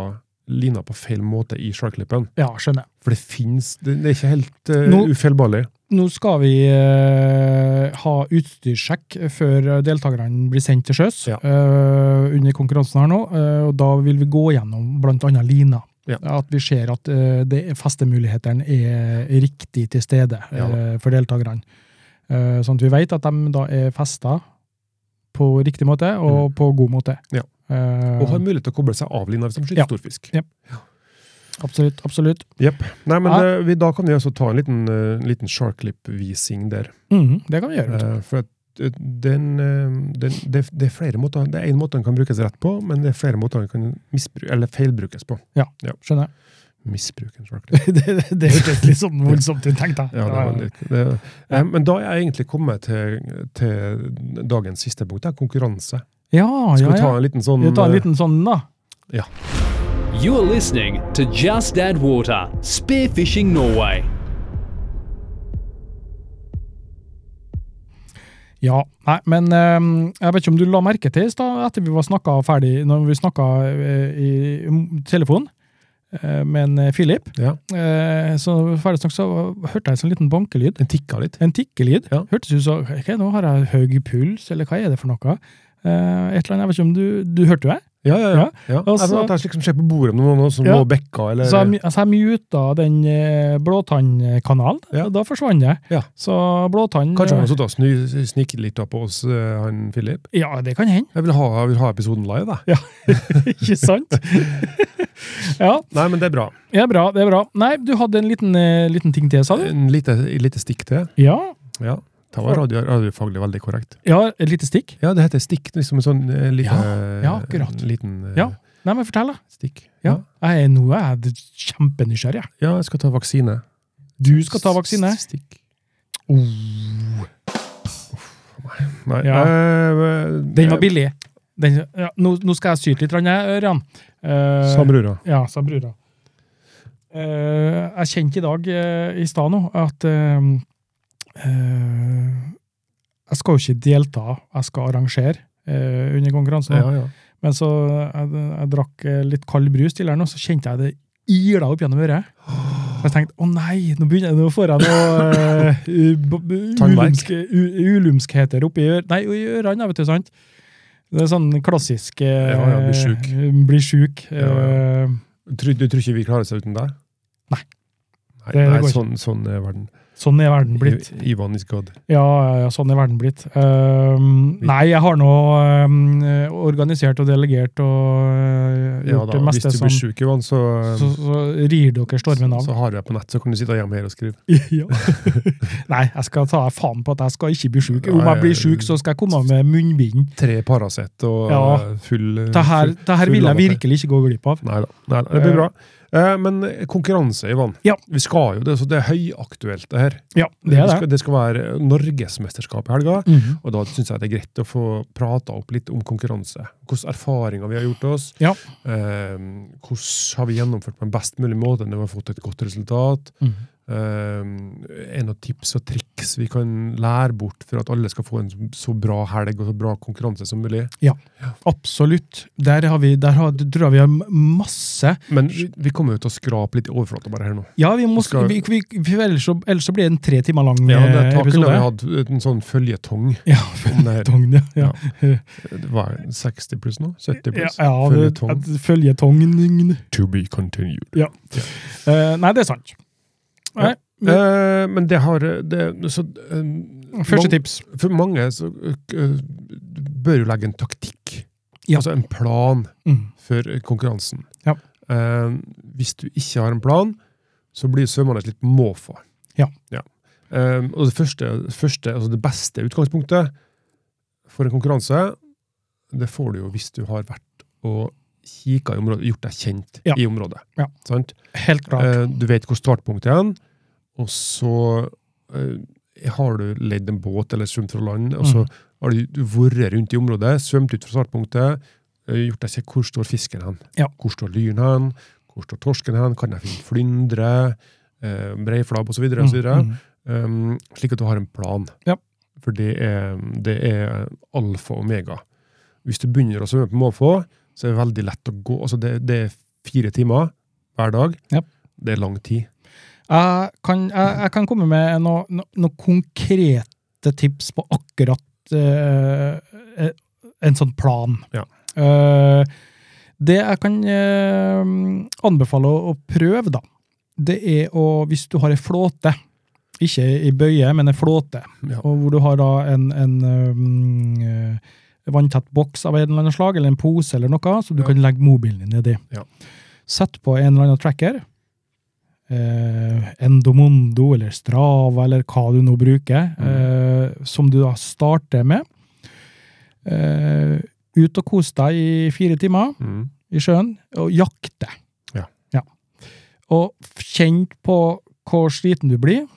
[SPEAKER 3] lina på feil måte i sharklippen.
[SPEAKER 2] ja, skjønner.
[SPEAKER 3] For det fins Det, det er ikke helt uh,
[SPEAKER 2] Nå-
[SPEAKER 3] ufeilbarlig.
[SPEAKER 2] Nå skal vi eh, ha utstyrssjekk før deltakerne blir sendt til sjøs
[SPEAKER 3] Ja.
[SPEAKER 2] eh, under konkurransen her nå. eh, og da vil vi gå gjennom bl.a. lina.
[SPEAKER 3] Ja.
[SPEAKER 2] At vi ser at eh, det- festemulighetene er riktig til stede
[SPEAKER 3] Ja da.
[SPEAKER 2] eh, for deltakerne. Eh, sånn at vi vet at de da er festa på riktig måte og på god måte.
[SPEAKER 3] Mm. Ja.
[SPEAKER 2] Eh,
[SPEAKER 3] Og har mulighet til å koble seg av lina hvis de skyter
[SPEAKER 2] Ja.
[SPEAKER 3] storfisk.
[SPEAKER 2] Ja. absolutt, absolutt.
[SPEAKER 3] Nei, men
[SPEAKER 2] Ja.
[SPEAKER 3] eh, vi, da kan vi også ta en liten, eh, liten sharklip-vising der.
[SPEAKER 2] Mhm, det kan vi gjøre.
[SPEAKER 3] Eh, For at eh, den, eh, den, det, det er flere måter, det er en måte den kan brukes rett på, men det er flere måter den kan misbru- eller feilbrukes på.
[SPEAKER 2] Skjønner jeg.
[SPEAKER 3] Misbruk, en shark clip.
[SPEAKER 2] det det, det hørtes litt sånn voldsomt ut, tenkte jeg.
[SPEAKER 3] Ja, det var litt, det, eh, men da er jeg egentlig kommet til, til dagens siste punkt, det er konkurranse.
[SPEAKER 2] Ja, ja,
[SPEAKER 3] Skal vi
[SPEAKER 2] Ah, ja.
[SPEAKER 3] ta en liten sånn
[SPEAKER 2] Vi tar en
[SPEAKER 3] eh,
[SPEAKER 2] liten sånn, da.
[SPEAKER 1] You're listening to Just Add Water Spearfishing Norway.
[SPEAKER 2] Ja, nei, men ehm, jeg vet ikke om du la merke til i stad, etter vi var snakka ferdig, når vi snakka i m- telefon eh, med en eh, Philip,
[SPEAKER 3] Ja,
[SPEAKER 2] eh, så ferdig snakk, så hørte jeg en sånn liten bankelyd.
[SPEAKER 3] den tikka litt.
[SPEAKER 2] En tikkelyd.
[SPEAKER 3] Ja.
[SPEAKER 2] Hørtes ut som ok, Nå har jeg høy puls, eller hva er det for noe? Eh, et eller annet, jeg vet ikke om du, du hørte jo jeg?
[SPEAKER 3] Ja, ja, ja. ja.
[SPEAKER 2] og
[SPEAKER 3] Jeg
[SPEAKER 2] så-
[SPEAKER 3] vet at det er slik som skjer på bordet med noen som
[SPEAKER 2] Altså- Ja.
[SPEAKER 3] må bekka, eller
[SPEAKER 2] Så jeg, mu- altså jeg muta den eh, blåtannkanalen,
[SPEAKER 3] Ja.
[SPEAKER 2] og da forsvant jeg.
[SPEAKER 3] Ja.
[SPEAKER 2] Så blåtann eh,
[SPEAKER 3] Kanskje han har sittet og sny- sniket litt da på oss, eh, han Philip.
[SPEAKER 2] Ja, det kan hende.
[SPEAKER 3] Jeg vil ha, jeg vil ha episoden live, jeg.
[SPEAKER 2] Ikke sant? ja,
[SPEAKER 3] Nei, men det er bra.
[SPEAKER 2] det er bra. det er bra. Nei, du hadde en liten, eh, liten ting til, sa du?
[SPEAKER 3] En lite, lite stikk til.
[SPEAKER 2] Ja,
[SPEAKER 3] Ja, det var radio, radiofaglig veldig korrekt.
[SPEAKER 2] ja et lite stikk.
[SPEAKER 3] Ja, det heter stikk, liksom en sånn eh, lite,
[SPEAKER 2] ja, akkurat.
[SPEAKER 3] en liten eh,
[SPEAKER 2] Ja. Nei, men fortell, da.
[SPEAKER 3] stikk.
[SPEAKER 2] Ja. Jeg er, nå er jeg kjempenysgjerrig. jeg.
[SPEAKER 3] ja, jeg skal ta vaksine.
[SPEAKER 2] Du skal ta vaksine.
[SPEAKER 3] S- Stikk.
[SPEAKER 2] Oh,
[SPEAKER 3] Nei,
[SPEAKER 2] Ja.
[SPEAKER 3] eh,
[SPEAKER 2] den var
[SPEAKER 3] eh,
[SPEAKER 2] billig. Den, ja, nå, nå skal jeg syte litt, grann, jeg, Ørjan. Eh,
[SPEAKER 3] Sa brura.
[SPEAKER 2] Ja, sa brura. Eh, jeg kjente i dag, eh, i stad nå, at eh, Eh, jeg skal jo ikke delta, jeg skal arrangere eh, under konkurransen.
[SPEAKER 3] Ja, ja.
[SPEAKER 2] Men så eh, jeg, jeg drakk eh, litt kald brus til her nå, så kjente jeg det ila opp gjennom øret. Så jeg tenkte å nei, nå, begynner, jeg- nå får jeg noe eh, u- b- b-
[SPEAKER 3] Tannverk.
[SPEAKER 2] ulumske, u, ulumskheter oppi ør- nei, i ørene, vet du, sant? Det er sånn klassisk eh,
[SPEAKER 3] Ja, ja, bli sjuk.
[SPEAKER 2] eh, Bli sjuk. eh,
[SPEAKER 3] Ja, ja. Tror, du tror ikke vi klarer seg uten deg?
[SPEAKER 2] Nei.
[SPEAKER 3] Nei,
[SPEAKER 2] Det- det
[SPEAKER 3] nei
[SPEAKER 2] går ikke.
[SPEAKER 3] sånn, sånn er verden.
[SPEAKER 2] Eh, Sånn er verden blitt.
[SPEAKER 3] I- Ivan is god.
[SPEAKER 2] Ja, ja, ja, sånn er verden blitt. Ehm, nei, jeg har nå ehm, organisert og delegert og eh,
[SPEAKER 3] Ja
[SPEAKER 2] gjort
[SPEAKER 3] da,
[SPEAKER 2] det
[SPEAKER 3] hvis
[SPEAKER 2] meste
[SPEAKER 3] du
[SPEAKER 2] som
[SPEAKER 3] blir sjuk, Ivan, så,
[SPEAKER 2] så, så rir dere stormen av.
[SPEAKER 3] så har du deg på nett, så kan du sitte hjemme her og skrive.
[SPEAKER 2] Ja. Nei, jeg skal ta faen på at jeg skal ikke bli sjuk. Om jeg blir sjuk, så skal jeg komme med munnbind.
[SPEAKER 3] Tre Paracet og
[SPEAKER 2] Ja.
[SPEAKER 3] eh, full
[SPEAKER 2] Det her, det her
[SPEAKER 3] full
[SPEAKER 2] vil jeg
[SPEAKER 3] avatar.
[SPEAKER 2] virkelig ikke gå glipp av.
[SPEAKER 3] Nei da. Nei, da, det blir bra. Eh, Men konkurranse, Ivan.
[SPEAKER 2] Ja.
[SPEAKER 3] Vi skal jo det, så det er høyaktuelt, det her.
[SPEAKER 2] Ja, det er
[SPEAKER 3] skal,
[SPEAKER 2] det.
[SPEAKER 3] det skal være norgesmesterskap i helga.
[SPEAKER 2] Mhm.
[SPEAKER 3] Og da syns jeg det er greit å få prata opp litt om konkurranse. Hvilke erfaringer vi har gjort oss.
[SPEAKER 2] Ja.
[SPEAKER 3] Eh, hvordan har vi gjennomført på en best mulig måte når vi har fått et godt resultat?
[SPEAKER 2] Mhm.
[SPEAKER 3] Eh, er det noen tips og triks vi kan lære bort for at alle skal få en så bra helg og så bra konkurranse som mulig?
[SPEAKER 2] Absolutt. Der, har vi, der har, tror jeg vi har masse
[SPEAKER 3] Men vi, vi kommer jo til å skrape litt i overflata bare her nå.
[SPEAKER 2] Ja, vi må,
[SPEAKER 3] Skal-
[SPEAKER 2] vi, vi, vi, ellers, så, ellers så blir det en tre timer lang
[SPEAKER 3] Ja, det
[SPEAKER 2] eh,
[SPEAKER 3] er taket
[SPEAKER 2] episode.
[SPEAKER 3] har vi hatt en sånn føljetong.
[SPEAKER 2] Ja,
[SPEAKER 3] om det her.
[SPEAKER 2] føljetong, ja. ja.
[SPEAKER 3] Hva er det, 60 pluss nå? 70
[SPEAKER 2] ja,
[SPEAKER 3] pluss?
[SPEAKER 2] ja det-
[SPEAKER 3] føljetong.
[SPEAKER 2] at- Føljetong.
[SPEAKER 3] To be continued.
[SPEAKER 2] Eh, nei, det er sant. Nei,
[SPEAKER 3] Eh, men det har det, så, eh,
[SPEAKER 2] Første
[SPEAKER 3] mang-
[SPEAKER 2] tips.
[SPEAKER 3] For mange så, eh, bør jo legge en taktikk,
[SPEAKER 2] Ja.
[SPEAKER 3] altså en plan,
[SPEAKER 2] Mm.
[SPEAKER 3] for konkurransen.
[SPEAKER 2] Ja.
[SPEAKER 3] Eh, hvis du ikke har en plan, så blir svømmerne litt måfå.
[SPEAKER 2] Ja.
[SPEAKER 3] Eh, og det, første, første, altså det beste utgangspunktet for en konkurranse, det får du jo hvis du har vært og kikka i området, gjort deg kjent
[SPEAKER 2] Ja.
[SPEAKER 3] i området.
[SPEAKER 2] Ja.
[SPEAKER 3] Sant?
[SPEAKER 2] Helt klart. Mm,
[SPEAKER 3] Eh, Du vet hvor startpunktet er, hen, og så eh, har du leid en båt eller svømt fra land, og så
[SPEAKER 2] Mm.
[SPEAKER 3] har du vært rundt i området, svømt ut fra startpunktet, eh, gjort deg se hvor står fisken hen,
[SPEAKER 2] Ja.
[SPEAKER 3] hvor står lyren hen, hvor står torsken hen, kan jeg finne flyndre, eh, breiflabb osv.
[SPEAKER 2] Mm,
[SPEAKER 3] videre
[SPEAKER 2] mm.
[SPEAKER 3] Um, slik at du har en plan.
[SPEAKER 2] Ja.
[SPEAKER 3] For det er, det er alfa og omega. Hvis du begynner å svømme på måfå, så er det veldig lett å gå. Altså det, det er fire timer hver dag.
[SPEAKER 2] Ja.
[SPEAKER 3] Det er lang tid.
[SPEAKER 2] Jeg, kan, jeg, jeg kan komme med noen no, noe konkrete tips på akkurat eh, eh, en sånn plan.
[SPEAKER 3] Ja.
[SPEAKER 2] Eh, det jeg kan eh, anbefale å, å prøve, da, det er å Hvis du har ei flåte, ikke i bøye, men ei flåte,
[SPEAKER 3] Ja.
[SPEAKER 2] og hvor du har da en, en um, eh, vanntett boks av en eller annen slag, eller en pose eller noe, så du
[SPEAKER 3] Ja.
[SPEAKER 2] kan legge mobilen din nedi.
[SPEAKER 3] Ja.
[SPEAKER 2] Sett på en eller annen tracker, eh, Endomondo eller Strava eller hva du nå bruker,
[SPEAKER 3] Mm.
[SPEAKER 2] eh, som du da starter med. Eh, ut og kos deg i fire timer
[SPEAKER 3] Mm,
[SPEAKER 2] i sjøen, og jakte.
[SPEAKER 3] Ja.
[SPEAKER 2] Og f- kjenn på hvor sliten du blir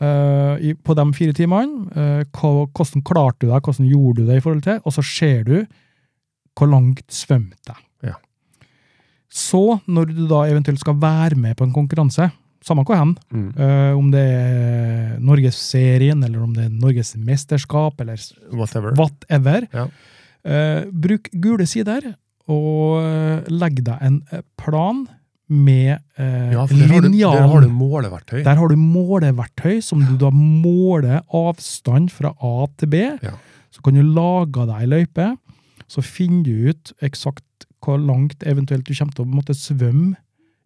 [SPEAKER 2] eh, i, på de fire timene. eh, hva, hvordan klarte du deg, hvordan gjorde du det i forhold til, og så ser du hvor langt svømte jeg.
[SPEAKER 3] Ja.
[SPEAKER 2] Så, når du da eventuelt skal være med på en konkurranse, samme hvor hen,
[SPEAKER 3] Mm.
[SPEAKER 2] eh, om det er Norgesserien, eller om det er Norges mesterskap, eller s-
[SPEAKER 3] Whatever.
[SPEAKER 2] whatever.
[SPEAKER 3] Ja.
[SPEAKER 2] Eh, bruk gule sider, og eh, legg deg en eh, plan med eh,
[SPEAKER 3] Ja, for der har, du,
[SPEAKER 2] linjal.
[SPEAKER 3] der har du måleverktøy.
[SPEAKER 2] Der har du måleverktøy som du da måler avstand fra A til B.
[SPEAKER 3] Ja.
[SPEAKER 2] Så kan du lage deg ei løype, så finner du ut eksakt hvor langt eventuelt du kommer til å måtte svømme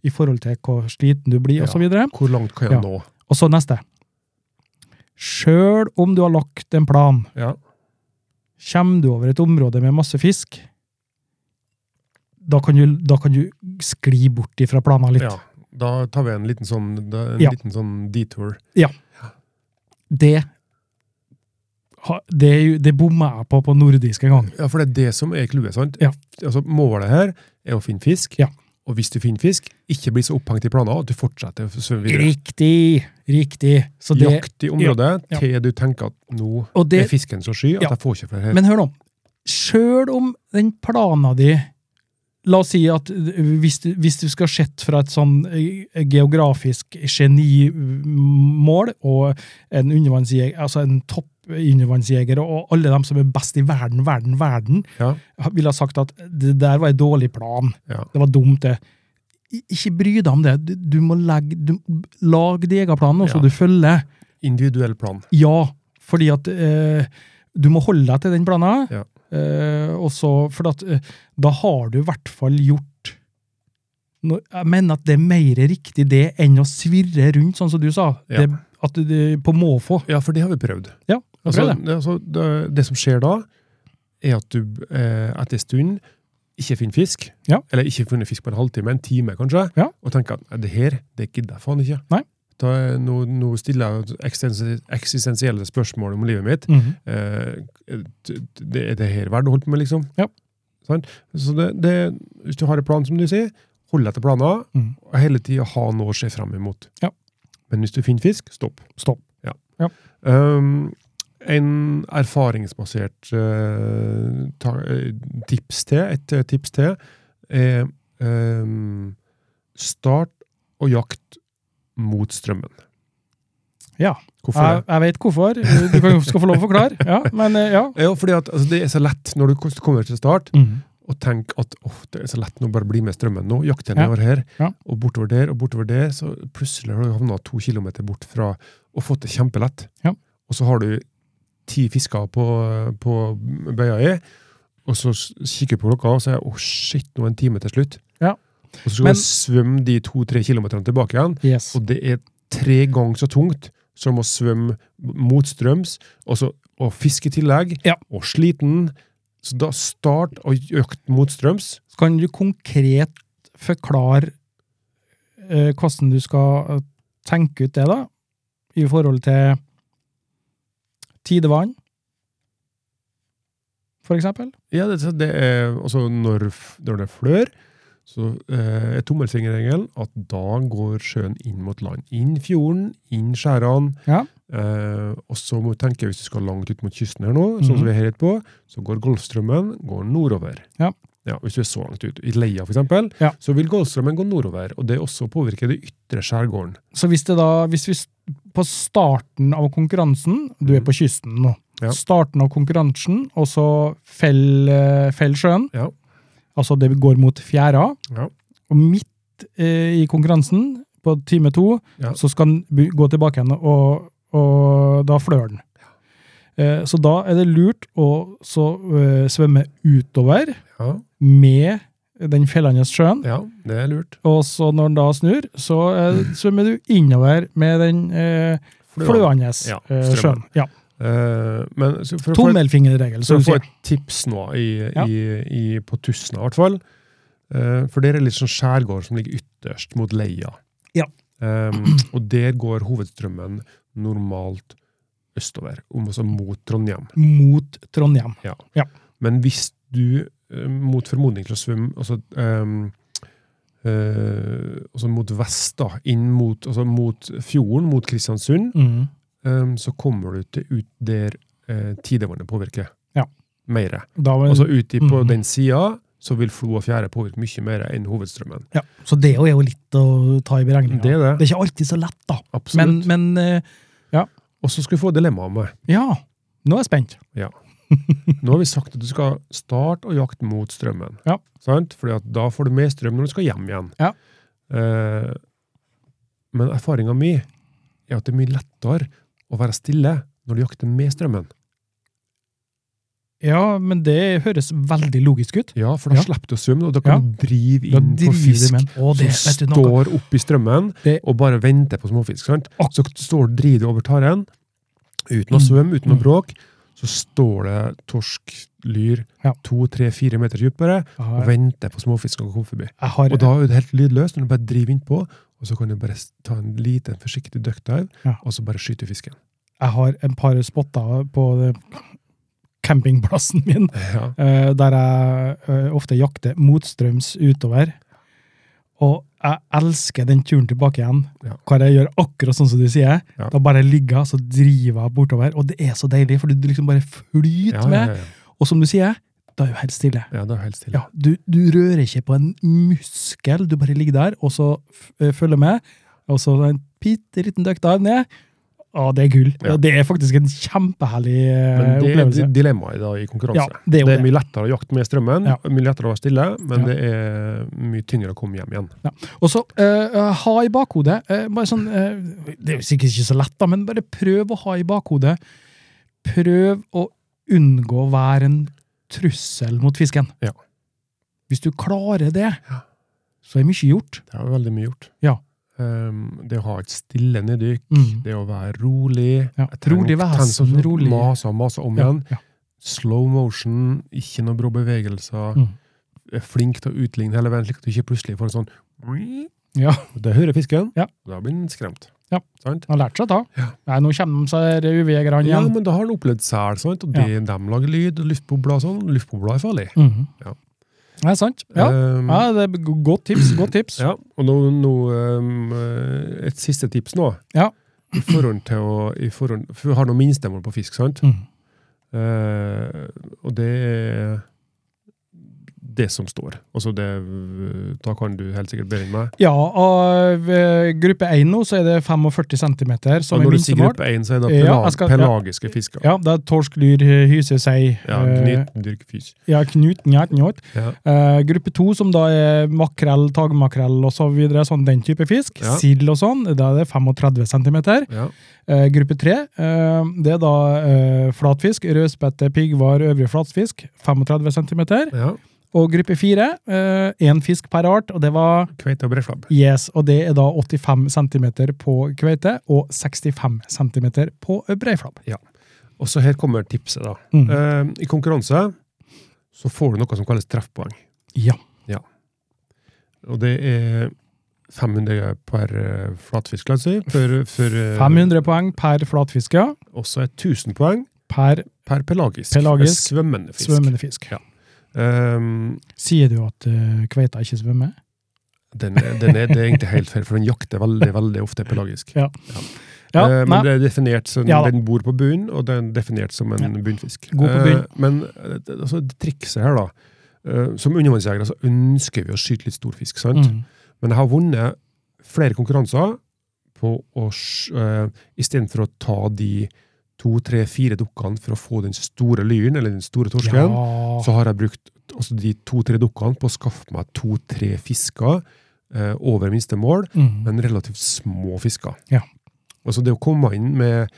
[SPEAKER 2] i forhold til hvor sliten du blir,
[SPEAKER 3] Ja.
[SPEAKER 2] og så videre.
[SPEAKER 3] Hvor langt kan jeg
[SPEAKER 2] Ja.
[SPEAKER 3] nå?
[SPEAKER 2] Og så neste. Sjøl om du har lagt en plan,
[SPEAKER 3] Ja.
[SPEAKER 2] Kommer du over et område med masse fisk, da kan du, da kan du skli bort ifra planene litt.
[SPEAKER 3] ja. Da tar vi en liten sånn, da- en
[SPEAKER 2] Ja.
[SPEAKER 3] liten sånn detour.
[SPEAKER 2] Det, ha- det, er jo- det bomma jeg på på nordisk en gang.
[SPEAKER 3] Ja, for det er det som er clouet, sant?
[SPEAKER 2] Ja.
[SPEAKER 3] Altså, målet her er å finne fisk.
[SPEAKER 2] Ja.
[SPEAKER 3] Og hvis du finner fisk, ikke bli så opphengt i planer at du fortsetter å svømme videre.
[SPEAKER 2] Riktig! Riktig. Så det,
[SPEAKER 3] Jakt i området
[SPEAKER 2] ja.
[SPEAKER 3] til du tenker at nå
[SPEAKER 2] og
[SPEAKER 3] er
[SPEAKER 2] det,
[SPEAKER 3] fisken så sky at
[SPEAKER 2] Ja.
[SPEAKER 3] jeg får ikke flere her.
[SPEAKER 2] men hør nå. Sjøl om den plana di La oss si at hvis du, hvis du skal sett fra et sånn eh, geografisk genimål og en undervannsjeger, altså en topp undervannsjeger, og alle dem som er best i verden, verden, verden,
[SPEAKER 3] Ja.
[SPEAKER 2] ville ha sagt at det der var en dårlig plan.
[SPEAKER 3] Ja.
[SPEAKER 2] Det var dumt, det. I- Ikke bry deg om det. Du, du må legge, du, lag din egen plan, og så
[SPEAKER 3] Ja.
[SPEAKER 2] du følger.
[SPEAKER 3] Individuell plan.
[SPEAKER 2] Ja, fordi at eh, du må holde deg til den planen.
[SPEAKER 3] Ja.
[SPEAKER 2] Eh, og så, for at, eh, da har du i hvert fall gjort no, Jeg mener at det er mer riktig det enn å svirre rundt, sånn som du sa.
[SPEAKER 3] Ja.
[SPEAKER 2] Det, at du, det, på måfå.
[SPEAKER 3] Ja, for det har vi prøvd.
[SPEAKER 2] Ja, prøv
[SPEAKER 3] Altså,
[SPEAKER 2] det.
[SPEAKER 3] det, altså, det, det som skjer da, er at du eh, etter en stund ikke finner fisk,
[SPEAKER 2] Ja.
[SPEAKER 3] eller ikke funnet fisk på en halvtime, en time kanskje,
[SPEAKER 2] Ja.
[SPEAKER 3] og tenker at "Nei, det her, det gidder jeg faen ikke.
[SPEAKER 2] Nei.
[SPEAKER 3] Da, eh, nå, nå stiller jeg ekstensi- eksistensielle spørsmål om livet mitt.
[SPEAKER 2] Mhm.
[SPEAKER 3] Eh, t- t- det, er det her verdt å holde på med, liksom?
[SPEAKER 2] Ja.
[SPEAKER 3] Sant? Så det, det, hvis du har en plan, som du sier, hold deg til planer,
[SPEAKER 2] Mhm.
[SPEAKER 3] og hele tiden ha noe å se frem imot.
[SPEAKER 2] Ja.
[SPEAKER 3] Men hvis du finner fisk, stopp.
[SPEAKER 2] Stopp.
[SPEAKER 3] Um, en erfaringsbasert eh, ta, eh, tips til, et eh, tips til, er ehm, start å jakte mot strømmen.
[SPEAKER 2] Ja.
[SPEAKER 3] Hvorfor
[SPEAKER 2] Jeg,
[SPEAKER 3] det?
[SPEAKER 2] jeg vet hvorfor. Du kan, skal få lov å forklare. Ja, men eh, ja.
[SPEAKER 3] Ja, fordi at, altså, det er så lett når du kost- kommer til start, og tenk at åh, det er så lett nå bare bli med strømmen nå, jakte
[SPEAKER 2] Ja.
[SPEAKER 3] nedover her,
[SPEAKER 2] Ja.
[SPEAKER 3] og bortover der, og bortover der, så plutselig har du havna to kilometer bort fra og fått det kjempelett.
[SPEAKER 2] Ja.
[SPEAKER 3] Og så har du ti fisker på, på bøya i, og så s- kikker du på klokka, og så er det åh shit, nå er det en time til slutt.
[SPEAKER 2] Ja.
[SPEAKER 3] Og så skal
[SPEAKER 2] Men-
[SPEAKER 3] du svømme de to-tre kilometerne tilbake igjen,
[SPEAKER 2] Yes.
[SPEAKER 3] og det er tre ganger så tungt som å svømme motstrøms, og, så, og fiske i tillegg,
[SPEAKER 2] Ja.
[SPEAKER 3] og sliten. Så da start å jakte motstrøms.
[SPEAKER 2] Så Kan du konkret forklare eh, hvordan du skal eh, tenke ut det, da? I forhold til tidevann, for eksempel?
[SPEAKER 3] Ja, det, det er altså når, f- når det er flør, så eh, er tommelfingerregelen at da går sjøen inn mot land. Inn fjorden, inn skjærene.
[SPEAKER 2] Ja.
[SPEAKER 3] Eh, og så må du tenke, hvis du skal langt ut mot kysten her nå, sånn som
[SPEAKER 2] Mhm.
[SPEAKER 3] vi er her rett på, så går Golfstrømmen går nordover.
[SPEAKER 2] Ja.
[SPEAKER 3] hvis du er så langt ut. I Leia, for eksempel,
[SPEAKER 2] Ja.
[SPEAKER 3] så vil Golfstrømmen gå nordover, og det også påvirker det ytre skjærgården.
[SPEAKER 2] Så hvis det da, hvis vi s- på starten av konkurransen, du er på kysten nå,
[SPEAKER 3] Ja.
[SPEAKER 2] starten av konkurransen, og så feller fell sjøen,
[SPEAKER 3] Ja.
[SPEAKER 2] altså det går mot fjæra,
[SPEAKER 3] Ja.
[SPEAKER 2] og midt eh, i konkurransen, på time to,
[SPEAKER 3] Ja.
[SPEAKER 2] så skal den bu- gå tilbake igjen, og, og da flør den. Eh, så da er det lurt å så, eh, svømme utover
[SPEAKER 3] Ja,
[SPEAKER 2] med den fellende sjøen,
[SPEAKER 3] ja det er lurt.
[SPEAKER 2] og så når den da snur, så eh,
[SPEAKER 3] Mm.
[SPEAKER 2] svømmer du innover med den eh, fløende
[SPEAKER 3] Ja,
[SPEAKER 2] eh,
[SPEAKER 3] strømmen.
[SPEAKER 2] sjøen. Ja.
[SPEAKER 3] Eh, men så for å få et-
[SPEAKER 2] Tommelfingerregel,
[SPEAKER 3] Så
[SPEAKER 2] som
[SPEAKER 3] du
[SPEAKER 2] du sier.
[SPEAKER 3] får et tips nå, i,
[SPEAKER 2] Ja.
[SPEAKER 3] i, i, på Tusna i hvert fall. Eh, for der er litt sånn skjærgård som ligger ytterst mot Leia.
[SPEAKER 2] Ja.
[SPEAKER 3] Em, og der går hovedstrømmen normalt østover, om også mot Trondheim.
[SPEAKER 2] Mot Trondheim.
[SPEAKER 3] Men hvis du eh, mot formodning til å svømme altså, em, eh, altså mot vest, da, inn mot, altså mot fjorden, mot Kristiansund,
[SPEAKER 2] Mm.
[SPEAKER 3] em, så kommer du til ut der eh, tidevannet påvirker.
[SPEAKER 2] Ja.
[SPEAKER 3] Mere.
[SPEAKER 2] Da, var-
[SPEAKER 3] Altså ute på
[SPEAKER 2] Mhm.
[SPEAKER 3] den sida så vil flo og fjære påvirke mye mer enn hovedstrømmen.
[SPEAKER 2] ja. Så det er jo litt å ta i beregninga.
[SPEAKER 3] Det er det.
[SPEAKER 2] er ikke alltid så lett, da. Men,
[SPEAKER 3] Absolutt.
[SPEAKER 2] men eh,
[SPEAKER 3] Og så skal vi få dilemmaet med.
[SPEAKER 2] ja. Nå er jeg spent.
[SPEAKER 3] Nå har vi sagt at du skal starte å jakte mot strømmen.
[SPEAKER 2] Ja.
[SPEAKER 3] Sant? Fordi at da får du mer strøm når du skal hjem igjen.
[SPEAKER 2] Ja.
[SPEAKER 3] Eh, men erfaringa mi er at det er mye lettere å være stille når du jakter med strømmen.
[SPEAKER 2] Ja, men det høres veldig logisk ut.
[SPEAKER 3] Ja, for da
[SPEAKER 2] Ja.
[SPEAKER 3] slipper du å svømme, og da kan
[SPEAKER 2] Ja.
[SPEAKER 3] du drive
[SPEAKER 2] Da
[SPEAKER 3] inn på
[SPEAKER 2] driver
[SPEAKER 3] fisk
[SPEAKER 2] vi med en- Å, det, vet du
[SPEAKER 3] som
[SPEAKER 2] noe?
[SPEAKER 3] står oppi strømmen
[SPEAKER 2] Det-
[SPEAKER 3] og bare venter på småfisk. Sant?
[SPEAKER 2] Ak-
[SPEAKER 3] Så står det driver det over taren, uten å
[SPEAKER 2] Mm.
[SPEAKER 3] svømme, uten å bråke. Så står det torsk, lyr,
[SPEAKER 2] Ja.
[SPEAKER 3] to, tre, fire meter dypere og
[SPEAKER 2] Jeg
[SPEAKER 3] venter på småfisk som kommer forbi.
[SPEAKER 2] har,
[SPEAKER 3] Og da er det helt lydløst når du bare driver innpå, og så kan du bare s- ta en liten, forsiktig duckdive,
[SPEAKER 2] Ja.
[SPEAKER 3] og så bare skyte fisken.
[SPEAKER 2] jeg har en par spotter på det- campingplassen min.
[SPEAKER 3] Ja.
[SPEAKER 2] eh, der jeg eh, ofte jakter motstrøms utover. Og jeg elsker den turen tilbake igjen,
[SPEAKER 3] Ja.
[SPEAKER 2] hvor jeg gjør akkurat sånn som du sier.
[SPEAKER 3] Ja.
[SPEAKER 2] Da bare ligger jeg, så driver jeg bortover, og det er så deilig, fordi du liksom bare flyter
[SPEAKER 3] Ja, ja,
[SPEAKER 2] med.
[SPEAKER 3] ja.
[SPEAKER 2] Og som du sier, Da er du helt stille.
[SPEAKER 3] Ja, da er det helt stille.
[SPEAKER 2] Ja, du, du rører ikke på en muskel, du bare ligger der, og så f- eh, følger med, og så en bitte liten døkk der ned. Å, det er gull.
[SPEAKER 3] Ja.
[SPEAKER 2] Ja. Det er faktisk en kjempeherlig eh,
[SPEAKER 3] Men det er
[SPEAKER 2] opplevelse.
[SPEAKER 3] di- dilemmaet da i konkurranse.
[SPEAKER 2] Ja, det er jo
[SPEAKER 3] det er
[SPEAKER 2] det.
[SPEAKER 3] mye lettere å jakte med strømmen,
[SPEAKER 2] Ja.
[SPEAKER 3] mye lettere å være stille, men
[SPEAKER 2] Ja.
[SPEAKER 3] det er mye tyngre å komme hjem igjen.
[SPEAKER 2] Og så eh, ha i bakhodet eh, bare sånn, eh, Det er jo sikkert ikke så lett, da, men bare prøv å ha i bakhodet Prøv å unngå å være en trussel mot fisken.
[SPEAKER 3] Ja.
[SPEAKER 2] Hvis du klarer det,
[SPEAKER 3] Ja.
[SPEAKER 2] så er mye gjort.
[SPEAKER 3] Det er jo veldig mye gjort.
[SPEAKER 2] Ja.
[SPEAKER 3] Ehm, det å ha et stille neddyk,
[SPEAKER 2] Mm.
[SPEAKER 3] det å være rolig,
[SPEAKER 2] Ja.
[SPEAKER 3] Jeg trenger
[SPEAKER 2] Rolig
[SPEAKER 3] nok
[SPEAKER 2] vesen,
[SPEAKER 3] tenke sånn,
[SPEAKER 2] rolig-
[SPEAKER 3] Mase og mase om
[SPEAKER 2] Ja,
[SPEAKER 3] igjen.
[SPEAKER 2] ja.
[SPEAKER 3] Slow motion, ikke noen brå bevegelser.
[SPEAKER 2] Mm.
[SPEAKER 3] Er flink til å utligne hele veien, slik at du ikke plutselig får en sånn
[SPEAKER 2] Ja.
[SPEAKER 3] Det hører fisken.
[SPEAKER 2] Mm. Ja.
[SPEAKER 3] Da blir den skremt.
[SPEAKER 2] Ja.
[SPEAKER 3] Sant?
[SPEAKER 2] Han har lært seg da.
[SPEAKER 3] Ja.
[SPEAKER 2] Nei, nå kommer seg UV-greiene
[SPEAKER 3] Ja,
[SPEAKER 2] igjen.
[SPEAKER 3] men da har den opplevd sel, sant? og
[SPEAKER 2] Ja.
[SPEAKER 3] de, dem lager lyd, og luftbobler og sånn. Luftbobler er farlig.
[SPEAKER 2] Mhm.
[SPEAKER 3] Ja.
[SPEAKER 2] Det er sant. Ja.
[SPEAKER 3] Ehm,
[SPEAKER 2] ja, det er go- Godt tips. godt tips.
[SPEAKER 3] ja. Og nå, nå ehm, eh, et siste tips nå.
[SPEAKER 2] Ja.
[SPEAKER 3] I forhold til å i forhold, For vi har noe minstemål på fisk, sant?
[SPEAKER 2] Mhm.
[SPEAKER 3] Eh, og det er det som står. Altså det, da kan du helt sikkert bedre enn meg.
[SPEAKER 2] Ja, og eh, gruppe 1 nå så er det 45 cm som
[SPEAKER 3] Og
[SPEAKER 2] er
[SPEAKER 3] når du sier
[SPEAKER 2] minstemål.
[SPEAKER 3] gruppe 1, så er det
[SPEAKER 2] Ja,
[SPEAKER 3] pelag,
[SPEAKER 2] jeg skal- ja.
[SPEAKER 3] pelagiske fisker.
[SPEAKER 2] Ja, det er torsk, lyr, hyse, sei.
[SPEAKER 3] Ja,
[SPEAKER 2] eh,
[SPEAKER 3] Gnyt, dyrk, fys.
[SPEAKER 2] ja, knut, njert, njort.
[SPEAKER 3] Ja.
[SPEAKER 2] Eh, gruppe 2, som da er makrell, tagmakrell og så videre, sånn den type fisk.
[SPEAKER 3] Ja.
[SPEAKER 2] Sild og sånn, da er det 35 cm.
[SPEAKER 3] Ja.
[SPEAKER 2] Eh, gruppe 3, eh, det er da eh, flatfisk, rødspette, piggvar, øvrig flatfisk, 35 cm.
[SPEAKER 3] ja.
[SPEAKER 2] Og gruppe fire, én fisk per art, og det var
[SPEAKER 3] Kveite og breflabb.
[SPEAKER 2] yes. Og det er da 85 cm på kveite og 65 cm på breiflabb.
[SPEAKER 3] Og så her kommer tipset, da.
[SPEAKER 2] Mm.
[SPEAKER 3] Eh, I konkurranse så får du noe som kalles treffpoeng.
[SPEAKER 2] Ja.
[SPEAKER 3] Og det er 500 per eh, flatfisk, la oss si. For, for, eh,
[SPEAKER 2] 500 poeng per flatfisk, ja.
[SPEAKER 3] Og så er 1000 poeng
[SPEAKER 2] Per
[SPEAKER 3] per pelagisk. eh,
[SPEAKER 2] Pelagisk,
[SPEAKER 3] Svømmende fisk.
[SPEAKER 2] svømmende fisk.
[SPEAKER 3] Ja. Ehm,
[SPEAKER 2] Sier du at eh, kveita ikke svømmer?
[SPEAKER 3] Den, er- den er, det er egentlig helt feil, for den jakter veldig veldig ofte pelagisk.
[SPEAKER 2] Ja. Ja,
[SPEAKER 3] Eh, men
[SPEAKER 2] nei.
[SPEAKER 3] det er definert som,
[SPEAKER 2] Ja da.
[SPEAKER 3] den bor på bunnen, og den er definert som en
[SPEAKER 2] Ja.
[SPEAKER 3] bunnfisk.
[SPEAKER 2] God på bunn.
[SPEAKER 3] Eh, men eh, det- altså, det trikset her, da eh, Som undervannsjegere så ønsker vi å skyte litt stor fisk, sant?
[SPEAKER 2] Mm.
[SPEAKER 3] Men jeg har vunnet flere konkurranser på å sj- eh, Istedenfor å ta de to, tre, fire dukkene for å få den store lyren, eller den store torsken
[SPEAKER 2] Ja.
[SPEAKER 3] så har jeg brukt altså, de to-tre dukkene på å skaffe meg to-tre fisker eh, over minste mål,
[SPEAKER 2] Mm.
[SPEAKER 3] men relativt små fisker.
[SPEAKER 2] Ja.
[SPEAKER 3] Altså det å komme inn med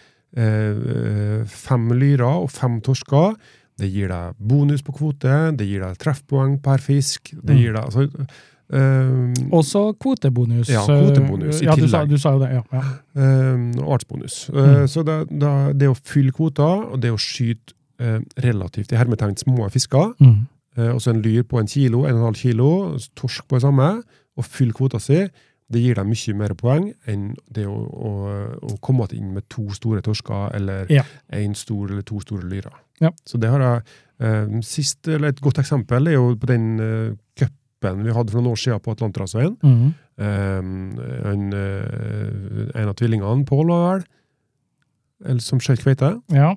[SPEAKER 3] eh, eh, fem lyrer og fem torsker, det gir deg bonus på kvote, det gir deg treffpoeng per fisk, det
[SPEAKER 2] Mm.
[SPEAKER 3] gir deg altså, eh,
[SPEAKER 2] Også kvotebonus. eh,
[SPEAKER 3] Ja, kvotebonus i
[SPEAKER 2] ja, du sa,
[SPEAKER 3] tillegg.
[SPEAKER 2] du sa jo det, ja. ja.
[SPEAKER 3] eh, og artsbonus. Eh,
[SPEAKER 2] Mm.
[SPEAKER 3] Så det, det, det å fylle kvoter, og det å skyte eh, relativt i hermetegn små fisker,
[SPEAKER 2] Mm.
[SPEAKER 3] eh, og så en lyr på en kilo, en og en halv kilo, torsk på det samme, og fyll kvota si, det gir deg mye mer poeng enn det å, å, å komme inn med to store torsker, eller
[SPEAKER 2] Ja.
[SPEAKER 3] én stor eller to store lyrer.
[SPEAKER 2] Ja.
[SPEAKER 3] Så det har jeg eh, sist, eller Et godt eksempel er jo på den eh, cupen vi hadde for noen år siden på Atlanterhavsveien.
[SPEAKER 2] Mm.
[SPEAKER 3] Eh, en, eh, en av tvillingene, Pål, var vel, eller som skjøt kveite.
[SPEAKER 2] ja.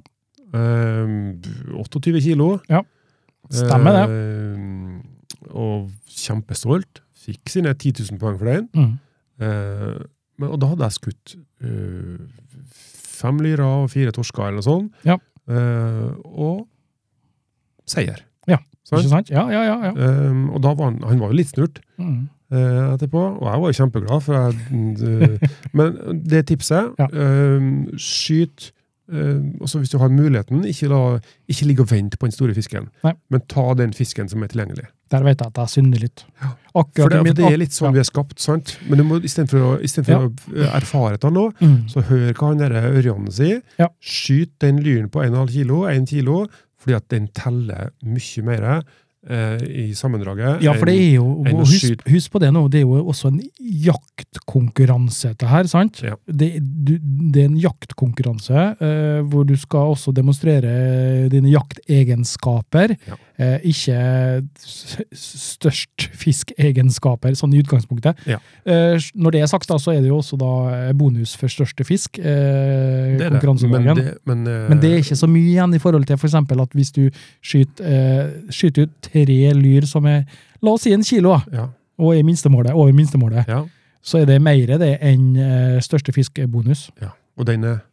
[SPEAKER 3] Eh, 28 kilo.
[SPEAKER 2] Stemmer det.
[SPEAKER 3] Eh, og kjempestolt. Fikk sine 10 000 poeng for den.
[SPEAKER 2] Mm.
[SPEAKER 3] Eh, men, og da hadde jeg skutt eh, fem lyrer og fire torsker eller noe sånt.
[SPEAKER 2] Ja.
[SPEAKER 3] Eh, og seier.
[SPEAKER 2] Ja,
[SPEAKER 3] Sant?
[SPEAKER 2] Ikke sant? Ja, ja, ja. ja.
[SPEAKER 3] Eh, og da var han, han var jo litt snurt
[SPEAKER 2] Mm.
[SPEAKER 3] eh, etterpå, og jeg var jo kjempeglad. For jeg, eh, men det tipset
[SPEAKER 2] Ja.
[SPEAKER 3] eh, Skyt eh, også hvis du har muligheten, ikke, la, ikke ligg og vent på den store fisken,
[SPEAKER 2] Nei.
[SPEAKER 3] men ta den fisken som er tilgjengelig.
[SPEAKER 2] Der vet jeg at jeg synder litt. Akkurat
[SPEAKER 3] For det,
[SPEAKER 2] i min-
[SPEAKER 3] for det er litt sånn
[SPEAKER 2] ja.
[SPEAKER 3] vi er skapt, sant? Men du må istedenfor å, i stedet for å erfare det nå,
[SPEAKER 2] Mm.
[SPEAKER 3] så hør hva han derre Ørjan sier.
[SPEAKER 2] Ja.
[SPEAKER 3] Skyt den lyren på 1,5 kilo, 1 kilo, fordi at den teller mye mer eh, i sammendraget.
[SPEAKER 2] Ja, for det er jo,
[SPEAKER 3] enn å
[SPEAKER 2] husk,
[SPEAKER 3] skyte.
[SPEAKER 2] husk på det nå, det er jo også en jaktkonkurranse dette her, sant?
[SPEAKER 3] Ja.
[SPEAKER 2] Det, du, det er en jaktkonkurranse eh, hvor du skal også demonstrere dine jaktegenskaper.
[SPEAKER 3] Ja.
[SPEAKER 2] eh, ikke s- størst fiskeegenskaper, sånn i utgangspunktet.
[SPEAKER 3] Ja.
[SPEAKER 2] Eh, når det er sagt, da, så er det jo også da eh, bonus for største fisk. Eh,
[SPEAKER 3] Det er det. Men
[SPEAKER 2] konkurransedagen.
[SPEAKER 3] det, men, eh,
[SPEAKER 2] Men det er ikke så mye igjen i forhold til for eksempel at hvis du skyter, eh, skyter ut tre lyr som er, la oss si en kilo, da,
[SPEAKER 3] ja,
[SPEAKER 2] og er minstemålet, over minstemålet,
[SPEAKER 3] ja.
[SPEAKER 2] så er det mer det enn eh, største fiskebonus.
[SPEAKER 3] ja. Og den er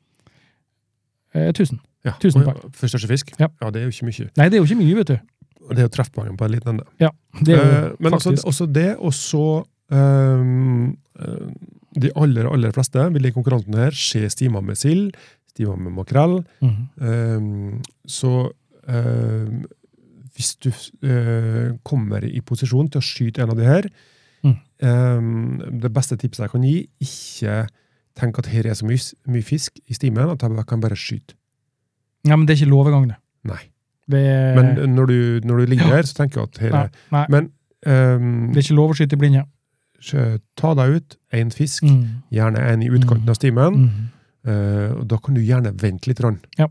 [SPEAKER 2] Eh, 1000.
[SPEAKER 3] ja.
[SPEAKER 2] Tusen
[SPEAKER 3] og- For største fisk?
[SPEAKER 2] Ja.
[SPEAKER 3] det er jo ikke mye.
[SPEAKER 2] Nei, det er jo ikke mye, vet du.
[SPEAKER 3] Og det er jo treffpoengen på en liten ende.
[SPEAKER 2] Ja, det er jo
[SPEAKER 3] Eh, men også,
[SPEAKER 2] faktisk.
[SPEAKER 3] også det, og så ehm, eh, De aller, aller fleste vil i konkurransen her skje stima med sild, stima med makrell.
[SPEAKER 2] Mhm.
[SPEAKER 3] Ehm, så ehm, hvis du eh, kommer i posisjon til å skyte en av de her
[SPEAKER 2] Mm.
[SPEAKER 3] ehm, Det beste tipset jeg kan gi, ikke tenk at her er så mye, s- mye fisk i stimen at jeg kan bare skyte.
[SPEAKER 2] Ja, men det er ikke lov engang, det.
[SPEAKER 3] Nei.
[SPEAKER 2] Det er,
[SPEAKER 3] Men når du, når du ligger der, så tenker jeg at her
[SPEAKER 2] nei,
[SPEAKER 3] er
[SPEAKER 2] nei,
[SPEAKER 3] Men ehm,
[SPEAKER 2] det er ikke lov å skyte i blinde.
[SPEAKER 3] sjø- ta deg ut, én fisk,
[SPEAKER 2] Mm.
[SPEAKER 3] gjerne en i utkanten av stimen.
[SPEAKER 2] Mm.
[SPEAKER 3] Eh, og da kan du gjerne vente litt. Rann.
[SPEAKER 2] Ja.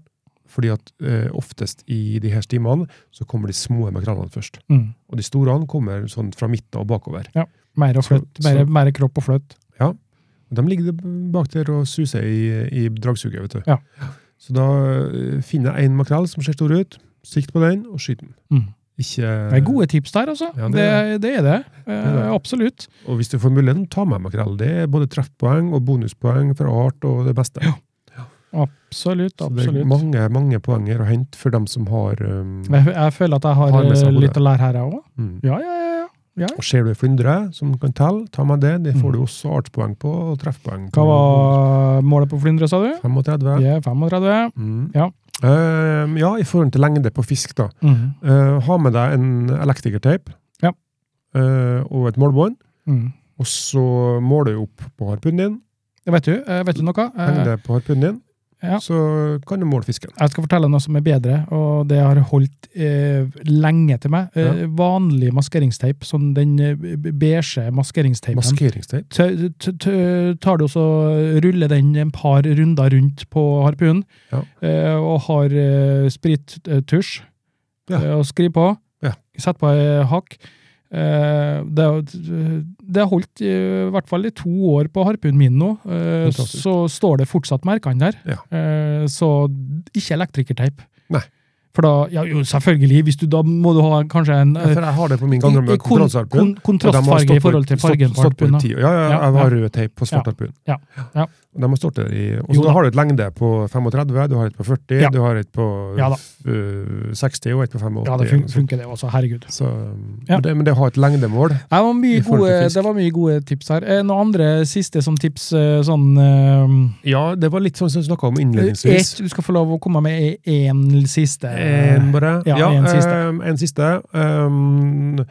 [SPEAKER 3] Fordi at eh, oftest i de her stimene så kommer de små makrellene først.
[SPEAKER 2] Mm.
[SPEAKER 3] Og de store kommer sånn fra midten og bakover.
[SPEAKER 2] Mer, å
[SPEAKER 3] Så-
[SPEAKER 2] flytte, mer,
[SPEAKER 3] så-
[SPEAKER 2] mer kropp og flytt.
[SPEAKER 3] Og de ligger bak der og suser i, i dragsuget, vet du.
[SPEAKER 2] Ja.
[SPEAKER 3] Så da eh, finner jeg en makrell som ser stor ut, sikt på den og skyter den.
[SPEAKER 2] Mm.
[SPEAKER 3] Ikke,
[SPEAKER 2] Det er gode tips der, altså.
[SPEAKER 3] Ja, det
[SPEAKER 2] det,
[SPEAKER 3] er
[SPEAKER 2] det, er det. Eh,
[SPEAKER 3] er det.
[SPEAKER 2] Absolutt.
[SPEAKER 3] Og hvis du får muligheten, ta med makrell. Det er både treffpoeng og bonuspoeng for art og det beste.
[SPEAKER 2] Absolutt,
[SPEAKER 3] Så det er
[SPEAKER 2] absolutt.
[SPEAKER 3] mange, mange poenger å hente for dem som har um,
[SPEAKER 2] Jeg, jeg føler at jeg har,
[SPEAKER 3] Har med seg
[SPEAKER 2] eh,
[SPEAKER 3] hodet.
[SPEAKER 2] litt å lære her, jeg òg.
[SPEAKER 3] mm.
[SPEAKER 2] Ja, ja, ja. ja.
[SPEAKER 3] Og ser du ei flyndre som kan telle, ta med det. Det får
[SPEAKER 2] Mm.
[SPEAKER 3] du også artspoeng på, og treffpoeng på.
[SPEAKER 2] Hva var målet på flyndre, sa du?
[SPEAKER 3] 35.
[SPEAKER 2] Det er 35.
[SPEAKER 3] Mm.
[SPEAKER 2] Ja.
[SPEAKER 3] Ehm, ja, i forhold til lengde på fisk, da.
[SPEAKER 2] Mm.
[SPEAKER 3] Eh, ha med deg en elektrikerteip
[SPEAKER 2] Ja.
[SPEAKER 3] Eh, og et målbånd.
[SPEAKER 2] Mm.
[SPEAKER 3] Og så måler du opp på harpunen din,
[SPEAKER 2] Vet du, eh, vet du noe? Eh,
[SPEAKER 3] lengde på harpunen din,
[SPEAKER 2] ja.
[SPEAKER 3] så kan du måle fisken.
[SPEAKER 2] Jeg skal fortelle noe som er bedre, og det har holdt eh, lenge til meg. Eh, Vanlig maskeringsteip, sånn den eh, beige maskeringsteipen.
[SPEAKER 3] Maskeringsteip.
[SPEAKER 2] Tø- tø- tø- tar du og så ruller den en par runder rundt på harpunen,
[SPEAKER 3] Ja.
[SPEAKER 2] eh, og har eh, sprittusj,
[SPEAKER 3] Ja.
[SPEAKER 2] eh, og skriv på,
[SPEAKER 3] Ja.
[SPEAKER 2] sett på eh, hakk. Eh, det, er jo- det har holdt eh, i hvert fall i to år på harpunen min nå, eh,
[SPEAKER 3] Fantastisk.
[SPEAKER 2] så står det fortsatt merkene der.
[SPEAKER 3] Ja.
[SPEAKER 2] Eh, så ikke elektrikerteip.
[SPEAKER 3] Nei.
[SPEAKER 2] For da, ja, jo, selvfølgelig, hvis du, da må du ha kanskje en
[SPEAKER 3] Ja, for jeg har det på
[SPEAKER 2] eh,
[SPEAKER 3] min gamle
[SPEAKER 2] kon-
[SPEAKER 3] konkurranseharpun.
[SPEAKER 2] kon- kontrastfarge i forhold til fargen på harpunen. da.
[SPEAKER 3] Ja, ja, ja,
[SPEAKER 2] Ja,
[SPEAKER 3] jeg har
[SPEAKER 2] ja.
[SPEAKER 3] rød teip på svart
[SPEAKER 2] Ja,
[SPEAKER 3] harpun.
[SPEAKER 2] ja, ja.
[SPEAKER 3] Og De har stått der i, og
[SPEAKER 2] Jo
[SPEAKER 3] så
[SPEAKER 2] da.
[SPEAKER 3] da har du et lengde på 35, du har et på 40,
[SPEAKER 2] Ja.
[SPEAKER 3] du har et på
[SPEAKER 2] Ja da.
[SPEAKER 3] øh, 60 og et på 85.
[SPEAKER 2] eh, Ja, det fun funker det også. Herregud.
[SPEAKER 3] Så,
[SPEAKER 2] Ja.
[SPEAKER 3] men, det, men det har et lengdemål.
[SPEAKER 2] Det var mye,
[SPEAKER 3] I forhold til
[SPEAKER 2] gode,
[SPEAKER 3] fisk.
[SPEAKER 2] det var mye gode tips her. Eh, Noen andre siste som tips eh, sånn eh,
[SPEAKER 3] Ja, det var litt sånn som vi snakka om
[SPEAKER 2] et,
[SPEAKER 3] innledningsvis.
[SPEAKER 2] Du skal få lov å komme med én siste. Eh,
[SPEAKER 3] En Eh, bare.
[SPEAKER 2] Ja, en siste.
[SPEAKER 3] ehm, en siste. Ehm,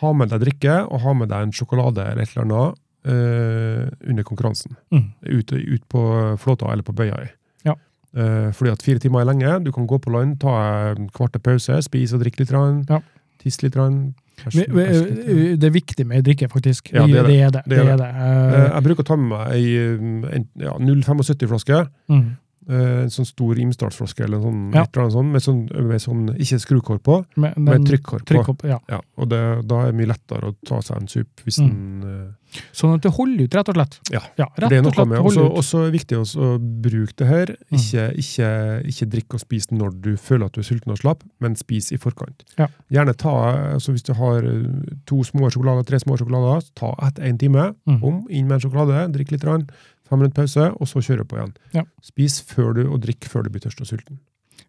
[SPEAKER 3] ha med deg drikke, og ha med deg en sjokolade eller et eller annet eh, under konkurransen.
[SPEAKER 2] Mm.
[SPEAKER 3] Ut, ut på flåta eller på bøya.
[SPEAKER 2] Ja.
[SPEAKER 3] Eh, fordi at fire timer er lenge. Du kan gå på land, ta en kvarte pause, spise og drikke litt, grann,
[SPEAKER 2] Ja.
[SPEAKER 3] tisse litt. grann,
[SPEAKER 2] Vi-
[SPEAKER 3] bæsje-
[SPEAKER 2] vi-
[SPEAKER 3] bæsje litt, grann.
[SPEAKER 2] Det er viktig med drikke, faktisk.
[SPEAKER 3] sånn, Ja, det er det.
[SPEAKER 2] Det er det.
[SPEAKER 3] Det er
[SPEAKER 2] det, er det.
[SPEAKER 3] Eh,
[SPEAKER 2] Eh,
[SPEAKER 3] jeg bruker å ta med meg ei eh, en, ja, 0,75-flaske.
[SPEAKER 2] mm.
[SPEAKER 3] En sånn stor Imsdalsflaske eller sånn,
[SPEAKER 2] Ja.
[SPEAKER 3] et eller annet sånt, med sånn, med sånn ikke skrukork på,
[SPEAKER 2] Men den-
[SPEAKER 3] med trykkkork på.
[SPEAKER 2] trykk opp, ja.
[SPEAKER 3] Ja, og det, da er det mye lettere å ta seg en sup hvis
[SPEAKER 2] Mm.
[SPEAKER 3] en eh,
[SPEAKER 2] Sånn at det holder ut, rett og slett.
[SPEAKER 3] Ja,
[SPEAKER 2] rett
[SPEAKER 3] Det er
[SPEAKER 2] og
[SPEAKER 3] noe
[SPEAKER 2] slett
[SPEAKER 3] med
[SPEAKER 2] holder
[SPEAKER 3] også,
[SPEAKER 2] ut. Mm.
[SPEAKER 3] også er det viktig også å bruke det her. Ikke, ikke, ikke drikk og spis når du føler at du er sulten og slapp, men spis i forkant.
[SPEAKER 2] Ja.
[SPEAKER 3] Gjerne ta, altså Hvis du har eh, to små sjokolader, tre små sjokolader, ta etter én time.
[SPEAKER 2] Mm.
[SPEAKER 3] Om, inn med en sjokolade, drikk litt, rann, fem minutter pause, og så kjøre på igjen.
[SPEAKER 2] Ja.
[SPEAKER 3] Spis før du, og drikk før du blir tørst og sulten.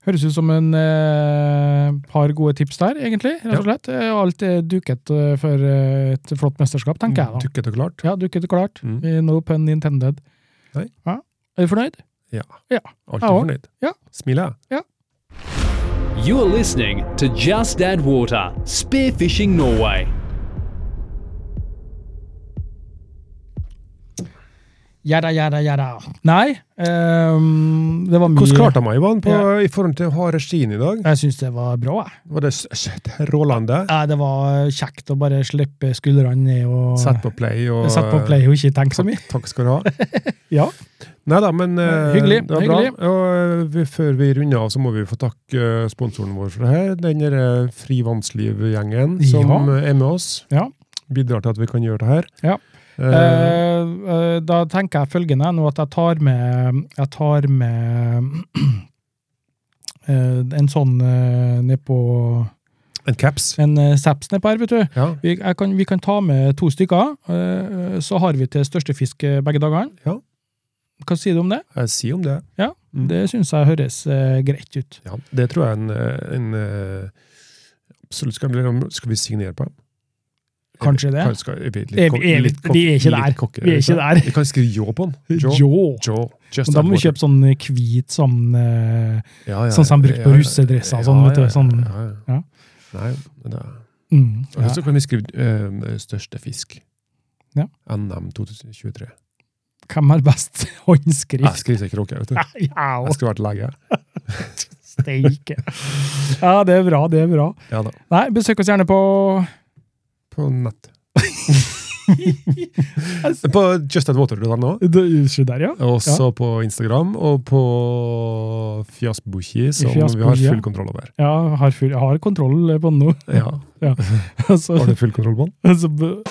[SPEAKER 2] Høres ut som en eh, par gode tips der, egentlig. rett
[SPEAKER 3] Ja.
[SPEAKER 2] og slett. Eh, Alt er duket eh, for eh, et flott mesterskap,
[SPEAKER 3] Mm,
[SPEAKER 2] tenker jeg da.
[SPEAKER 3] Tukket og klart.
[SPEAKER 2] Ja, duket klart.
[SPEAKER 3] Mm.
[SPEAKER 2] Eh, No pun intended.
[SPEAKER 3] Nei.
[SPEAKER 2] Ja. Er du fornøyd?
[SPEAKER 3] Alltid
[SPEAKER 2] Ja, og-
[SPEAKER 3] fornøyd.
[SPEAKER 2] ja.
[SPEAKER 3] Smiler jeg.
[SPEAKER 1] You're listening to Just Add Water Spearfishing Norway.
[SPEAKER 2] Gjerda, gjerda, gjerda. Nei, ehm, det var mye
[SPEAKER 3] Hvordan klarte han Ivan, på, i forhold til harde skien i dag?
[SPEAKER 2] Jeg syns det var bra. jeg.
[SPEAKER 3] Var det s- s- strålende?
[SPEAKER 2] Nei, det var kjekt å bare slippe skuldrene ned og
[SPEAKER 3] Sett på play og
[SPEAKER 2] Sett på play og ikke tenke så mye.
[SPEAKER 3] Takk skal du ha.
[SPEAKER 2] Ja.
[SPEAKER 3] Nei da, men eh,
[SPEAKER 2] Hyggelig,
[SPEAKER 3] det var
[SPEAKER 2] hyggelig.
[SPEAKER 3] bra. Og eh, vi, før vi runder av, så må vi få takke eh, sponsoren vår for det her. Den der eh, Fri Vannsliv-gjengen som
[SPEAKER 2] Ja.
[SPEAKER 3] eh, er med oss.
[SPEAKER 2] Ja.
[SPEAKER 3] Bidrar til at vi kan gjøre det her.
[SPEAKER 2] Ja.
[SPEAKER 3] Eh,
[SPEAKER 2] Eh, eh, da tenker jeg følgende nå at jeg tar med Jeg tar med eh, en sånn eh, ned på
[SPEAKER 3] en caps.
[SPEAKER 2] En eh, seps ned på her, vet du.
[SPEAKER 3] Ja.
[SPEAKER 2] Vi, jeg kan, vi kan ta med to stykker. eh, så har vi til største fisk eh, begge dagene.
[SPEAKER 3] Ja.
[SPEAKER 2] Hva sier du om det?
[SPEAKER 3] Jeg sier om det. Mm.
[SPEAKER 2] Det syns jeg høres eh, greit ut.
[SPEAKER 3] Ja, det tror jeg en, eh, en eh, Absolutt skal, bli- skal vi signere på.
[SPEAKER 2] Kanskje det.
[SPEAKER 3] Kanskje, skal- vi,
[SPEAKER 2] Er vi- er vi- vi er ikke der. Vi er ikke der.
[SPEAKER 3] Vi kan skrive jo på den. Jo.
[SPEAKER 2] Jo!
[SPEAKER 3] Jo. Just
[SPEAKER 2] Men da
[SPEAKER 3] that
[SPEAKER 2] må vi
[SPEAKER 3] water.
[SPEAKER 2] kjøpe sånn eh, hvit sånn eh,
[SPEAKER 3] Ja, ja,
[SPEAKER 2] sånn som de brukte på russedresser og sånn, vet du, sånn- ja.
[SPEAKER 3] Nei, men det er-
[SPEAKER 2] mm,
[SPEAKER 3] Og
[SPEAKER 2] ja.
[SPEAKER 3] så kan vi skrive eh, 'Største fisk'.
[SPEAKER 2] Ja.
[SPEAKER 3] NM 2023.
[SPEAKER 2] Hvem har best
[SPEAKER 3] Jeg
[SPEAKER 2] håndskrift?
[SPEAKER 3] skriver ikke kråke, vet du.
[SPEAKER 2] Ja,
[SPEAKER 3] Jeg skulle vært lege.
[SPEAKER 2] steike! Ja, det er bra, det er bra.
[SPEAKER 3] Ja da.
[SPEAKER 2] Nei, besøk oss gjerne på
[SPEAKER 3] På nett. på Just That Water du tar nå.
[SPEAKER 2] Det- Se der, ja.
[SPEAKER 3] Også på Instagram og på Fjasbuki, som vi har
[SPEAKER 2] Fjasbuki, ja.
[SPEAKER 3] full kontroll over.
[SPEAKER 2] ja har full, jeg har kontroll på den nå.
[SPEAKER 3] Ja.
[SPEAKER 2] Altså,
[SPEAKER 3] Har du full kontroll på den?
[SPEAKER 2] altså, be-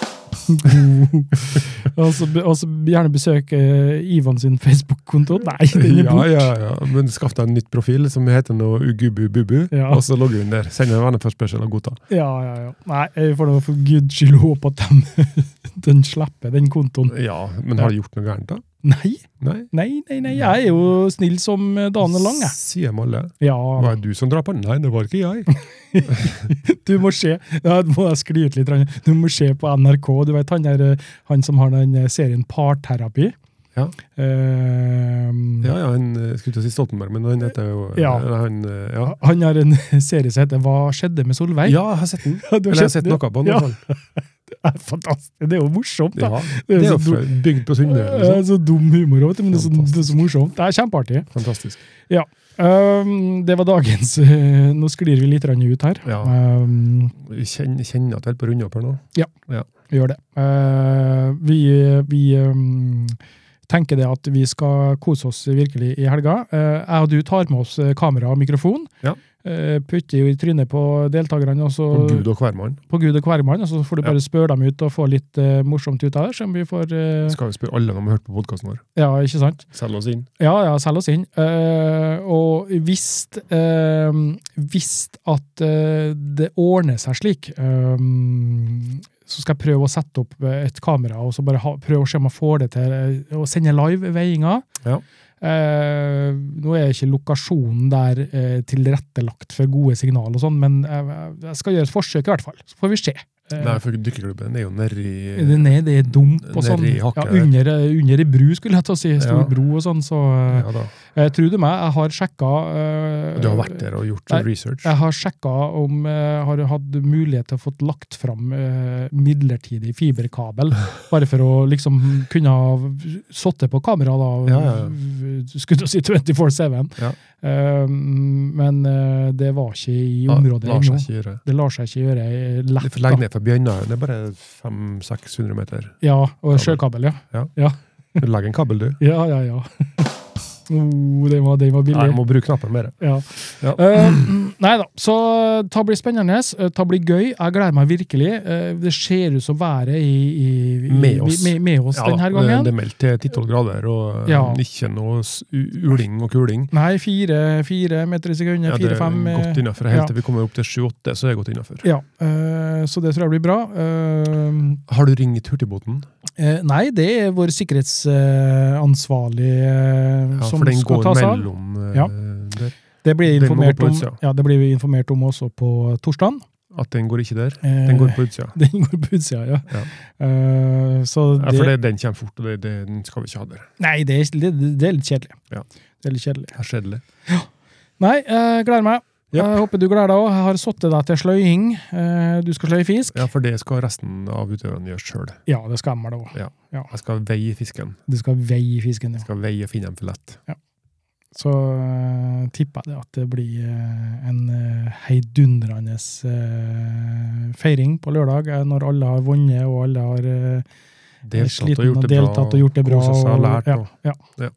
[SPEAKER 2] altså, be- altså, gjerne besøk eh, Ivan sin Facebook-konto. Nei, den er
[SPEAKER 3] Ja,
[SPEAKER 2] borte!
[SPEAKER 3] ja, ja. Men skaff deg en nytt profil som heter noe Ugubu-bubu,
[SPEAKER 2] Ja.
[SPEAKER 3] og så logger du inn der. Send en venneforspørsel og godta.
[SPEAKER 2] Ja, ja, ja. Nei, jeg får da for guds skyld håpe at de, den slipper den kontoen.
[SPEAKER 3] Ja, men har du gjort noe gærent, da?
[SPEAKER 2] Nei,
[SPEAKER 3] Nei?
[SPEAKER 2] nei, nei, nei. jeg er jo snill som Dane Lang, jeg.
[SPEAKER 3] Sier de alle.
[SPEAKER 2] Ja,
[SPEAKER 3] Var det du som drap han? Nei, det var ikke jeg.
[SPEAKER 2] du må se. Ja, nå må jeg skli ut litt. Ranje. Du må se på NRK. Du vet han, der, eh, han som har den eh, serien Parterapi?
[SPEAKER 3] Ja.
[SPEAKER 2] Eh,
[SPEAKER 3] Ja, ja, han eh, skulle til å si Stoltenberg, men han heter jo
[SPEAKER 2] Ja.
[SPEAKER 3] eller han, eh, ja.
[SPEAKER 2] Han har en serie som heter Hva skjedde med Solveig?
[SPEAKER 3] ja, jeg har sett den.
[SPEAKER 2] Ja, du
[SPEAKER 3] Eller jeg har
[SPEAKER 2] sett
[SPEAKER 3] sett
[SPEAKER 2] den, ja.
[SPEAKER 3] noe på den. i
[SPEAKER 2] Ja.
[SPEAKER 3] hvert fall.
[SPEAKER 2] Det er fantastisk. Det er jo morsomt, da.
[SPEAKER 3] Ja. Det er jo
[SPEAKER 2] så dum-
[SPEAKER 3] fra- bygd på liksom. Sunnmøre.
[SPEAKER 2] Det
[SPEAKER 3] eller noe sånt.
[SPEAKER 2] er så dum humor, vet du, men det er, så, det er så morsomt. Det er kjempeartig.
[SPEAKER 3] Fantastisk.
[SPEAKER 2] Um, det var dagens eh, Nå sklir vi litt grann ut her.
[SPEAKER 3] Ja.
[SPEAKER 2] Um,
[SPEAKER 3] Vi kjenner, kjenner at vi er på runde opp her nå.
[SPEAKER 2] vi gjør det. Eh, vi vi um, tenker det at vi skal kose oss virkelig i helga. Eh, jeg og du tar med oss eh, kamera og mikrofon.
[SPEAKER 3] Ja.
[SPEAKER 2] Eh, putter jo i trynet på deltakerne, og så
[SPEAKER 3] Og Gud og hvermann.
[SPEAKER 2] på Gud og hvermann. Og så får du bare spørre dem ut og få litt eh, morsomt ut av det. Se om vi får eh,
[SPEAKER 3] Skal jo spørre alle om de har hørt på podkasten vår.
[SPEAKER 2] Ja, ikke sant?
[SPEAKER 3] Selg oss inn.
[SPEAKER 2] Ja, ja, selg oss inn. Eh, og hvis eh, hvis at eh, det ordner seg slik, eh, så skal jeg prøve å sette opp et kamera og så bare ha, prøve å se om jeg får det til eh, å sende live veiinga.
[SPEAKER 3] Ja.
[SPEAKER 2] Eh, nå er ikke lokasjonen der eh, tilrettelagt for gode signal og sånn, men jeg, jeg skal gjøre et forsøk i hvert fall. Så får vi se. Eh,
[SPEAKER 3] Nei, for dykkerklubben er jo nedi
[SPEAKER 2] Den er, Eh, det er dump og
[SPEAKER 3] Nedi
[SPEAKER 2] sånn. Ja,
[SPEAKER 3] hakket der.
[SPEAKER 2] under, eh, under ei bru, skulle jeg til å si. Stor
[SPEAKER 3] Ja.
[SPEAKER 2] bro og sånn. Så eh,
[SPEAKER 3] Ja da.
[SPEAKER 2] Eh, Tro du meg, jeg har sjekka eh,
[SPEAKER 3] Du har vært der og gjort
[SPEAKER 2] Nei.
[SPEAKER 3] research.
[SPEAKER 2] Jeg har sjekka om jeg har hatt mulighet til å få lagt fram eh, midlertidig fiberkabel, bare for å liksom kunne ha sittet på kamera da,
[SPEAKER 3] Ja, ja, ja.
[SPEAKER 2] v- skulle til å si 24-7.
[SPEAKER 3] Ja.
[SPEAKER 2] Eh, men eh, det var ikke i området
[SPEAKER 3] Lars
[SPEAKER 2] ennå.
[SPEAKER 3] er ikke gjøre.
[SPEAKER 2] Det lar seg ikke gjøre eh,
[SPEAKER 3] Du
[SPEAKER 2] lett.
[SPEAKER 3] får
[SPEAKER 2] da.
[SPEAKER 3] legge ned fra Bjørnøyen. Det er bare 500-600 meter.
[SPEAKER 2] Ja, og sjøkabel, ja.
[SPEAKER 3] Du legger en kabel, du.
[SPEAKER 2] Ja, ja, ja. Oh, den var, den var billig.
[SPEAKER 3] Nei, jeg må bruke knappen mer.
[SPEAKER 2] Ja.
[SPEAKER 3] Ja.
[SPEAKER 2] Eh, nei da, så ta blir spennende, eh, ta blir gøy. Jeg gleder meg virkelig. Eh, det ser ut som været i, i, i,
[SPEAKER 3] Med oss.
[SPEAKER 2] Med, med oss
[SPEAKER 3] Ja,
[SPEAKER 2] denne
[SPEAKER 3] da,
[SPEAKER 2] gangen.
[SPEAKER 3] Det er meldt til 10-12 grader, og
[SPEAKER 2] Ja.
[SPEAKER 3] eh, ikke noe s- u- uling og kuling.
[SPEAKER 2] Nei, fire, fire meter i sekundet.
[SPEAKER 3] Ja, det er
[SPEAKER 2] Fire-fem. eh,
[SPEAKER 3] godt innafor. Helt til vi kommer opp til 7-8, så er det godt innafor.
[SPEAKER 2] ja, eh, så det tror jeg blir bra. Eh,
[SPEAKER 3] Har du ringt Hurtigbåten?
[SPEAKER 2] eh, nei, det er vår sikkerhetsansvarlig eh,
[SPEAKER 3] Ja,
[SPEAKER 2] som
[SPEAKER 3] for den
[SPEAKER 2] skal
[SPEAKER 3] går
[SPEAKER 2] ta seg av.
[SPEAKER 3] mellom eh,
[SPEAKER 2] Ja.
[SPEAKER 3] der.
[SPEAKER 2] Det blir,
[SPEAKER 3] den må gå
[SPEAKER 2] informert
[SPEAKER 3] på
[SPEAKER 2] om,
[SPEAKER 3] utsida.
[SPEAKER 2] ja, det blir vi informert om også på torsdag.
[SPEAKER 3] At den går ikke der. Den
[SPEAKER 2] Eh,
[SPEAKER 3] går på utsida.
[SPEAKER 2] den går på utsida, ja.
[SPEAKER 3] Ja.
[SPEAKER 2] Eh, så
[SPEAKER 3] Ja, for det, den kommer fort, og det, det, den skal vi ikke ha der.
[SPEAKER 2] Nei, det er, det, det er litt kjedelig.
[SPEAKER 3] Ja.
[SPEAKER 2] Det er litt kjedelig.
[SPEAKER 3] Her skjer det litt.
[SPEAKER 2] Nei, jeg gleder meg. Jeg håper du gleder deg òg. Jeg har satt deg til sløying. Eh, Du skal sløye fisk.
[SPEAKER 3] Ja, for det skal resten av utøverne gjøre sjøl.
[SPEAKER 2] Ja, det skal Emmer det òg.
[SPEAKER 3] Jeg skal veie fisken.
[SPEAKER 2] Du skal veie fisken.
[SPEAKER 3] Jeg
[SPEAKER 2] Ja.
[SPEAKER 3] skal veie og finne en filett.
[SPEAKER 2] Så eh, tipper jeg det at det blir eh, en eh, heidundrende eh, feiring på lørdag, eh, når alle har vunnet og alle har eh,
[SPEAKER 3] Deltatt og
[SPEAKER 2] sliten
[SPEAKER 3] gjort
[SPEAKER 2] og
[SPEAKER 3] det bra.
[SPEAKER 2] deltatt og gjort det bra.
[SPEAKER 3] Kosa seg og lært.
[SPEAKER 2] ja,
[SPEAKER 3] og-
[SPEAKER 2] ja.
[SPEAKER 3] Ja.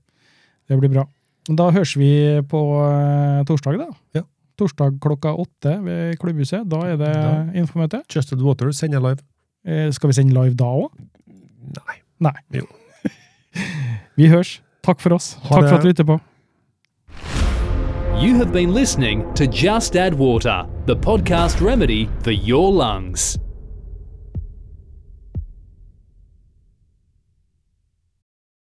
[SPEAKER 2] Det blir bra. Men Da høres vi på eh, torsdag, da.
[SPEAKER 3] Ja.
[SPEAKER 2] Torsdag klokka åtte ved klubbhuset. Da er det
[SPEAKER 3] Da.
[SPEAKER 2] infomøte.
[SPEAKER 3] Justed Water sender live.
[SPEAKER 2] Eh, Skal vi sende live da òg?
[SPEAKER 3] Nei.
[SPEAKER 2] Nei.
[SPEAKER 3] Jo.
[SPEAKER 2] vi høres. Takk for oss.
[SPEAKER 3] Ha
[SPEAKER 2] Takk
[SPEAKER 3] det.
[SPEAKER 2] for at du lytter på.
[SPEAKER 1] You have been listening to Just Add Water, the podcast remedy for your lungs.